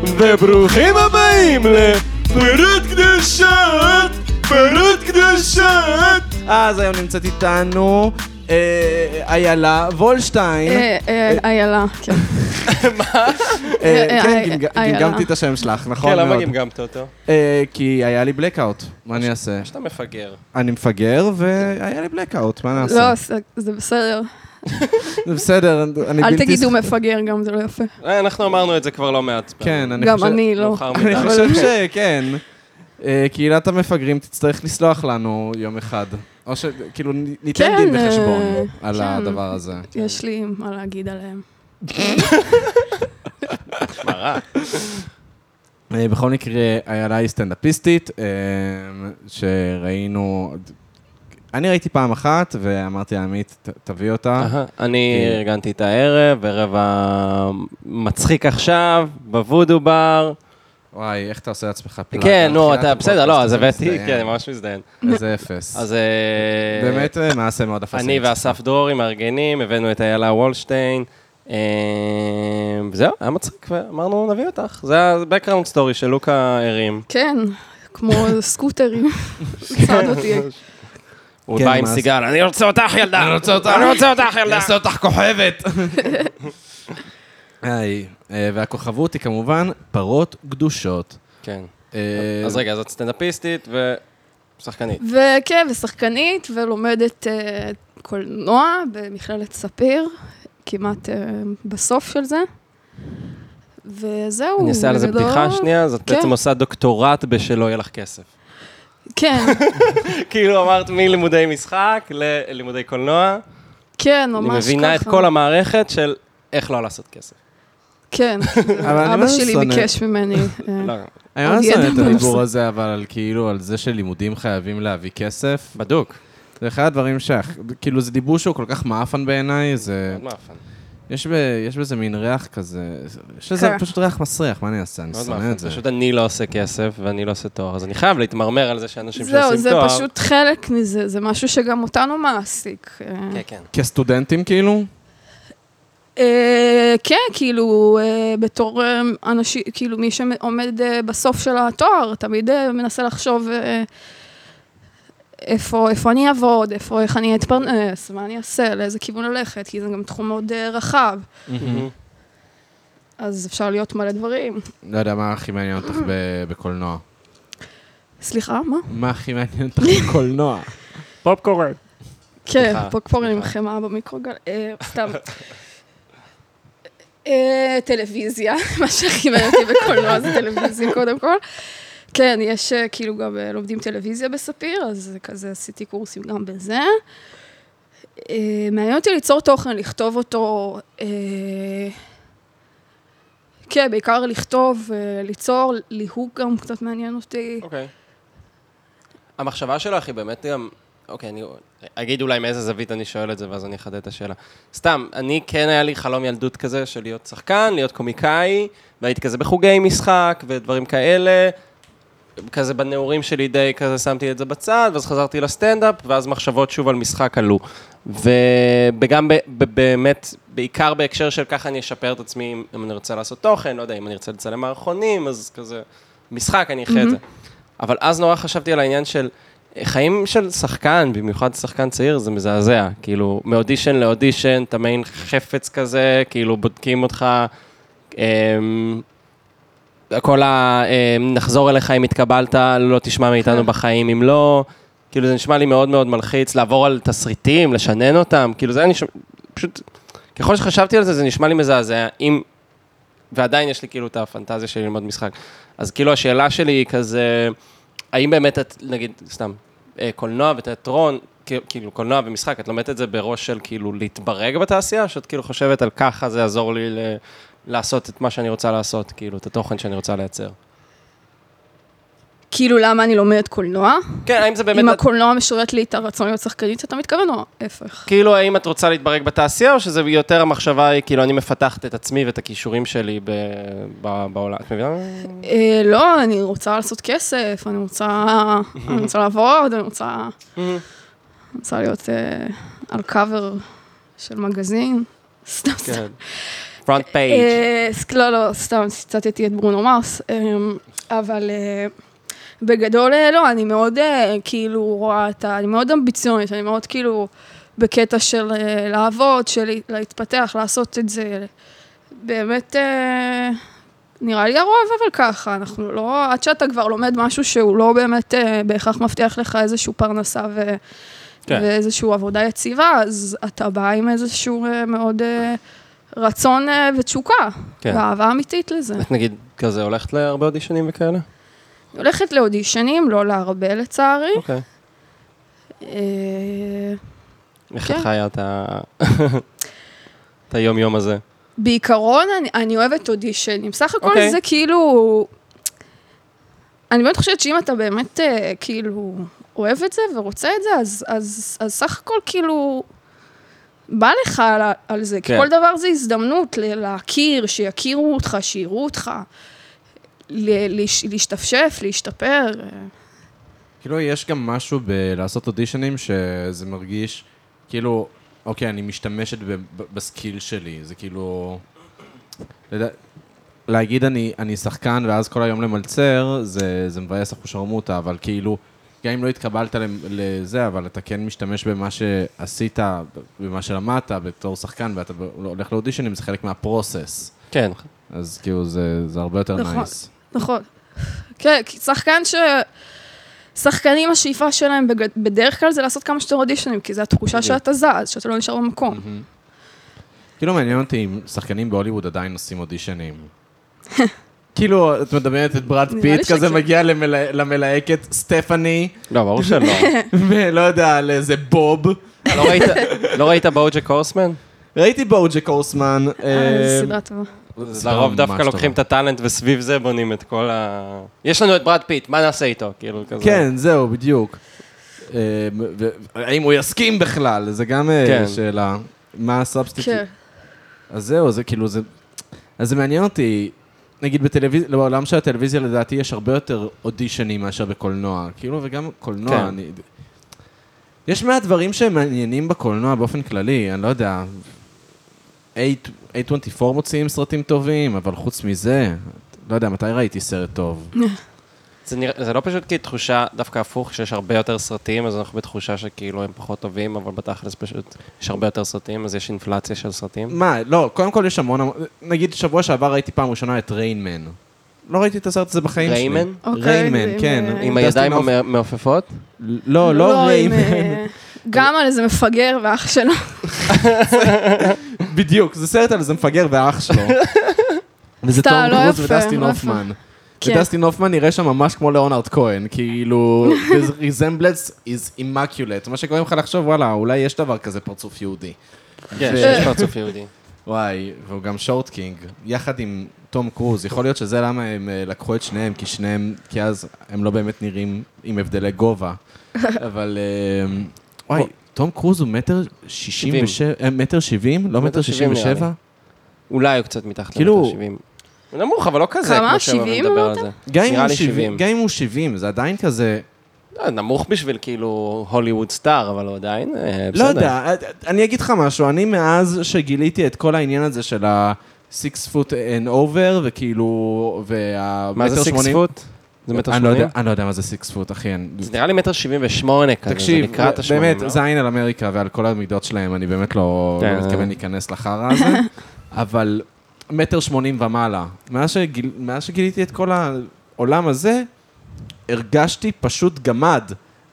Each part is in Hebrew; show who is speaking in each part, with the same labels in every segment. Speaker 1: וברוכים הבאים לפרות קדושות, פרות קדושות. אז היום נמצאת איתנו אה, איילה וולשטיין.
Speaker 2: אה, אה, איילה, כן.
Speaker 1: אה,
Speaker 2: אה,
Speaker 1: כן,
Speaker 2: אה,
Speaker 1: גמג-
Speaker 2: איילה.
Speaker 1: גמגמתי את השם שלך, נכון
Speaker 3: כן, למה
Speaker 1: מאוד.
Speaker 3: גמגמת אותו?
Speaker 1: אה, כי היה לי בלקאוט, מה אני אעשה?
Speaker 3: שאתה מפגר.
Speaker 1: אני מפגר והיה לי בלקאוט, מה נעשה?
Speaker 2: לא, זה- זה בסדר.
Speaker 1: זה בסדר, אני בלתי...
Speaker 2: אל תגידו
Speaker 1: ספ-
Speaker 2: מפגר גם, זה לא יפה.
Speaker 3: אה, אנחנו אמרנו את זה כבר לא מעט. פעמים.
Speaker 1: כן, אני
Speaker 2: גם
Speaker 1: חושב...
Speaker 2: אני לא.
Speaker 3: מאוחר
Speaker 1: אני
Speaker 3: מדי.
Speaker 1: חושב שכן. אה, קהילת המפגרים תצטרך לסלוח לנו יום אחד. או שכאילו נ- ניתן
Speaker 2: כן,
Speaker 1: דין וחשבון
Speaker 2: אה,
Speaker 1: על
Speaker 2: כן.
Speaker 1: הדבר הזה.
Speaker 2: יש לי מה להגיד עליהם.
Speaker 3: מה רע?
Speaker 1: אה, בכל מקרה, איילה היא סטנדאפיסטית, אה, שראינו... אני ראיתי פעם אחת, ואמרתי לעמית, "ת- תביא אותה.
Speaker 3: אהה, אני
Speaker 1: כן.
Speaker 3: ארגנתי את הערב, ערב המצחיק עכשיו, בוודו בר.
Speaker 1: וואי, איך אתה עושה לעצמך פלאג?
Speaker 3: כן,
Speaker 1: על
Speaker 3: נו,
Speaker 1: תחילת
Speaker 3: אתה בסדר, לא,
Speaker 1: לא, הפודקאסט,
Speaker 3: אז
Speaker 1: אתה
Speaker 3: הבאתי,
Speaker 1: מזדיין.
Speaker 3: כן, אני ממש מזדיין.
Speaker 1: איזה אפס.
Speaker 3: אז אה,
Speaker 1: באמת, אה, מעשה מאוד אפס.
Speaker 3: אני ואסף דרורי מארגנים, הבאנו את איילה וולשטיין. אה, זהו, היה מצחיק, ואמרנו, נביא אותך. זה ה-background story של לוקה הרים.
Speaker 2: כן, כמו סקוטרים.
Speaker 3: כן.
Speaker 2: צעד אותי.
Speaker 3: הוא
Speaker 1: כן,
Speaker 3: בא עם
Speaker 1: מה-
Speaker 3: סיגר, אני רוצה אותך, ילדה! אני רוצה אותך! אני רוצה אותך, ילדה!
Speaker 1: יעשה אותך כוכבת. היי, אה, והכוכבות היא כמובן פרות גדושות.
Speaker 3: כן.
Speaker 1: אה,
Speaker 3: אז רגע, אז את סטנדאפיסטית ושחקנית.
Speaker 2: וכן, ושחקנית, ולומדת אה, קולנוע במכללת ספיר, כמעט אה, בסוף של זה. וזהו.
Speaker 3: אני אעשה על זה
Speaker 2: בגדול.
Speaker 3: בדיחה שנייה, אז את
Speaker 2: כן.
Speaker 3: בעצם עושה דוקטורט בשלא יהיה לך כסף.
Speaker 2: כן,
Speaker 3: כאילו אמרת מלימודי משחק ללימודי קולנוע,
Speaker 2: כן, ממש
Speaker 3: אני
Speaker 2: ככה.
Speaker 3: מבינה את כל המערכת של איך לא לעשות כסף.
Speaker 2: כן,
Speaker 1: אני
Speaker 2: אבא
Speaker 1: לא
Speaker 2: שלי
Speaker 1: שונא.
Speaker 2: ביקש ממני. אה,
Speaker 3: לא,
Speaker 1: אני ממש
Speaker 2: עוד
Speaker 1: שונא
Speaker 2: ידע
Speaker 1: את
Speaker 2: בנושא.
Speaker 1: הדיבור הזה, אבל על כאילו, על זה שלימודים חייבים להביא כסף.
Speaker 3: בדוק.
Speaker 1: זה אחד הדברים ש... כאילו, זה דיבור שהוא כל כך מעפן בעיניי, זה...
Speaker 3: מאוד מאפן.
Speaker 1: יש ב- יש בזה מין ריח כזה... יש לזה
Speaker 2: כן.
Speaker 1: פשוט ריח מסריח, מה אני אעשה? אני
Speaker 3: מאוד
Speaker 1: שונא
Speaker 3: מאפן.
Speaker 1: את זה.
Speaker 3: פשוט אני לא עושה כסף ואני לא עושה תואר, אז אני חייב להתמרמר על זה שאנשים שעושים
Speaker 2: זהו,
Speaker 3: תואר.
Speaker 2: זה פשוט חלק מזה, זה משהו שגם אותנו מעסיק. אה,
Speaker 3: כן, כן.
Speaker 1: כסטודנטים, כאילו?
Speaker 2: אה, כן, כאילו, אה, בתור אה, אנשים, כאילו, מי שעומד אה, בסוף של התואר, תמיד אה, מנסה לחשוב אה, איפה איפה אני אעבוד, איפה, איך אני אתפרנס, מה אני אעשה, לאיזה כיוון ללכת, כי זה גם תחום מאוד אה, רחב, אז אפשר להיות מלא דברים.
Speaker 1: לא יודע מה הכי מעניין אותך ב- בקולנוע.
Speaker 2: סליחה, מה?
Speaker 1: מה הכי מעניין אותך בקולנוע?
Speaker 3: פופקורן.
Speaker 2: כן,
Speaker 3: סליחה,
Speaker 2: פוקפורן עם
Speaker 3: סליחה.
Speaker 2: חמאה במיקרוגל, אה, סתם. אה, טלוויזיה, מה שהכי מעניין אותי בקולנוע זה טלוויזיה קודם כל. כן, יש אה, כאילו גם אה, לומדים טלוויזיה בספיר, אז כזה עשיתי קורסים גם בזה. אה, מעניין אותי ליצור תוכן, לכתוב אותו, אה, כן, בעיקר לכתוב, אה, ליצור, ליהוק גם קצת מעניין אותי.
Speaker 3: אוקיי. המחשבה שלך היא באמת גם... אוקיי, אני אגיד אולי מאיזה זווית אני שואל את זה, ואז אני אחדד את השאלה. סתם, אני כן היה לי חלום ילדות כזה של להיות שחקן, להיות קומיקאי, והייתי כזה בחוגי משחק ודברים כאלה. כזה בנעורים שלי די כזה שמתי את זה בצד, ואז חזרתי לסטנדאפ, ואז מחשבות שוב על משחק עלו. וגם ב- ב- באמת, בעיקר בהקשר של ככה אני אשפר את עצמי אם- אם אני רוצה לעשות תוכן, לא יודע, אם אני ארצה לצלם מערכונים, אז כזה משחק, אני אחיה את זה. אבל אז נורא חשבתי על העניין של אה, חיים של שחקן, במיוחד שחקן צעיר, זה מזעזע. כאילו, מאודישן לאודישן, אתה מעין חפץ כזה, כאילו בודקים אותך. אמ, כל ה... אה, נחזור אליך אם התקבלת, לא תשמע מאיתנו
Speaker 2: כן.
Speaker 3: בחיים אם לא. כאילו, זה נשמע לי מאוד מאוד מלחיץ לעבור על תסריטים, לשנן אותם, כאילו, זה היה נשמע... פשוט... ככל שחשבתי על זה, זה נשמע לי מזעזע, אם... ועדיין יש לי כאילו את הפנטזיה שלי ללמוד משחק. אז כאילו, השאלה שלי היא כזה, האם באמת את, נגיד, סתם, אה, קולנוע ותיאטרון, כא- כאילו, קולנוע ומשחק, את לומדת את זה בראש של כאילו להתברג בתעשייה, או שאת כאילו חושבת על ככה זה יעזור לי ל... לעשות את מה שאני רוצה לעשות, כאילו, את התוכן שאני רוצה לייצר.
Speaker 2: כאילו, למה אני לומדת קולנוע?
Speaker 3: כן, האם זה באמת...
Speaker 2: אם
Speaker 3: את-
Speaker 2: הקולנוע משרת לי את הרצון להיות שחקנית, אתה מתכוון או ההפך?
Speaker 3: כאילו, האם את רוצה להתברג בתעשייה, או שזה יותר המחשבה היא, כאילו, אני מפתחת את עצמי ואת הכישורים שלי ב- ב- בעולם? את מבינה?
Speaker 2: אה, לא, אני רוצה לעשות כסף, אני רוצה, אני רוצה לעבוד, אני רוצה, אני רוצה להיות אה, על קאבר של מגזין. סתם, סתם.
Speaker 3: כן. פרונט פייג'.
Speaker 2: אה, ס- לא, לא, סתם ציטטתי את ברונו מרס, אה, אבל אה, בגדול, אה, לא, אני מאוד אה, כאילו רואה את ה... אני מאוד אמביציונית, אני מאוד כאילו בקטע של אה, לעבוד, של להתפתח, לעשות את זה. באמת, אה, נראה לי הרוב, אבל ככה, אנחנו לא... עד שאתה כבר לומד משהו שהוא לא באמת אה, בהכרח מבטיח לך איזושהי פרנסה ו...
Speaker 3: כן.
Speaker 2: כן. ואיזושהי עבודה יציבה, אז אתה בא עם איזשהו אה, מאוד אה, רצון אה, ותשוקה,
Speaker 3: כן.
Speaker 2: כן. ואהבה אמיתית לזה.
Speaker 3: את נגיד כזה הולכת להרבה אודישנים וכאלה?
Speaker 2: אני הולכת לאודישנים, לא להרבה לצערי.
Speaker 3: אוקיי.
Speaker 2: אה,
Speaker 3: איך
Speaker 2: כן.
Speaker 3: את חיה את ה... את היום-יום הזה?
Speaker 2: בעיקרון, אני, אני אוהבת אודישנים. סך הכל
Speaker 3: אוקיי.
Speaker 2: okay. זה כאילו... אני באמת חושבת שאם אתה באמת, אה, כאילו, אוהב את זה ורוצה את זה, אז, אז, אז סך הכל, כאילו, בא לך על, ה- על זה.
Speaker 3: כן.
Speaker 2: כי כל דבר זה הזדמנות ל- להכיר, שיכירו אותך, שיראו אותך, ל- להש- להשתפשף, להשתפר. אה,
Speaker 1: כאילו, יש גם משהו בלעשות אודישנים שזה מרגיש, כאילו, אוקיי, אני משתמשת ב- ב- בסקיל שלי, זה כאילו... לדע- להגיד אני, אני שחקן ואז כל היום למלצר, זה, זה מבאס אחושרמוטה, אבל כאילו, גם אם לא התקבלת למ- לזה, אבל אתה כן משתמש במה שעשית, במה שלמדת בתור שחקן, ואתה ב- הולך לאודישנים, זה חלק מהפרוסס.
Speaker 3: כן.
Speaker 1: אז כאילו, זה, זה הרבה יותר
Speaker 2: נכון.
Speaker 1: נייס.
Speaker 2: נכון. כן, כי שחקן ש... שחקנים, השאיפה שלהם בג... בדרך כלל זה לעשות כמה שיותר אודישנים, כי זו התחושה
Speaker 1: בדיוק.
Speaker 2: שאתה זז, שאתה לא נשאר במקום.
Speaker 1: כאילו מעניין אותי אם שחקנים בהוליווד עדיין עושים אודישנים. כאילו, את מדמיינת את ברד
Speaker 2: נראה לי
Speaker 1: פיט, כזה
Speaker 2: שכן.
Speaker 1: מגיע למלה- למלהקת סטפני,
Speaker 3: לא, ברור שלא.
Speaker 1: ולא יודע, לאיזה בוב.
Speaker 3: לא ראית- לא ראית בואוג'ק הורסמן?
Speaker 1: ראיתי בוג'ק הורסמן.
Speaker 2: אה,
Speaker 1: אה,
Speaker 2: זו סדרה טובה.
Speaker 1: זה סדרה
Speaker 3: לרוב
Speaker 1: ממש
Speaker 3: דווקא
Speaker 1: טובה.
Speaker 3: לוקחים את הטאלנט וסביב זה בונים את כל ה... יש לנו את ברד פיט, מה נעשה איתו? כאילו כזה.
Speaker 1: כן, זהו, בדיוק. אה, ו- האם הוא יסכים בכלל? זה גם אה,
Speaker 3: כן.
Speaker 1: שאלה. מה הסאבסטיטוט?
Speaker 2: כן.
Speaker 1: אז זהו, זה כאילו, זה... אז זה מעניין אותי. נגיד בטלוויזיה, בעולם של הטלוויזיה לדעתי יש הרבה יותר אודישנים מאשר בקולנוע. כאילו, וגם קולנוע,
Speaker 3: כן.
Speaker 1: כן. אני... יש מעט דברים שהם מעניינים בקולנוע באופן כללי, אני לא יודע. A- A24 מוציאים סרטים טובים, אבל חוץ מזה, לא יודע, מתי ראיתי סרט טוב?
Speaker 3: זה, נרא... זה לא פשוט כי תחושה דווקא הפוך, שיש הרבה יותר סרטים, אז אנחנו בתחושה שכאילו הם פחות טובים, אבל בתכלס פשוט יש הרבה יותר סרטים, אז יש אינפלציה של סרטים.
Speaker 1: מה, לא, קודם כל יש המון, המון- נגיד שבוע שעבר ראיתי פעם ראשונה את ריינמן. לא ראיתי את הסרט הזה בחיים שלי.
Speaker 3: ריימן?
Speaker 2: אוקיי,
Speaker 1: ריינמן,
Speaker 2: זה עם,
Speaker 1: כן.
Speaker 2: אה,
Speaker 1: דסטין
Speaker 3: עם הידיים
Speaker 1: הופמן.
Speaker 3: המעופפות?
Speaker 1: לא, לא
Speaker 2: עם,
Speaker 1: ריימן.
Speaker 2: אה, גם על איזה מפגר ואח שלו.
Speaker 1: בדיוק, זה סרט על איזה מפגר ואח שלו. וזה
Speaker 2: סתם,
Speaker 1: תום
Speaker 2: לא
Speaker 1: קרוז
Speaker 2: יפה,
Speaker 1: ודסטין
Speaker 2: לא
Speaker 1: הופמן.
Speaker 2: כן.
Speaker 1: ודסטין הופמן נראה שם ממש כמו ליאונרד כהן, כאילו, his resemblance is immaculate. מה שגורם לך לחשוב, וואלה, אולי יש דבר כזה פרצוף יהודי.
Speaker 3: כן,
Speaker 1: ו-
Speaker 3: שיש פרצוף יהודי.
Speaker 1: וואי, והוא גם שורט קינג, יחד עם תום קרוז. יכול להיות שזה למה הם אה, לקחו את שניהם, כי שניהם, כי אז הם לא באמת נראים עם הבדלי גובה. אבל, אה, וואי, תום קרוז הוא מטר שישים
Speaker 3: שבעים.
Speaker 1: ושבע, אה, מטר שבעים? לא
Speaker 3: מטר
Speaker 1: מטר שישים
Speaker 3: שבעים נראה
Speaker 1: ושבע?
Speaker 3: אולי הוא קצת מתחת
Speaker 1: כאילו-
Speaker 3: למטר שבעים. הוא נמוך, אבל לא כזה,
Speaker 2: כמה?
Speaker 3: כמו שאוהבים
Speaker 2: שבעים
Speaker 3: לדבר על
Speaker 2: אמרת?
Speaker 3: זה.
Speaker 1: גם אם
Speaker 3: נראה
Speaker 1: הוא
Speaker 3: לי
Speaker 1: 70,
Speaker 3: שבעים.
Speaker 1: גם אם הוא 70, זה עדיין כזה,
Speaker 3: לא, נמוך בשביל כאילו הוליווד סטאר, אבל הוא עדיין, אה,
Speaker 1: לא
Speaker 3: בסדר.
Speaker 1: יודע, אני אגיד לך משהו, אני מאז שגיליתי את כל העניין הזה של ה... סיקס פוט אנד אובר, וכאילו, וה...
Speaker 3: מה זה
Speaker 1: מטר
Speaker 3: סיקס
Speaker 1: שמונים-
Speaker 3: פוט? זה מטר
Speaker 1: אני לא
Speaker 3: שמונים?
Speaker 1: יודע- אני לא יודע מה זה סיקס פוט, אחי. אני-
Speaker 3: זה נראה לי מטר שבעים ושמונה כזה, זה
Speaker 1: תקשיב,
Speaker 3: לקראת השמונים.
Speaker 1: באמת,
Speaker 3: לא?
Speaker 1: זין על אמריקה ועל כל המידות שלהם, אני באמת לא
Speaker 3: כן.
Speaker 1: לא מתכוון להיכנס לחרא הזה, אבל מטר שמונים ומעלה. מאז שגיל- מאז שגיליתי את כל העולם הזה, הרגשתי פשוט גמד.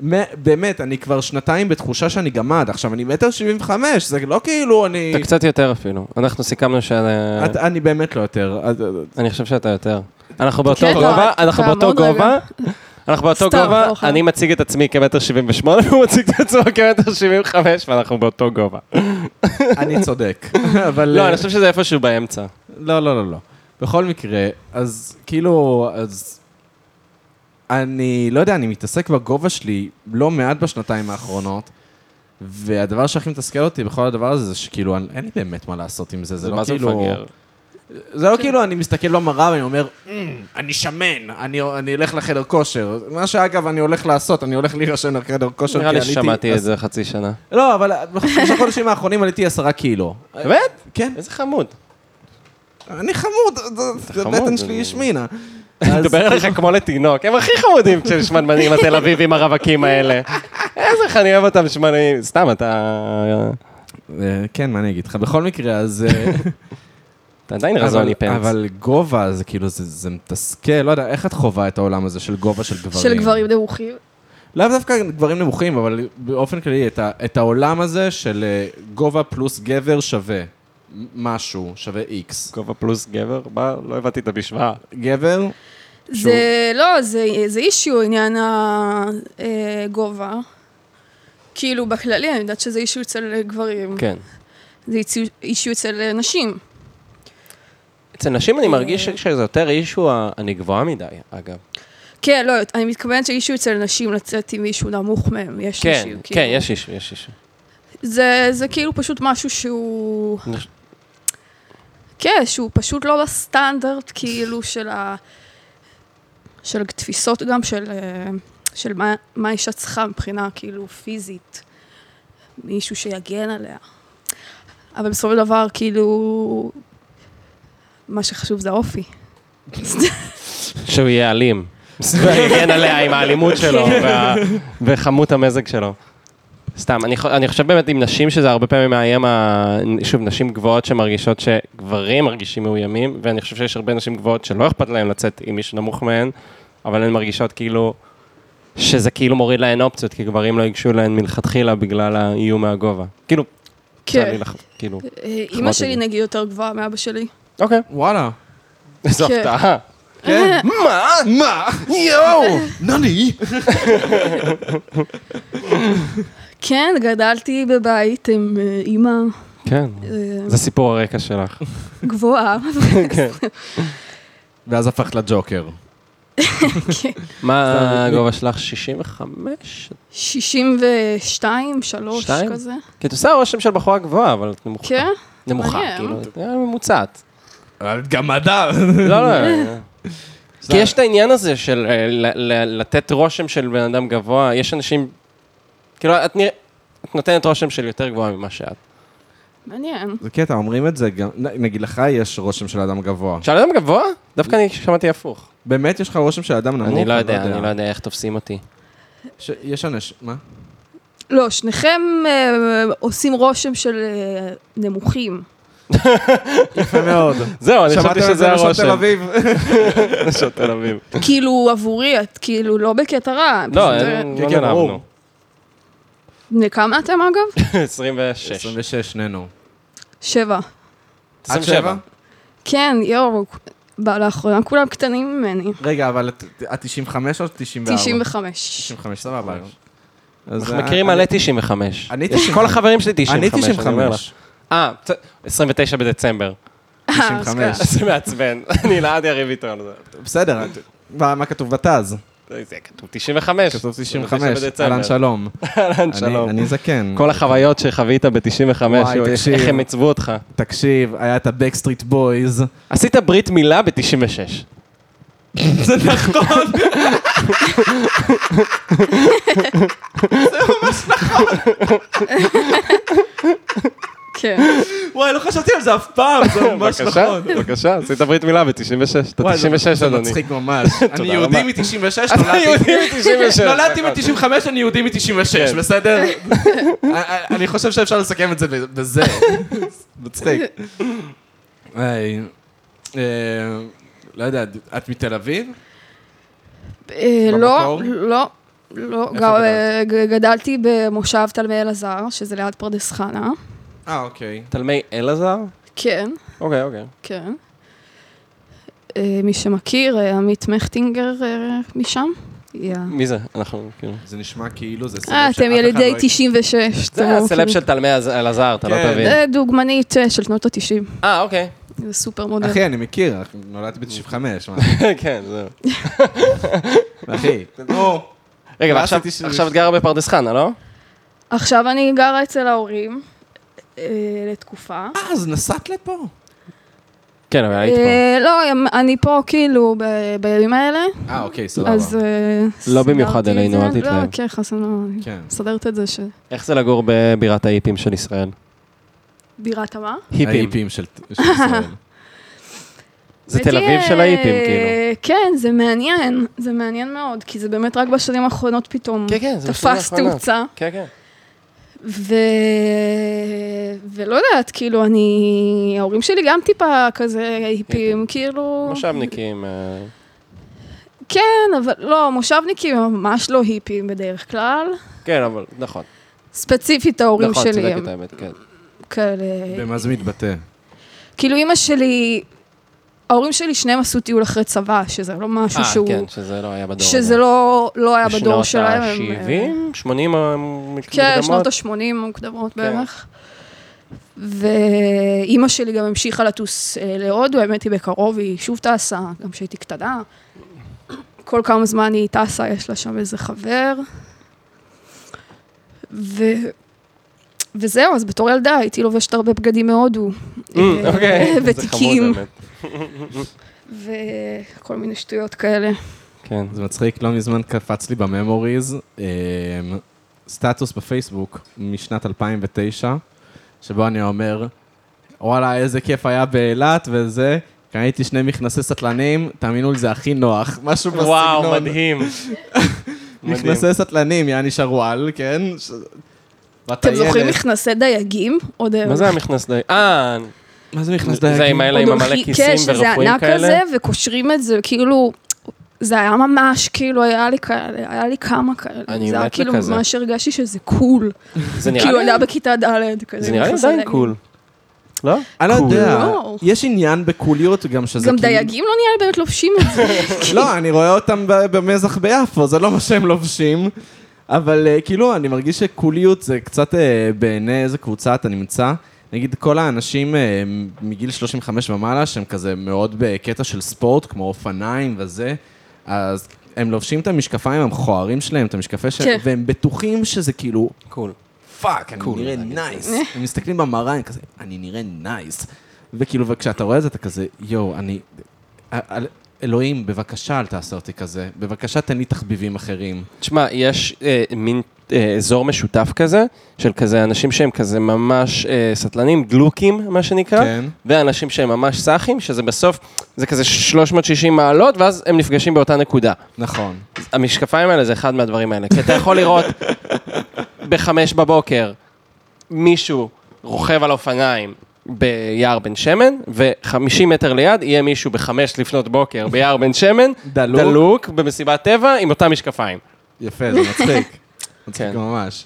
Speaker 1: מ- באמת, אני כבר שנתיים בתחושה שאני גמד. עכשיו, אני מטר שבעים וחמש, זה לא כאילו אני...
Speaker 3: אתה קצת יותר אפילו. אנחנו סיכמנו ש...
Speaker 1: את- אני באמת לא יותר. אז-
Speaker 3: אני חושב שאתה יותר. אנחנו באותו
Speaker 2: כן, לא,
Speaker 3: גובה,
Speaker 2: אתה
Speaker 3: אנחנו באותו
Speaker 2: מאוד
Speaker 3: גובה, אנחנו באותו
Speaker 2: סתם,
Speaker 3: גובה,
Speaker 2: לא חייב.
Speaker 3: אני מציג את עצמי כמטר שבעים ושמונה, והוא מציג את עצמו כמטר שבעים וחמש, ואנחנו באותו גובה.
Speaker 1: אני צודק. אבל... אה,
Speaker 3: לא, אני חושב שזה איפשהו באמצע.
Speaker 1: לא, לא, לא, לא. בכל מקרה, אז כאילו, אז... אני לא יודע, אני מתעסק בגובה שלי לא מעט בשנתיים האחרונות, והדבר שהכי מתסכל אותי בכל הדבר הזה, זה שכאילו, אני- אין לי באמת מה לעשות עם זה, זה
Speaker 3: זה
Speaker 1: לא
Speaker 3: מה זה
Speaker 1: כאילו...
Speaker 3: מפגר.
Speaker 1: זה לא כאילו אני מסתכל במראה ואני אומר, "אמ, אני שמן, אני אני אלך לחדר כושר. מה שאגב, אני הולך לעשות, אני הולך להירשם לחדר כושר,
Speaker 3: נראה
Speaker 1: כי
Speaker 3: לי
Speaker 1: עליתי-
Speaker 3: ששמעתי את
Speaker 1: אז-
Speaker 3: זה חצי שנה.
Speaker 1: לא, אבל בחמישה חודשים האחרונים עליתי עשרה קילו.
Speaker 3: באמת?
Speaker 1: כן.
Speaker 3: איזה חמוד.
Speaker 1: אני חמוד, זה- זה
Speaker 3: חמוד,
Speaker 1: הבטן
Speaker 3: אני-
Speaker 1: שלי השמינה.
Speaker 3: אני מדבר עליך כמו לתינוק, הם הכי חמודים של שמנמנים התל אביבים הרווקים האלה. איזה איך אני אוהב אותם שמנמנים, סתם, אתה
Speaker 1: אה, כן, מה אני אגיד לך? בכל מקרה, אז... אה,
Speaker 3: אתה עדיין
Speaker 1: אבל-
Speaker 3: רזוני פנס.
Speaker 1: אבל גובה, זה כאילו, זה זה מתסכל, לא יודע, איך את חווה את העולם הזה של גובה של גברים?
Speaker 2: של גברים דרוכים.
Speaker 1: לאו דווקא גברים נמוכים, אבל באופן כללי, את, ה, את העולם הזה של אה, גובה פלוס גבר שווה מ- משהו, שווה איקס.
Speaker 3: גובה פלוס גבר? מה? לא הבנתי את המשוואה.
Speaker 1: גבר, שהוא-
Speaker 2: זה לא, זה, זה אישיו עניין הגובה. כאילו בכללי, אני יודעת שזה אישיו אצל גברים.
Speaker 3: כן.
Speaker 2: זה אישיו- אישיו אצל נשים.
Speaker 3: אצל נשים אני מרגיש שזה יותר אישו, ה- אני גבוהה מדי, אגב.
Speaker 2: כן, לא, אני מתכוונת שאישיו אצל נשים לצאת עם מישהו נמוך מהם. יש
Speaker 3: כן,
Speaker 2: אישיו.
Speaker 3: כן,
Speaker 2: כאילו.
Speaker 3: יש אישו, יש אישו.
Speaker 2: זה, זה כאילו פשוט משהו שהוא... כן, שהוא פשוט לא בסטנדרט, כאילו, של ה... של תפיסות גם, של, אה, של מה, מה אישה צריכה מבחינה, כאילו, פיזית. מישהו שיגן עליה. אבל בסופו של דבר, כאילו, מה שחשוב זה האופי.
Speaker 3: שהוא יהיה אלים. ויגן עליה עם האלימות שלו וה- וחמות המזג שלו. סתם, אני, חו- אני חושב באמת עם נשים שזה הרבה פעמים מאיים, ה... שוב, נשים גבוהות שמרגישות שגברים מרגישים מאוימים, ואני חושב שיש הרבה נשים גבוהות שלא אכפת להן לצאת עם מישהו נמוך מהן, אבל הן מרגישות כאילו שזה כאילו מוריד להן אופציות, כי גברים לא ייגשו להן מלכתחילה בגלל האיום מהגובה. כאילו, כן. צר לי לך, כאילו,
Speaker 2: אה, אימא
Speaker 3: שמעתי
Speaker 2: שלי,
Speaker 3: את זה.
Speaker 2: נגיד, יותר גבוהה מאבא שלי.
Speaker 3: אוקיי,
Speaker 1: וואלה.
Speaker 3: זו
Speaker 2: כן.
Speaker 3: הפתעה.
Speaker 1: כן. מה? מה? יואו! נני!
Speaker 2: כן, גדלתי בבית עם אה, אימא
Speaker 3: כן,
Speaker 2: אה,
Speaker 3: זה סיפור הרקע שלך.
Speaker 2: גבוהה.
Speaker 3: כן.
Speaker 1: ואז הפכת לג'וקר.
Speaker 3: מה
Speaker 1: סתם,
Speaker 3: הגובה שלך? 65?
Speaker 2: 62, 3,
Speaker 3: שתיים?
Speaker 2: כזה.
Speaker 3: כי את עושה רושם של בחורה גבוהה, אבל את נמוכה.
Speaker 2: כן?
Speaker 3: נמוכה,
Speaker 2: מעניין.
Speaker 3: כאילו, את אה, ממוצעת.
Speaker 1: את גם אדם.
Speaker 3: לא, לא. כי יש את העניין הזה של אה, ל- ל- לתת רושם של בן אדם גבוה, יש אנשים, כאילו, את נרא- את נותנת רושם של יותר גבוהה ממה שאת.
Speaker 2: מעניין.
Speaker 1: זה קטע, אומרים את זה גם, נ- נגיד לך יש רושם של אדם גבוה.
Speaker 3: של אדם גבוה? דווקא אני שמעתי הפוך.
Speaker 1: באמת יש לך רושם של אדם נמוך?
Speaker 3: אני לא יודע, אני לא יודע איך תופסים אותי.
Speaker 1: ש- יש אנשים, מה?
Speaker 2: לא, שניכם אה, עושים רושם של אה, נמוכים.
Speaker 1: יפה מאוד.
Speaker 3: זהו, אני
Speaker 1: שמעתם
Speaker 3: חשבתי
Speaker 1: את זה
Speaker 3: שזה
Speaker 1: נשות תל
Speaker 3: הרושם.
Speaker 1: אביב?
Speaker 3: נשות תל אביב.
Speaker 2: כאילו, עבורי, את כאילו לא בקטע רע.
Speaker 3: לא,
Speaker 2: פשוט,
Speaker 3: אין-
Speaker 1: כן,
Speaker 3: לא
Speaker 1: כן, ברור.
Speaker 3: נעלבנו.
Speaker 2: אה, בני כמה אתם, אגב?
Speaker 3: 26.
Speaker 1: 26 ננו.
Speaker 2: שבע.
Speaker 1: עד שבע?
Speaker 3: 27.
Speaker 2: כן, יואו, בא לאחרונה, כולם קטנים ממני.
Speaker 1: רגע, אבל את את 95 או 94?
Speaker 2: 95.
Speaker 1: 95, סבבה. אז אה,
Speaker 3: אנחנו
Speaker 1: אני-
Speaker 3: מכירים מלא 95.
Speaker 1: אני
Speaker 3: יש
Speaker 1: 95.
Speaker 3: כל החברים שלי 95,
Speaker 1: אני
Speaker 3: אני אומר לך.
Speaker 1: 95.
Speaker 3: אה, צ- 29 בדצמבר.
Speaker 2: אה, אז
Speaker 1: 95.
Speaker 2: ככה.
Speaker 3: זה מעצבן, אני לעד אריב איתו על זה.
Speaker 1: בסדר, את- מה מה כתוב בתז?
Speaker 3: זה כתוב 95.
Speaker 1: כתוב 95,
Speaker 3: 29 בדצמבר.
Speaker 1: אהלן שלום.
Speaker 3: אהלן,
Speaker 1: אני-
Speaker 3: שלום.
Speaker 1: אני זקן.
Speaker 3: כל החוויות שחווית ב-95,
Speaker 1: וואי, תקשיב.
Speaker 3: איך הם עיצבו אותך.
Speaker 1: תקשיב, היה את הבקסטריט בויז.
Speaker 3: עשית ברית מילה ב-96.
Speaker 1: זה נכון.
Speaker 2: כן.
Speaker 1: וואי, לא חשבתי על זה אף פעם, זה ממש
Speaker 3: בבקשה,
Speaker 1: נכון.
Speaker 3: בבקשה, עשית ברית מילה ב-96. אתה
Speaker 1: וואי, זה-
Speaker 3: 96,
Speaker 1: זה
Speaker 3: אדוני.
Speaker 1: מצחיק ממש. אני
Speaker 3: תודה
Speaker 1: יהודי
Speaker 3: רבה.
Speaker 1: מ-96,
Speaker 3: אתה יהודי ב-96.
Speaker 1: נולדתי ב-95, אני יהודי מ-96,
Speaker 3: כן.
Speaker 1: בסדר? אה, אני חושב שאפשר לסכם את זה בזה. מצחיק. היי, אה, לא יודע, את מתל אביב?
Speaker 2: אה, לא,
Speaker 1: במקור?
Speaker 2: לא, לא.
Speaker 1: איפה
Speaker 2: גם,
Speaker 1: גדלת?
Speaker 2: אה, ג- גדלתי במושב תלמי אלעזר, שזה ליד פרדס חנה.
Speaker 1: אה, אוקיי.
Speaker 3: תלמי אלעזר?
Speaker 2: כן.
Speaker 3: אוקיי, אוקיי.
Speaker 2: כן. אה, מי שמכיר, אה, עמית מכטינגר אה, משם. היא ה-
Speaker 3: מי זה? אנחנו, כאילו.
Speaker 1: זה נשמע כאילו זה סלב
Speaker 2: אה,
Speaker 1: שאף
Speaker 2: אתם
Speaker 1: אחד
Speaker 2: ילידי
Speaker 1: לא-
Speaker 2: 96. אתם
Speaker 3: זה
Speaker 2: לא
Speaker 3: הסלב
Speaker 2: מכירים.
Speaker 3: של תלמי אלעזר, אתה לא
Speaker 1: כן.
Speaker 3: תבין.
Speaker 2: אה, דוגמנית אה, של שנות ה-90.
Speaker 3: אה, אוקיי.
Speaker 2: זה סופר מודל.
Speaker 1: אחי, אני מכיר, נולדתי ב-95, מה?
Speaker 3: כן, זהו.
Speaker 1: אחי, אה, נו.
Speaker 3: רגע,
Speaker 1: מה
Speaker 3: ועכשיו
Speaker 1: עשיתי ש-
Speaker 3: עכשיו את גרה בפרדס חנה, לא?
Speaker 2: עכשיו אני גרה אצל ההורים אה, לתקופה.
Speaker 1: אה, אז נסעת לפה?
Speaker 3: כן, אבל היית פה.
Speaker 2: אה, לא, אני פה כאילו ב- בימים האלה,
Speaker 1: אה, אוקיי, סבבה.
Speaker 2: אז... אה,
Speaker 3: לא במיוחד
Speaker 2: סידרתי את
Speaker 3: אלינו,
Speaker 2: זה.
Speaker 3: אל תתלהב.
Speaker 2: לא, כן, חסן, לא, אני
Speaker 1: כן.
Speaker 2: מסדרת את זה
Speaker 3: איך זה לגור בבירת האיפים של ישראל?
Speaker 2: שבירת המה.
Speaker 1: היפים של של ישראל.
Speaker 3: זה
Speaker 2: האמת
Speaker 3: תל
Speaker 2: היא,
Speaker 3: אביב של
Speaker 2: אה,
Speaker 3: האיפים, כאילו.
Speaker 2: כן, זה מעניין, זה מעניין מאוד, כי זה באמת רק בשנים האחרונות פתאום
Speaker 3: כן, כן, זה בשנים
Speaker 2: תפס
Speaker 3: האחרונות.
Speaker 2: תאוצה.
Speaker 3: כן, כן.
Speaker 2: ו... ולא יודעת, כאילו, אני... ההורים שלי גם טיפה כזה היפים, כאילו...
Speaker 3: מושבניקים. אה,
Speaker 2: כן, אבל לא, מושבניקים הם ממש לא היפים בדרך כלל.
Speaker 3: כן, אבל נכון.
Speaker 2: ספציפית ההורים
Speaker 3: נכון,
Speaker 2: שלי הם
Speaker 3: צודקת האמת, כן.
Speaker 2: כאלה...
Speaker 1: במה זה מתבטא?
Speaker 2: כאילו, אימא שלי... ההורים שלי שניהם עשו טיול אחרי צבא, שזה לא משהו
Speaker 3: אה,
Speaker 2: שהוא...
Speaker 3: כן, שזה לא היה בדור.
Speaker 2: שזה לא, לא היה בדור שלהם. הם-
Speaker 3: בשנות אה- ה-70, 80 המוקדמות.
Speaker 2: כן, שנות ה-80 מוקדמות
Speaker 3: כן.
Speaker 2: בערך. ואימא שלי גם המשיכה לטוס אה, להודו, האמת היא בקרוב, היא שוב טסה, גם כשהייתי קטנה. כל כמה זמן היא טסה, יש לה שם איזה חבר. ו... וזהו, אז בתור ילדה הייתי לובשת הרבה בגדים מהודו.
Speaker 3: אמ,
Speaker 2: אה,
Speaker 3: אוקיי, זה חמוד,
Speaker 2: ותיקים,
Speaker 3: האמת.
Speaker 2: וכל מיני שטויות כאלה.
Speaker 3: כן.
Speaker 1: זה מצחיק, לא מזמן קפץ לי בממוריז אמ, סטטוס בפייסבוק משנת 2009, שבו אני אומר, וואלה, איזה כיף היה באילת וזה, קניתי שני מכנסי סטלנים, תאמינו לי, זה הכי נוח, משהו בסגנון.
Speaker 3: וואו, מדהים. מדהים.
Speaker 1: מכנסי סטלנים, יעני שרוואל, כן? ש-
Speaker 2: אתם זוכרים
Speaker 1: בטיילת.
Speaker 2: מכנסי דייגים? עוד
Speaker 3: מה זה המכנס די? אה,
Speaker 1: מה זה מכנס
Speaker 3: זה
Speaker 1: דייגים?
Speaker 3: עם האלה עם
Speaker 2: עוד
Speaker 3: המלא
Speaker 2: הולכים-
Speaker 3: כיסים
Speaker 2: כן, שזה
Speaker 3: ורפואים
Speaker 2: ענק כזה,
Speaker 3: כאלה?
Speaker 2: וקושרים את זה, כאילו, זה היה ממש, כאילו, היה לי כאלה, היה לי כמה כאלה.
Speaker 3: אני
Speaker 2: זה היה
Speaker 3: מת
Speaker 2: כאילו
Speaker 3: לכזה.
Speaker 2: ממש הרגשתי שזה קול.
Speaker 3: זה נראה
Speaker 2: כאילו,
Speaker 3: לי
Speaker 2: ילדה בכיתה ד' כזה.
Speaker 3: זה נראה לי
Speaker 2: מכנסי
Speaker 3: עדיין
Speaker 2: דייגים.
Speaker 3: קול. לא?
Speaker 1: אני לא
Speaker 3: קול.
Speaker 1: יודע,
Speaker 2: לא.
Speaker 1: יש עניין בקוליות גם שזה
Speaker 2: גם
Speaker 1: כאילו-
Speaker 2: דייגים לא נראה לי באמת לובשים את
Speaker 3: אה,
Speaker 2: זה.
Speaker 1: לא, אני רואה אותם ב- במזח ביפו, זה לא מה שהם לובשים. אבל אה, כאילו, אני מרגיש שקוליות זה קצת אה, בעיני איזה קבוצה אתה נמצא. נגיד, כל האנשים אה, מגיל 35 ומעלה, שהם כזה מאוד בקטע של ספורט, כמו אופניים וזה, אז הם לובשים את המשקפיים המכוערים שלהם, את המשקפי
Speaker 2: כן.
Speaker 1: שלהם, והם בטוחים שזה כאילו,
Speaker 3: קול.
Speaker 1: פאק, אני
Speaker 3: קול,
Speaker 1: נראה
Speaker 3: להגיד.
Speaker 1: נייס. הם מסתכלים במראה, הם כזה, אני נראה נייס. וכאילו, וכשאתה רואה את זה, אתה כזה, יואו, אני... אל- אל- אלוהים, בבקשה אל תעשה אותי כזה. בבקשה תן לי תחביבים אחרים.
Speaker 3: תשמע, יש אה, מין אה, אזור משותף כזה, של כזה אנשים שהם כזה ממש אה, סטלנים, גלוקים, מה שנקרא,
Speaker 1: כן.
Speaker 3: ואנשים שהם ממש סאחים, שזה בסוף, זה כזה 360 מעלות, ואז הם נפגשים באותה נקודה.
Speaker 1: נכון.
Speaker 3: המשקפיים האלה זה אחד מהדברים האלה, כי אתה יכול לראות בחמש בבוקר מישהו רוכב על אופניים ביער בן שמן, ו-50 מטר ליד יהיה מישהו בחמש לפנות בוקר ביער בן שמן,
Speaker 1: דלוק.
Speaker 3: דלוק במסיבת טבע עם אותם משקפיים.
Speaker 1: יפה, זה מצחיק. מצחיק
Speaker 3: כן.
Speaker 1: ממש.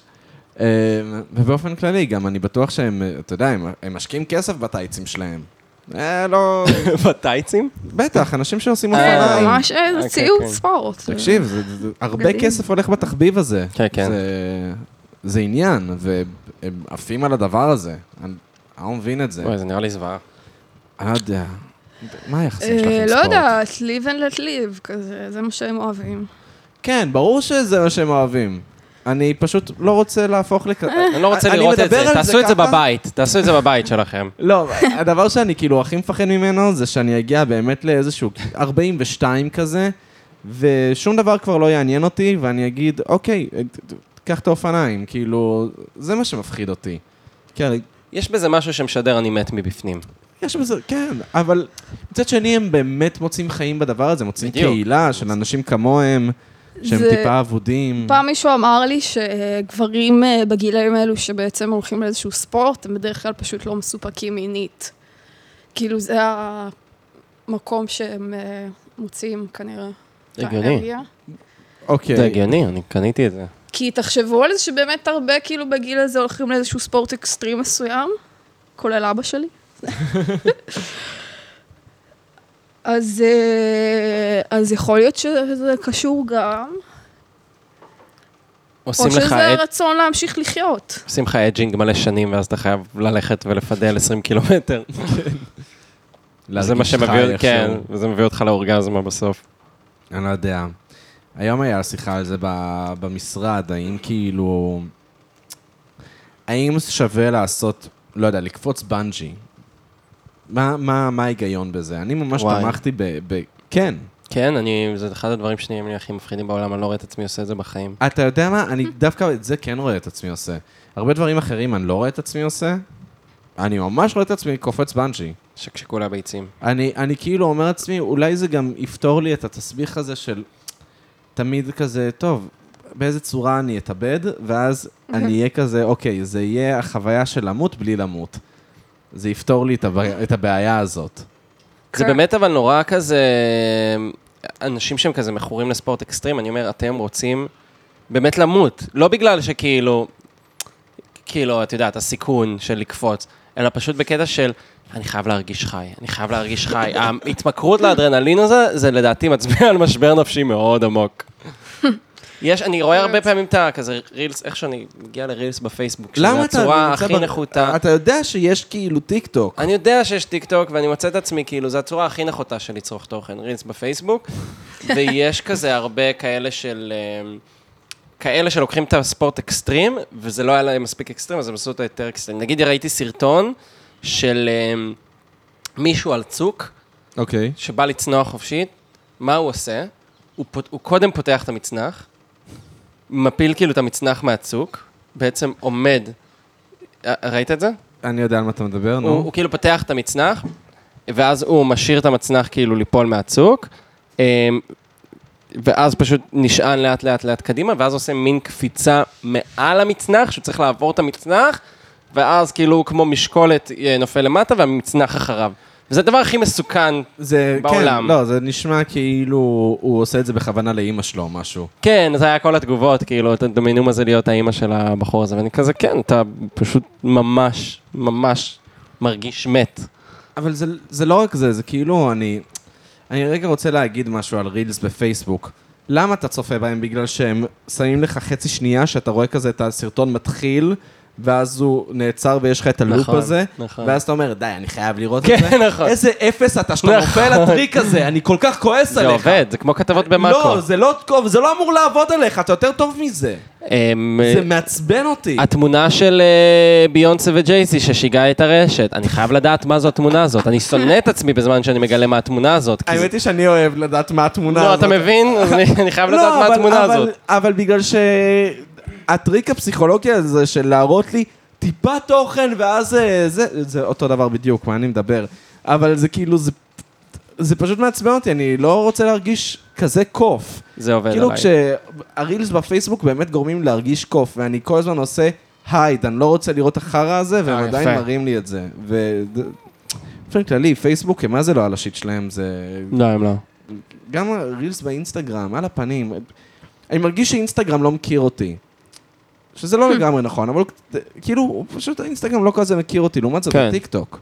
Speaker 1: אמ, ובאופן כללי, גם אני בטוח שהם, אה, אתה יודע, הם- הם משקיעים כסף בטייצים שלהם. אה, לא...
Speaker 3: בטייצים?
Speaker 1: בטח, אנשים שעושים
Speaker 2: זה
Speaker 1: אופניים.
Speaker 2: אה, ממש איזה
Speaker 3: אוקיי,
Speaker 2: ציוד
Speaker 3: כן.
Speaker 2: ספורט.
Speaker 1: תקשיב, זה, זה, זה, הרבה
Speaker 2: מדהים.
Speaker 1: כסף הולך בתחביב הזה.
Speaker 3: כן, כן.
Speaker 1: זה, זה עניין, והם עפים על הדבר הזה. אני אני לא מבין את זה.
Speaker 3: אוי, זה נראה לי זוועה.
Speaker 1: אני לא יודע. מה היחסים שלך
Speaker 2: אה,
Speaker 1: עם
Speaker 2: לא
Speaker 1: ספורט?
Speaker 2: יודעת, live and let live, כזה, זה מה שהם אוהבים.
Speaker 1: כן, ברור שזה מה שהם אוהבים. אני פשוט לא רוצה להפוך לכ...
Speaker 2: אה.
Speaker 3: אני לא רוצה
Speaker 1: אני
Speaker 3: לראות את
Speaker 1: מדבר
Speaker 3: זה,
Speaker 1: על
Speaker 3: תעשו את זה
Speaker 1: ככה.
Speaker 3: בבית, תעשו את זה בבית שלכם.
Speaker 1: לא, הדבר שאני כאילו הכי מפחד ממנו זה שאני אגיע באמת לאיזשהו 42 כזה, ושום דבר כבר לא יעניין אותי, ואני אגיד, אוקיי, קח את האופניים, כאילו, זה מה שמפחיד אותי. כן,
Speaker 3: יש בזה משהו שמשדר אני מת מבפנים.
Speaker 1: יש בזה, כן, אבל מצד שני הם באמת מוצאים חיים בדבר הזה, מוצאים
Speaker 3: בדיוק.
Speaker 1: קהילה של אנשים כמוהם, שהם
Speaker 2: זה-
Speaker 1: טיפה אבודים.
Speaker 2: פעם מישהו אמר לי שגברים אה, בגילאים האלו שבעצם הולכים לאיזשהו ספורט, הם בדרך כלל פשוט לא מסופקים מינית. כאילו זה המקום שהם אה, מוצאים כנראה. את
Speaker 3: הגיוני. כן.
Speaker 2: האנרגיה.
Speaker 3: זה
Speaker 1: אוקיי,
Speaker 3: הגיוני, אני קניתי את זה.
Speaker 2: כי תחשבו על זה שבאמת הרבה כאילו בגיל הזה הולכים לאיזשהו ספורט אקסטרים מסוים, כולל אבא שלי. אז, אה, אז יכול להיות שזה קשור גם,
Speaker 3: עושים
Speaker 2: או
Speaker 3: לך
Speaker 2: שזה
Speaker 3: את-
Speaker 2: רצון להמשיך לחיות.
Speaker 3: עושים לך אג'ינג מלא שנים, ואז אתה חייב ללכת ולפדל 20 קילומטר. זה מה
Speaker 1: להרגיש
Speaker 3: שמביא,
Speaker 1: חי
Speaker 3: כן,
Speaker 1: איכשהו.
Speaker 3: וזה מביא אותך לאורגזמה בסוף. כן.
Speaker 1: אני לא יודע. היום היה שיחה על זה ב- במשרד, האם כאילו... האם שווה לעשות, לא יודע, לקפוץ בנג'י? מה- מה מה ההיגיון בזה? אני ממש
Speaker 3: וואי.
Speaker 1: תמכתי ב... ב- כן.
Speaker 3: כן, אני, זה אחד הדברים שנראים לי הכי מפחידים בעולם, אני לא רואה את עצמי עושה את זה בחיים.
Speaker 1: אתה יודע מה? אני דווקא את זה כן רואה את עצמי עושה. הרבה דברים אחרים אני לא רואה את עצמי עושה. אני ממש רואה את עצמי קופץ בנג'י.
Speaker 3: שקשקו לה ביצים.
Speaker 1: אני, אני כאילו אומר לעצמי, אולי זה גם יפתור לי את התסביך הזה של תמיד כזה, טוב, באיזה צורה אני אתאבד, ואז אני אהיה כזה, אוקיי, זה יהיה החוויה של למות בלי למות. זה יפתור לי את, הבע... את הבעיה הזאת.
Speaker 3: זה
Speaker 2: כן.
Speaker 3: באמת אבל נורא כזה, אנשים שהם כזה מכורים לספורט אקסטרים, אני אומר, אתם רוצים באמת למות. לא בגלל שכאילו, כאילו, את יודעת, הסיכון של לקפוץ, אלא פשוט בקטע של, אני חייב להרגיש חי, אני חייב להרגיש חי. ההתמכרות לאדרנלין הזה, זה לדעתי מצביע על משבר נפשי מאוד עמוק. יש, אני
Speaker 1: אה,
Speaker 3: רואה הרבה פעמים את הכזה רילס, איך שאני מגיע לרילס בפייסבוק, שזה
Speaker 1: למה אתה
Speaker 3: הצורה
Speaker 1: נמצא
Speaker 3: הכי
Speaker 1: ב-
Speaker 3: נחותה.
Speaker 1: אתה יודע שיש כאילו טיק טוק.
Speaker 3: אני יודע שיש טיק טוק, ואני מוצא את עצמי, כאילו, זו הצורה הכי נחותה של לצרוך תוכן, רילס בפייסבוק, ויש כזה הרבה כאלה של... אמ, כאלה שלוקחים את הספורט אקסטרים, וזה לא היה להם מספיק אקסטרים, אז הם עשו אותו יותר אקסטרים. נגיד ראיתי סרטון של אמ, מישהו על צוק,
Speaker 1: אוקיי.
Speaker 3: שבא לצנוח חופשית, מה הוא עושה? הוא, פות, הוא קודם פותח את המצנח, מפיל כאילו את המצנח מהצוק, בעצם עומד, אה, ראית את זה?
Speaker 1: אני יודע על מה אתה מדבר,
Speaker 3: הוא,
Speaker 1: נו.
Speaker 3: הוא כאילו פותח את המצנח, ואז הוא משאיר את המצנח כאילו ליפול מהצוק, אמ, ואז פשוט נשען לאט לאט לאט קדימה, ואז עושה מין קפיצה מעל המצנח, שהוא צריך לעבור את המצנח, ואז כאילו הוא כמו משקולת אה, נופל למטה, והמצנח אחריו. וזה הדבר הכי מסוכן.
Speaker 1: זה,
Speaker 3: בעולם.
Speaker 1: כן, לא, זה נשמע כאילו הוא עושה את זה בכוונה לאימא שלו או משהו.
Speaker 3: כן, זה היה כל התגובות, כאילו, את הדומינום הזה להיות האימא של הבחור הזה, ואני כזה, כן, אתה פשוט ממש, ממש מרגיש מת.
Speaker 1: אבל זה, זה לא רק זה, זה כאילו, אני... אני רגע רוצה להגיד משהו על רילס בפייסבוק. למה אתה צופה בהם? בגלל שהם שמים לך חצי שנייה שאתה רואה כזה את הסרטון מתחיל, ואז הוא נעצר ויש לך את הלופ
Speaker 3: נכון,
Speaker 1: הזה,
Speaker 3: נכון.
Speaker 1: ואז אתה אומר, די, אני חייב לראות את
Speaker 3: כן,
Speaker 1: זה.
Speaker 3: נכון.
Speaker 1: איזה אפס אתה שאתה
Speaker 3: נכון.
Speaker 1: נופל לטריק הזה, אני כל כך כועס
Speaker 3: זה
Speaker 1: עליך.
Speaker 3: עובד, זה כמו כתבות במאקו.
Speaker 1: לא, זה לא טוב, זה לא אמור לעבוד עליך, אתה יותר טוב מזה.
Speaker 3: אמ,
Speaker 1: זה מעצבן אותי.
Speaker 3: התמונה של אה, ביונסה וג'ייסי ששיגעה את הרשת. אני חייב לדעת מה זו התמונה הזאת. אני שונא את עצמי בזמן שאני מגלה מה התמונה הזאת. כי זה-
Speaker 1: האמת היא שאני אוהב לדעת מה התמונה
Speaker 3: לא,
Speaker 1: הזאת. לא,
Speaker 3: אתה מבין? אז אני אני חייב לדעת מה
Speaker 1: אבל-
Speaker 3: התמונה
Speaker 1: אבל-
Speaker 3: הזאת.
Speaker 1: אבל בגלל שהטריק הפסיכולוגי הזה של להראות לי טיפה תוכן, ואז אה, זה, זה אותו דבר בדיוק, מה אני מדבר. אבל זה כאילו, זה, זה פשוט מעצבן אותי, אני לא רוצה להרגיש כזה קוף.
Speaker 3: זה עובד
Speaker 1: כאילו
Speaker 3: עליי.
Speaker 1: כשהרילס בפייסבוק באמת גורמים להרגיש קוף, ואני כל הזמן עושה הייד, אני לא רוצה לראות החרא הזה, והם
Speaker 3: אה,
Speaker 1: עדיין
Speaker 3: יפה.
Speaker 1: מראים לי את זה. ו... באופן כללי, פייסבוק, הם מה זה לא על השיט שלהם, זה
Speaker 3: לא, הם לא.
Speaker 1: גם הרילס באינסטגרם, על הפנים. אני מרגיש שאינסטגרם לא מכיר אותי. שזה
Speaker 3: Hmm.
Speaker 1: לא לגמרי נכון, אבל כאילו, הוא פשוט האינסטגרם לא כזה מכיר אותי, לעומת זאת
Speaker 3: כן.
Speaker 1: בטיק טוק.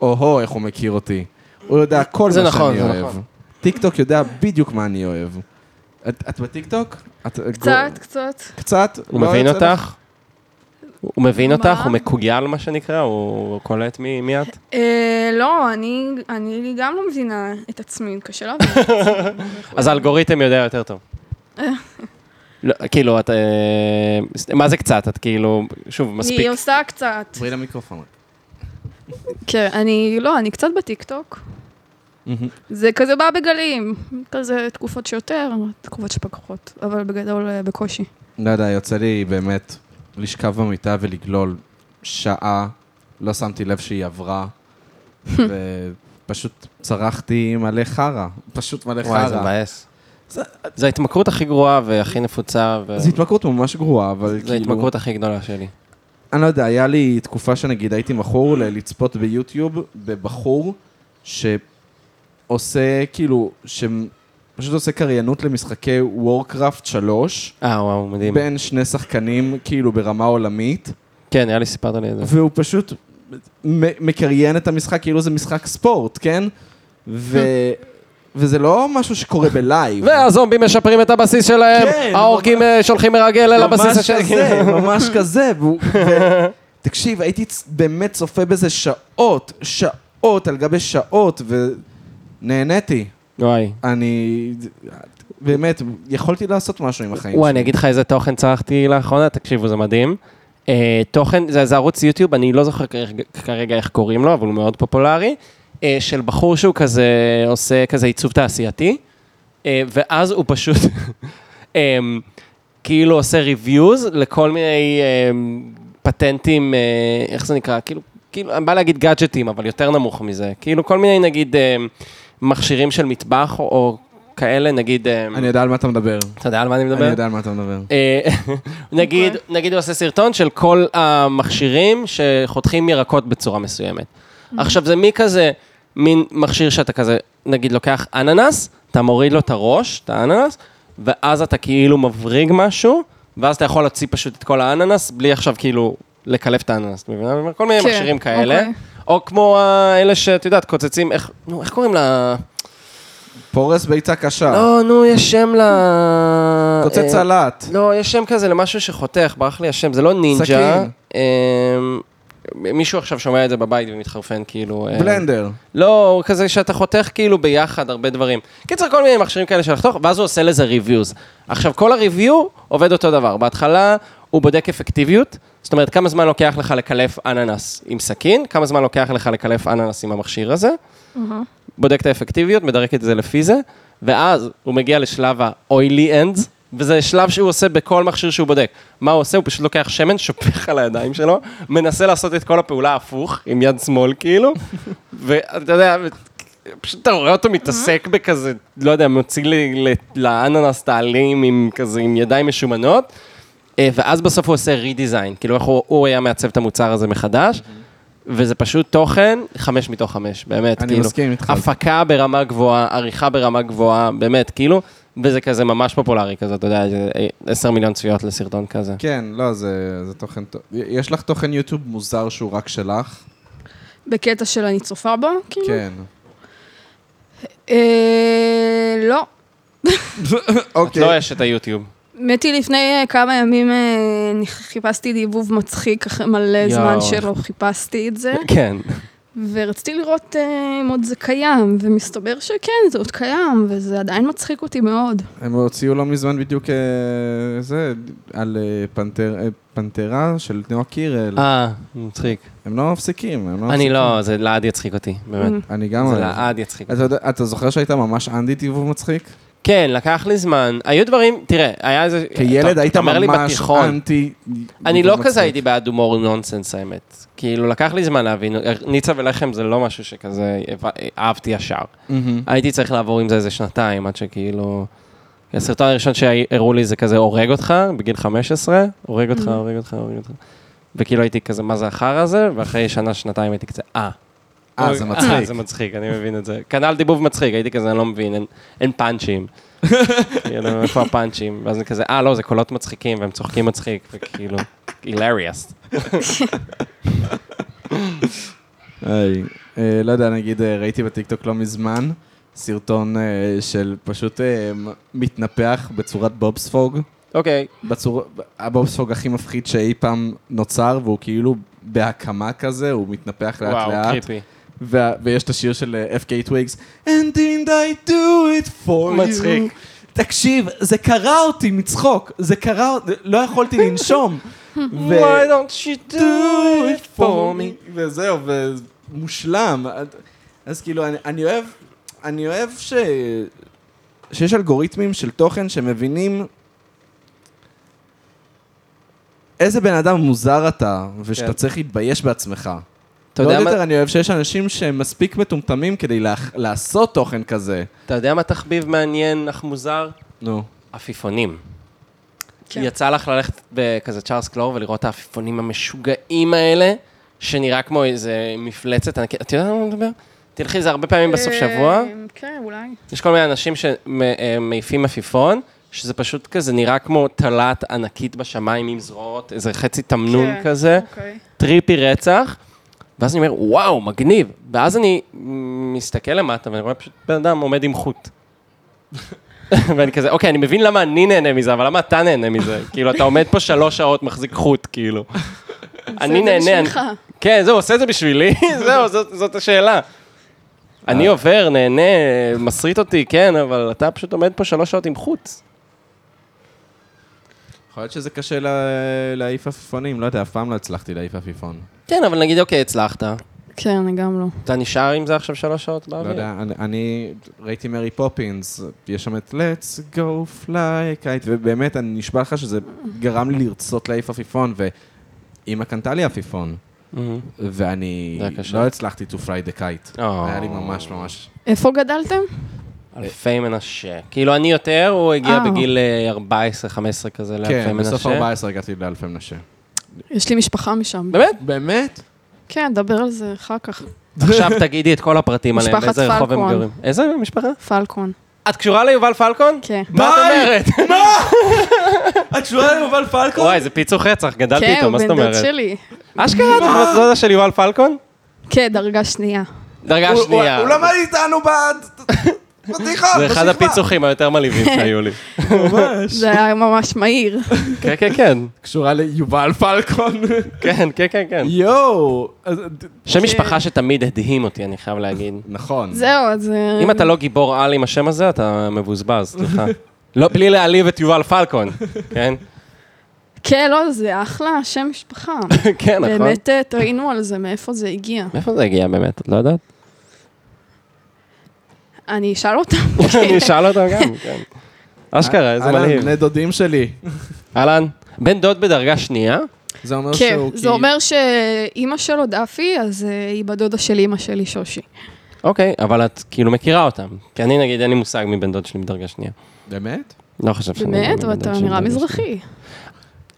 Speaker 1: או-הו, איך הוא מכיר אותי. הוא יודע כל
Speaker 3: זה
Speaker 1: מה
Speaker 3: נכון,
Speaker 1: שאני
Speaker 3: זה
Speaker 1: אוהב.
Speaker 3: נכון.
Speaker 1: טיק טוק יודע בדיוק מה אני אוהב. את את בטיק טוק? את-
Speaker 2: קצת, קצת.
Speaker 1: קצת.
Speaker 3: הוא
Speaker 1: לא
Speaker 3: מבין
Speaker 1: יוצא לך?
Speaker 3: אותך? הוא מבין
Speaker 2: מה?
Speaker 3: אותך? הוא מקוגל, מה שנקרא? הוא קולט מי מי את?
Speaker 2: אה, לא, אני, אני גם לא מבינה את עצמי, קשה להבין. את עצמי.
Speaker 3: אז האלגוריתם יודע יותר טוב. לא, כאילו, את... אה, מה זה קצת? את כאילו, שוב, מספיק.
Speaker 2: אני עושה קצת.
Speaker 1: דברי למיקרופון.
Speaker 2: כן, אני, לא, אני קצת בטיקטוק. זה כזה בא בגלים, כזה תקופות שיותר, תקופות שפחות, אבל בגדול אה, בקושי.
Speaker 1: לא יודע, יוצא לי באמת לשכב במיטה ולגלול שעה, לא שמתי לב שהיא עברה, ופשוט צרחתי מלא חרא, פשוט מלא
Speaker 3: וואי, זה
Speaker 1: חרא.
Speaker 3: מבאס.
Speaker 1: זה-
Speaker 3: זו ההתמכרות הכי גרועה והכי נפוצה,
Speaker 1: זו
Speaker 3: וזו
Speaker 1: התמכרות ממש גרועה, אבל כאילו...
Speaker 3: ההתמכרות הכי גדולה שלי.
Speaker 1: אני לא יודע, היה לי תקופה שנגיד הייתי מכור ל- לצפות ביוטיוב בבחור שעושה כאילו, שפשוט עושה קריינות למשחקי וורקראפט 3,
Speaker 3: אה, וואו, מדהים.
Speaker 1: בין שני שחקנים כאילו ברמה עולמית.
Speaker 3: כן, נראה לי סיפרת לי את זה.
Speaker 1: והוא פשוט מ- מקריין את המשחק כאילו זה משחק ספורט, כן? ו... וזה לא משהו שקורה בלייב.
Speaker 3: והזומבים משפרים את הבסיס שלהם,
Speaker 1: כן,
Speaker 3: האורקים אה, שולחים מרגל אל הבסיס
Speaker 1: ממש
Speaker 3: השני.
Speaker 1: כזה, ממש כזה. והוא- ו- תקשיב, הייתי צ- באמת צופה בזה שעות, שעות על גבי שעות, ונהניתי.
Speaker 3: וואי.
Speaker 1: אני... באמת, יכולתי לעשות משהו עם החיים
Speaker 3: וואי, אני אגיד לך איזה תוכן צרכתי לאחרונה, תקשיבו, זה מדהים. אה, תוכן, זה זה ערוץ יוטיוב, אני לא זוכר כרגע- כרגע איך קוראים לו, אבל הוא מאוד פופולרי, אה, של בחור שהוא כזה עושה כזה עיצוב תעשייתי, אה, ואז הוא פשוט אה, כאילו עושה ריוויוז לכל מיני אה, פטנטים, אה, איך זה נקרא? כאילו כאילו, אני בא להגיד גאדג'טים, אבל יותר נמוך מזה. כאילו, כל מיני, נגיד, אה, מכשירים של מטבח, או- או כאלה, נגיד, אה,
Speaker 1: אני יודע על מה אתה מדבר.
Speaker 3: אתה יודע על מה אני מדבר?
Speaker 1: אני יודע על מה אתה מדבר.
Speaker 3: אה, נגיד,
Speaker 2: אוקיי.
Speaker 3: נגיד הוא עושה סרטון של כל המכשירים שחותכים ירקות בצורה מסוימת.
Speaker 2: Mm-hmm.
Speaker 3: עכשיו, זה מי כזה, מין מכשיר שאתה כזה, נגיד לוקח אננס, אתה מוריד לו את הראש, את האננס, ואז אתה כאילו מבריג משהו, ואז אתה יכול להוציא פשוט את כל האננס, בלי עכשיו כאילו לקלף את האננס, אתה מבינה? אני אומר, כל מיני
Speaker 2: כן,
Speaker 3: מכשירים כאלה.
Speaker 2: אוקיי.
Speaker 3: או כמו אה, אלה שאת יודעת, קוצצים, איך, נו, איך קוראים לה?
Speaker 1: פורס ביצה קשה.
Speaker 3: לא, נו, יש שם לה...
Speaker 1: אה. קוצץ
Speaker 3: אה,
Speaker 1: סלט.
Speaker 3: לא, יש שם כזה למשהו שחותך, ברח לי השם, זה לא נינג'ה.
Speaker 1: סכין.
Speaker 3: אמ, מישהו עכשיו שומע את זה בבית ומתחרפן, כאילו... אמ,
Speaker 1: בלנדר.
Speaker 3: לא, הוא כזה שאתה חותך כאילו ביחד הרבה דברים. קיצר, כל מיני מכשירים כאלה של לחתוך, ואז הוא עושה לזה ריוויוז. עכשיו, כל הריוויו עובד אותו דבר. בהתחלה הוא בודק אפקטיביות, זאת אומרת, כמה זמן לוקח לך לקלף אננס עם סכין, כמה זמן לוקח לך לקלף אננס עם המכשיר הזה, בודק את האפקטיביות, מדרג את זה לפי זה, ואז הוא מגיע לשלב ה-oily ends, וזה שלב שהוא עושה בכל מכשיר שהוא בודק. מה הוא עושה? הוא פשוט לוקח שמן, שופך על הידיים שלו, מנסה לעשות את כל הפעולה הפוך, עם יד שמאל כאילו, ואתה יודע, ו- פשוט אתה רואה אותו מתעסק בכזה, לא יודע, מוציא לי- ל- לאננס את העלים עם כזה, עם ידיים משומנות, אה, ואז בסוף הוא עושה רידיזיין, כאילו איך הוא, הוא היה מעצב את המוצר הזה מחדש. וזה פשוט תוכן, חמש מתוך חמש, באמת,
Speaker 1: אני
Speaker 3: כאילו.
Speaker 1: מסכים איתך.
Speaker 3: הפקה ברמה גבוהה, עריכה ברמה גבוהה, באמת, כאילו, וזה כזה ממש פופולרי כזה, אתה יודע, זה, אה, עשר מיליון צפיות לסרטון כזה.
Speaker 1: כן, לא, זה זה תוכן טוב. יש לך תוכן יוטיוב מוזר שהוא רק שלך?
Speaker 2: בקטע של אני צופה בו, כאילו?
Speaker 1: כן.
Speaker 2: אה, לא.
Speaker 3: את לא
Speaker 1: אוקיי.
Speaker 3: יש את היוטיוב.
Speaker 2: האמת היא, לפני אה, כמה ימים אה, אני חיפשתי דיבוב מצחיק, אחרי מלא
Speaker 3: יואו.
Speaker 2: זמן שלא חיפשתי את זה,
Speaker 3: כן.
Speaker 2: ורציתי לראות אה, אם עוד זה קיים, ומסתבר שכן, זה עוד קיים, וזה עדיין מצחיק אותי מאוד.
Speaker 1: הם הוציאו לא מזמן בדיוק אה, זה, על אה, פנתר- אה, פנתרה של נועה קירל.
Speaker 3: אה, מצחיק.
Speaker 1: הם לא מפסיקים, הם לא Mm-hmm.
Speaker 3: אני
Speaker 1: מפסיקים.
Speaker 3: לא, זה לעד יצחיק אותי, באמת.
Speaker 1: אני גם...
Speaker 3: זה לא-
Speaker 1: אוהב.
Speaker 3: לעד יצחיק.
Speaker 1: אתה יודע- אתה זוכר שהיית ממש אנדי דיבוב מצחיק?
Speaker 3: כן, לקח לי זמן. היו דברים, תראה, היה איזה...
Speaker 1: כילד
Speaker 3: אתה-
Speaker 1: היית
Speaker 3: אתה אומר לי
Speaker 1: ממש
Speaker 3: בתיכון.
Speaker 1: אנטי...
Speaker 3: אני לא
Speaker 1: מצחיק.
Speaker 3: כזה הייתי בעד הומור נונסנס, האמת. כאילו, לקח לי זמן להבין. ניצה ולחם זה לא משהו שכזה הבא- אהבתי ישר.
Speaker 1: מהמם.
Speaker 3: הייתי צריך לעבור עם זה איזה שנתיים, עד שכאילו... הסרטון הראשון שהראו לי זה כזה הורג אותך, בגיל 15, הורג
Speaker 1: Mm-hmm.
Speaker 3: אותך, הורג אותך, הורג אותך. וכאילו הייתי כזה, מה זה החרא הזה? ואחרי שנה, שנתיים הייתי כזה, אה.
Speaker 1: אה, זה
Speaker 3: אה,
Speaker 1: מצחיק.
Speaker 3: זה מצחיק, אני מבין את זה. כנ"ל דיבוב מצחיק, הייתי כזה, אני לא מבין, אין- אין פאנצ'ים. כאילו, איפה הפאנצ'ים? ואז אני כזה, אה, לא, זה קולות מצחיקים, והם צוחקים מצחיק, וכאילו, הילריאס.
Speaker 1: היי. אה, לא יודע, נגיד, אה, ראיתי בטיקטוק לא מזמן סרטון אה, של פשוט אה, מתנפח בצורת בובספוג.
Speaker 3: אוקיי.
Speaker 1: בצור... הבובספוג הכי מפחיד שאי פעם נוצר, והוא כאילו בהקמה כזה, הוא מתנפח לאט
Speaker 3: וואו,
Speaker 1: לאט.
Speaker 3: קריפי.
Speaker 1: וה... ויש את השיר של אה, FK Twigs, And didn't I do it for you.
Speaker 3: מצחיק.
Speaker 1: תקשיב, זה קרע אותי מצחוק, זה קרע אותי, לא יכולתי לנשום. ו... לא
Speaker 3: Why don't you do it for me?
Speaker 1: וזהו, ומושלם. אז כאילו, אני, אני אוהב, אני אוהב ש... שיש אלגוריתמים של תוכן שמבינים איזה בן אדם מוזר אתה, ושאתה
Speaker 3: כן.
Speaker 1: צריך להתבייש בעצמך.
Speaker 3: אתה יודע
Speaker 1: ועוד
Speaker 3: מה-
Speaker 1: יותר אני אוהב שיש אנשים שהם מספיק מטומטמים כדי לה- לעשות תוכן כזה.
Speaker 3: אתה יודע מה תחביב מעניין אך מוזר?
Speaker 1: נו.
Speaker 3: עפיפונים.
Speaker 2: כן.
Speaker 3: יצא לך ללכת בכזה צ'ארלס קלור ולראות את העפיפונים המשוגעים האלה, שנראה כמו איזה מפלצת ענקית. את יודעת על מה אני מדבר? תלכי, זה הרבה פעמים בסוף שבוע.
Speaker 2: אה, כן, אולי.
Speaker 3: יש כל מיני אנשים שמעיפים עפיפון, שזה פשוט כזה נראה כמו טלת ענקית בשמיים עם זרועות, איזה חצי תמנון
Speaker 2: כן,
Speaker 3: כזה.
Speaker 2: אוקיי.
Speaker 3: טריפי רצח, ואז אני אומר, וואו, מגניב. ואז אני מסתכל למטה ואני רואה פשוט בן אדם עומד עם חוט. ואני כזה, אוקיי, אני מבין למה אני נהנה מזה, אבל למה אתה נהנה מזה? כאילו, אתה עומד פה שלוש שעות, מחזיק חוט, כאילו. אני
Speaker 2: זה
Speaker 3: נהנה... אני-
Speaker 2: בשבילך.
Speaker 3: כן, זהו, עושה את זה בשבילי, זהו, זאת- זאת השאלה. אני עובר, נהנה, מסריט אותי, כן, אבל אתה פשוט עומד פה שלוש שעות עם חוט.
Speaker 1: יכול להיות שזה קשה לה- להעיף עפיפונים, לא יודע, אף פעם לא הצלחתי להעיף עפיפון.
Speaker 3: כן, אבל נגיד, אוקיי, הצלחת.
Speaker 2: כן, אני גם לא.
Speaker 3: אתה נשאר עם זה עכשיו שלוש שעות
Speaker 1: לא
Speaker 3: באוויר?
Speaker 1: יודע, אני- אני ראיתי מרי פופינס, יש שם את Let's go fly kite, ובאמת, אני נשבע לך שזה גרם לי לרצות להעיף עפיפון, ואימא קנתה לי עפיפון. ואני
Speaker 3: זה היה קשה.
Speaker 1: לא הצלחתי to fly the kite.
Speaker 3: או.
Speaker 1: היה לי ממש ממש...
Speaker 2: איפה גדלתם?
Speaker 3: אלפי מנשה. כאילו, אני יותר, הוא הגיע
Speaker 2: אה.
Speaker 3: בגיל אה, 14-15 כזה לאלפי
Speaker 1: כן, בסוף
Speaker 3: מנשה.
Speaker 1: 14 הגעתי לאלפי מנשה.
Speaker 2: יש לי משפחה משם.
Speaker 3: באמת?
Speaker 1: באמת?
Speaker 2: כן, דבר על זה אחר כך.
Speaker 3: עכשיו תגידי את כל הפרטים עליהם,
Speaker 2: משפחת
Speaker 3: באיזה רחוב הם
Speaker 2: פלקון.
Speaker 3: גרים. איזה משפחה?
Speaker 2: פלקון.
Speaker 3: את קשורה ליובל פלקון?
Speaker 2: כן.
Speaker 3: מה את אומרת?
Speaker 1: התשובה ליובל פלקו?
Speaker 3: וואי, זה פיצוח רצח, גדלתי
Speaker 2: כן,
Speaker 3: איתו, מה
Speaker 2: הוא
Speaker 3: זאת
Speaker 2: בן דוד
Speaker 3: אומרת?
Speaker 2: שלי.
Speaker 3: אשכרה, את בת דודה של יובל פלקון?
Speaker 2: כן, דרגה שנייה.
Speaker 3: דרגה שנייה.
Speaker 1: הוא לא- למד איתנו בעד... פדיחה,
Speaker 3: זה אחד הפיצוחים היותר מלהיבים שהיו לי.
Speaker 1: ממש.
Speaker 2: זה היה ממש מהיר.
Speaker 3: כן, כן, כן.
Speaker 1: קשורה ליובל פלקון.
Speaker 3: כן, כן, כן, כן.
Speaker 1: יואו. אז-
Speaker 3: שם משפחה שתמיד הדהים אותי, אני חייב להגיד.
Speaker 1: נכון.
Speaker 2: זהו, אז... אה,
Speaker 3: אם אתה לא גיבור על עם השם הזה, אתה מבוזבז, סליחה. לא, בלי להעליב את יובל פלקון, כן?
Speaker 2: כן, לא, זה אחלה שם משפחה.
Speaker 3: כן, נכון.
Speaker 2: באמת אה, טעינו על זה, מאיפה זה הגיע.
Speaker 3: מאיפה זה הגיע באמת? את לא יודעת?
Speaker 2: אני אשאל אותם.
Speaker 3: אני אשאל אותו גם, כן. אשכרה, איזה
Speaker 1: אהלן,
Speaker 3: מלהיב.
Speaker 1: בני דודים שלי.
Speaker 3: אהלן. בן דוד בדרגה שנייה?
Speaker 1: זה
Speaker 3: לא
Speaker 1: אומר
Speaker 2: כן,
Speaker 1: שהוא
Speaker 3: כאילו-
Speaker 2: זה אומר שאימא שלו דאפי, אז אה, היא בת דודה של אימא שלי, שושי.
Speaker 3: אוקיי, אבל את כאילו מכירה אותם. כי אני נגיד, אין לי מושג מי בן דוד שלי בדרגה שנייה.
Speaker 1: באמת?
Speaker 3: לא חושב שאני...
Speaker 2: באמת?
Speaker 3: בן דוד
Speaker 2: ואתה
Speaker 3: שלי
Speaker 2: נראה
Speaker 3: בדרגה שנייה.
Speaker 2: מזרחי.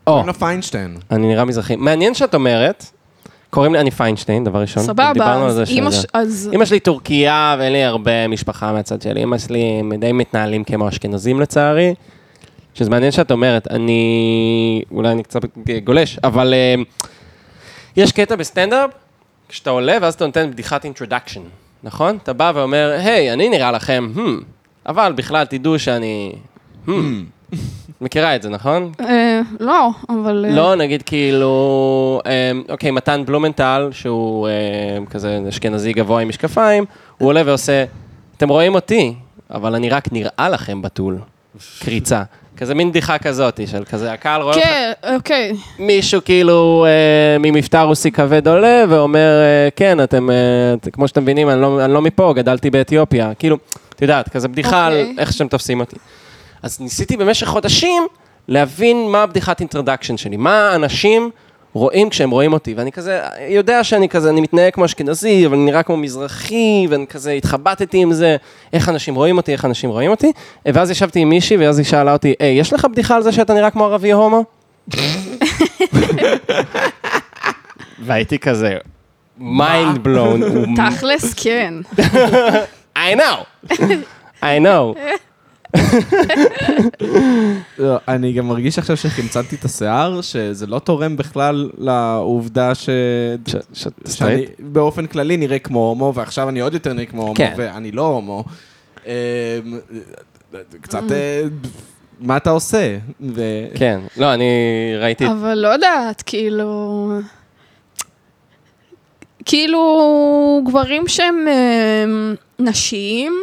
Speaker 3: או,
Speaker 1: אורנה פיינשטיין.
Speaker 3: אני נראה מזרחי. מעניין שאת אומרת, קוראים לי אני פיינשטיין, דבר ראשון. דיברנו
Speaker 2: סבבה,
Speaker 3: על
Speaker 2: אז
Speaker 3: זה
Speaker 2: אימא
Speaker 3: שזה-
Speaker 2: ש- אז...
Speaker 3: אמא שלי טורקיה, ואין לי הרבה משפחה מהצד שלי. אמא שלי, הם די מתנהלים כמו אשכנזים לצערי. שזה מעניין שאת אומרת, אני... אולי אני קצת גולש, אבל אה, יש קטע בסטנדאפ, כשאתה עולה ואז אתה נותן בדיחת אינטרדקשן, נכון? אתה בא ואומר, היי, אני נראה לכם, hmm, אבל בכלל תדעו שאני... Hmm. מכירה את זה, נכון?
Speaker 2: אה, לא, אבל... אה,
Speaker 3: לא, נגיד כאילו, אה, אוקיי, מתן בלומנטל, שהוא אה, כזה אשכנזי גבוה עם משקפיים, הוא עולה ועושה, אתם רואים אותי, אבל אני רק נראה לכם בתול. קריצה. כזה מין בדיחה כזאת של כזה, הקהל רואה אותך.
Speaker 2: כן, אוקיי.
Speaker 3: מישהו כאילו אה, ממבטא רוסי כבד עולה ואומר, אה, כן, אתם, אה, את- כמו שאתם מבינים, אני לא, אני לא מפה, גדלתי באתיופיה. כאילו, את יודעת, כזה בדיחה על
Speaker 2: אוקיי.
Speaker 3: איך שאתם תופסים אותי. אז ניסיתי במשך חודשים להבין מה הבדיחת אינטרדקשן שלי, מה האנשים רואים כשהם רואים אותי, ואני כזה, יודע שאני כזה, אני מתנהג כמו אשכנזי, אבל אני נראה כמו מזרחי, ואני כזה התחבטתי עם זה, איך אנשים רואים אותי, איך אנשים רואים אותי, ואז ישבתי עם מישהי, ואז היא שאלה אותי, היי, יש לך בדיחה על זה שאתה נראה כמו ערבי הומו? והייתי כזה, מיינד בלון,
Speaker 2: תכלס, כן.
Speaker 3: I know, I know.
Speaker 1: לא, אני גם מרגיש עכשיו שחמצנתי את השיער, שזה לא תורם בכלל לעובדה ש...
Speaker 3: ש- ש-
Speaker 1: שאני באופן כללי נראה כמו הומו, ועכשיו אני עוד יותר נראה כמו הומו,
Speaker 3: כן.
Speaker 1: ואני לא הומו. אמ, קצת...
Speaker 2: Mm.
Speaker 1: אה, מה אתה עושה? ו-
Speaker 3: כן, לא, אני ראיתי,
Speaker 2: אבל לא יודעת, כאילו... כאילו, גברים שהם אה, נשים,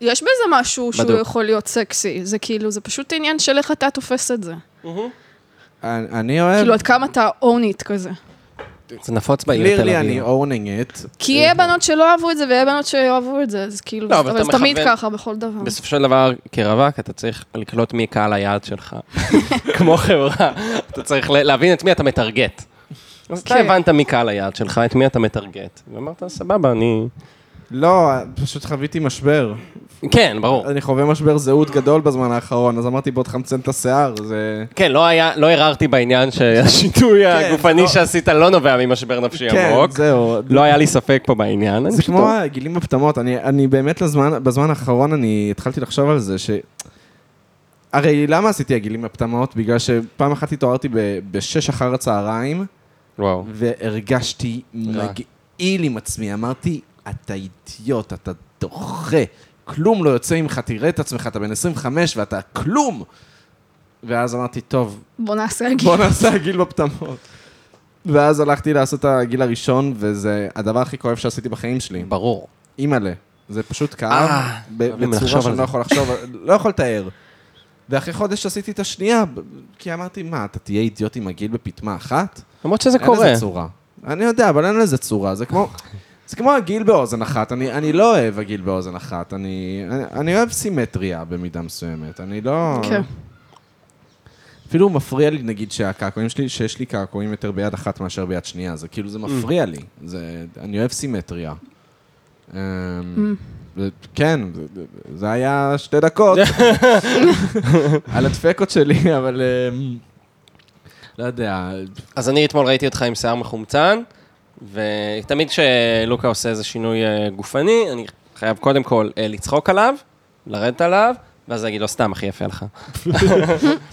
Speaker 2: יש בזה משהו שהוא
Speaker 3: בדוק.
Speaker 2: יכול להיות סקסי. זה כאילו, זה פשוט עניין של איך אתה תופס את זה.
Speaker 3: כן.
Speaker 1: אני- אני אוהב...
Speaker 2: כאילו, עד כמה אתה own it כזה.
Speaker 3: זה נפוץ בעיר תל
Speaker 1: קלירלי
Speaker 3: אביב.
Speaker 1: אני אה, אורנינג את.
Speaker 2: כי יהיה בנות שלא אהבו את זה, ויהיה בנות שאוהבו את זה, אז כאילו,
Speaker 3: אוקיי. לא, אבל
Speaker 2: אבל
Speaker 3: אתה
Speaker 2: זה תמיד
Speaker 3: מכוון-
Speaker 2: ככה, בכל דבר.
Speaker 3: בסופו של דבר, כרווק, אתה צריך לקלוט מי קהל היעד שלך. כמו חברה, אתה צריך ל- להבין את מי אתה מטרגט. אז אתה
Speaker 2: כן.
Speaker 3: הבנת מי קהל היעד שלך, את מי אתה מטרגט. ואמרת, סבבה, אני...
Speaker 1: לא, פשוט חוויתי משבר.
Speaker 3: כן, ברור.
Speaker 1: אני חווה משבר זהות גדול בזמן האחרון, אז אמרתי בוא תחמצן את השיער, זה...
Speaker 3: כן, לא היה, לא הרהרתי בעניין שהשיטוי הגופני
Speaker 1: לא.
Speaker 3: שעשית לא נובע ממשבר נפשי
Speaker 1: כן,
Speaker 3: עמוק.
Speaker 1: זהו.
Speaker 3: לא היה לי ספק פה בעניין. אני
Speaker 1: זה
Speaker 3: פשוט-
Speaker 1: כמו הגילים בפטמות, אני, אני באמת לזמן, בזמן האחרון אני התחלתי לחשוב על זה ש... הרי למה עשיתי הגילים בפטמות? בגלל שפעם אחת התעוררתי ב- בשש אחר הצהריים,
Speaker 3: וואו.
Speaker 1: והרגשתי
Speaker 3: רע.
Speaker 1: מגעיל עם עצמי, אמרתי, אתה אידיוט, אתה דוחה, כלום לא יוצא ממך, תראה את עצמך, אתה בן 25 ואתה כלום! ואז אמרתי, טוב,
Speaker 2: בוא נעשה הגיל.
Speaker 1: בוא נעשה הגיל בפטמות. ואז הלכתי לעשות את הגיל הראשון, וזה הדבר הכי כואב שעשיתי בחיים שלי.
Speaker 3: ברור.
Speaker 1: אימא'לה. זה פשוט כאב,
Speaker 3: אה,
Speaker 1: ב-
Speaker 3: חייבים
Speaker 1: בצורה
Speaker 3: לחשוב על
Speaker 1: שאני לא
Speaker 3: זה.
Speaker 1: יכול לחשוב, לא יכול לתאר. ואחרי חודש עשיתי את השנייה, ב- כי אמרתי, מה, אתה תהיה אידיוט עם הגיל בפטמה אחת?
Speaker 3: למרות שזה קורה.
Speaker 1: אין לזה צורה. אני יודע, אבל אין לזה צורה. זה כמו, זה כמו הגיל באוזן אחת. אני, אני לא אוהב הגיל באוזן אחת. אני, אני, אני אוהב סימטריה במידה מסוימת. אני לא...
Speaker 2: כן.
Speaker 1: אפילו מפריע לי, נגיד, שהקעקועים שלי, שיש לי קעקועים יותר ביד אחת מאשר ביד שנייה, זה כאילו, זה מפריע לי. זה, אני אוהב סימטריה. אמ,
Speaker 2: Mm.
Speaker 1: זה- כן, זה- זה- זה היה שתי דקות על הדפקות שלי, אבל אמ, לא יודע,
Speaker 3: אז אני אתמול ראיתי אותך עם שיער מחומצן, ותמיד כשלוקה עושה איזה שינוי אה, גופני, אני חייב קודם כל אה, לצחוק עליו, לרדת עליו, ואז להגיד לו, סתם, הכי יפה לך.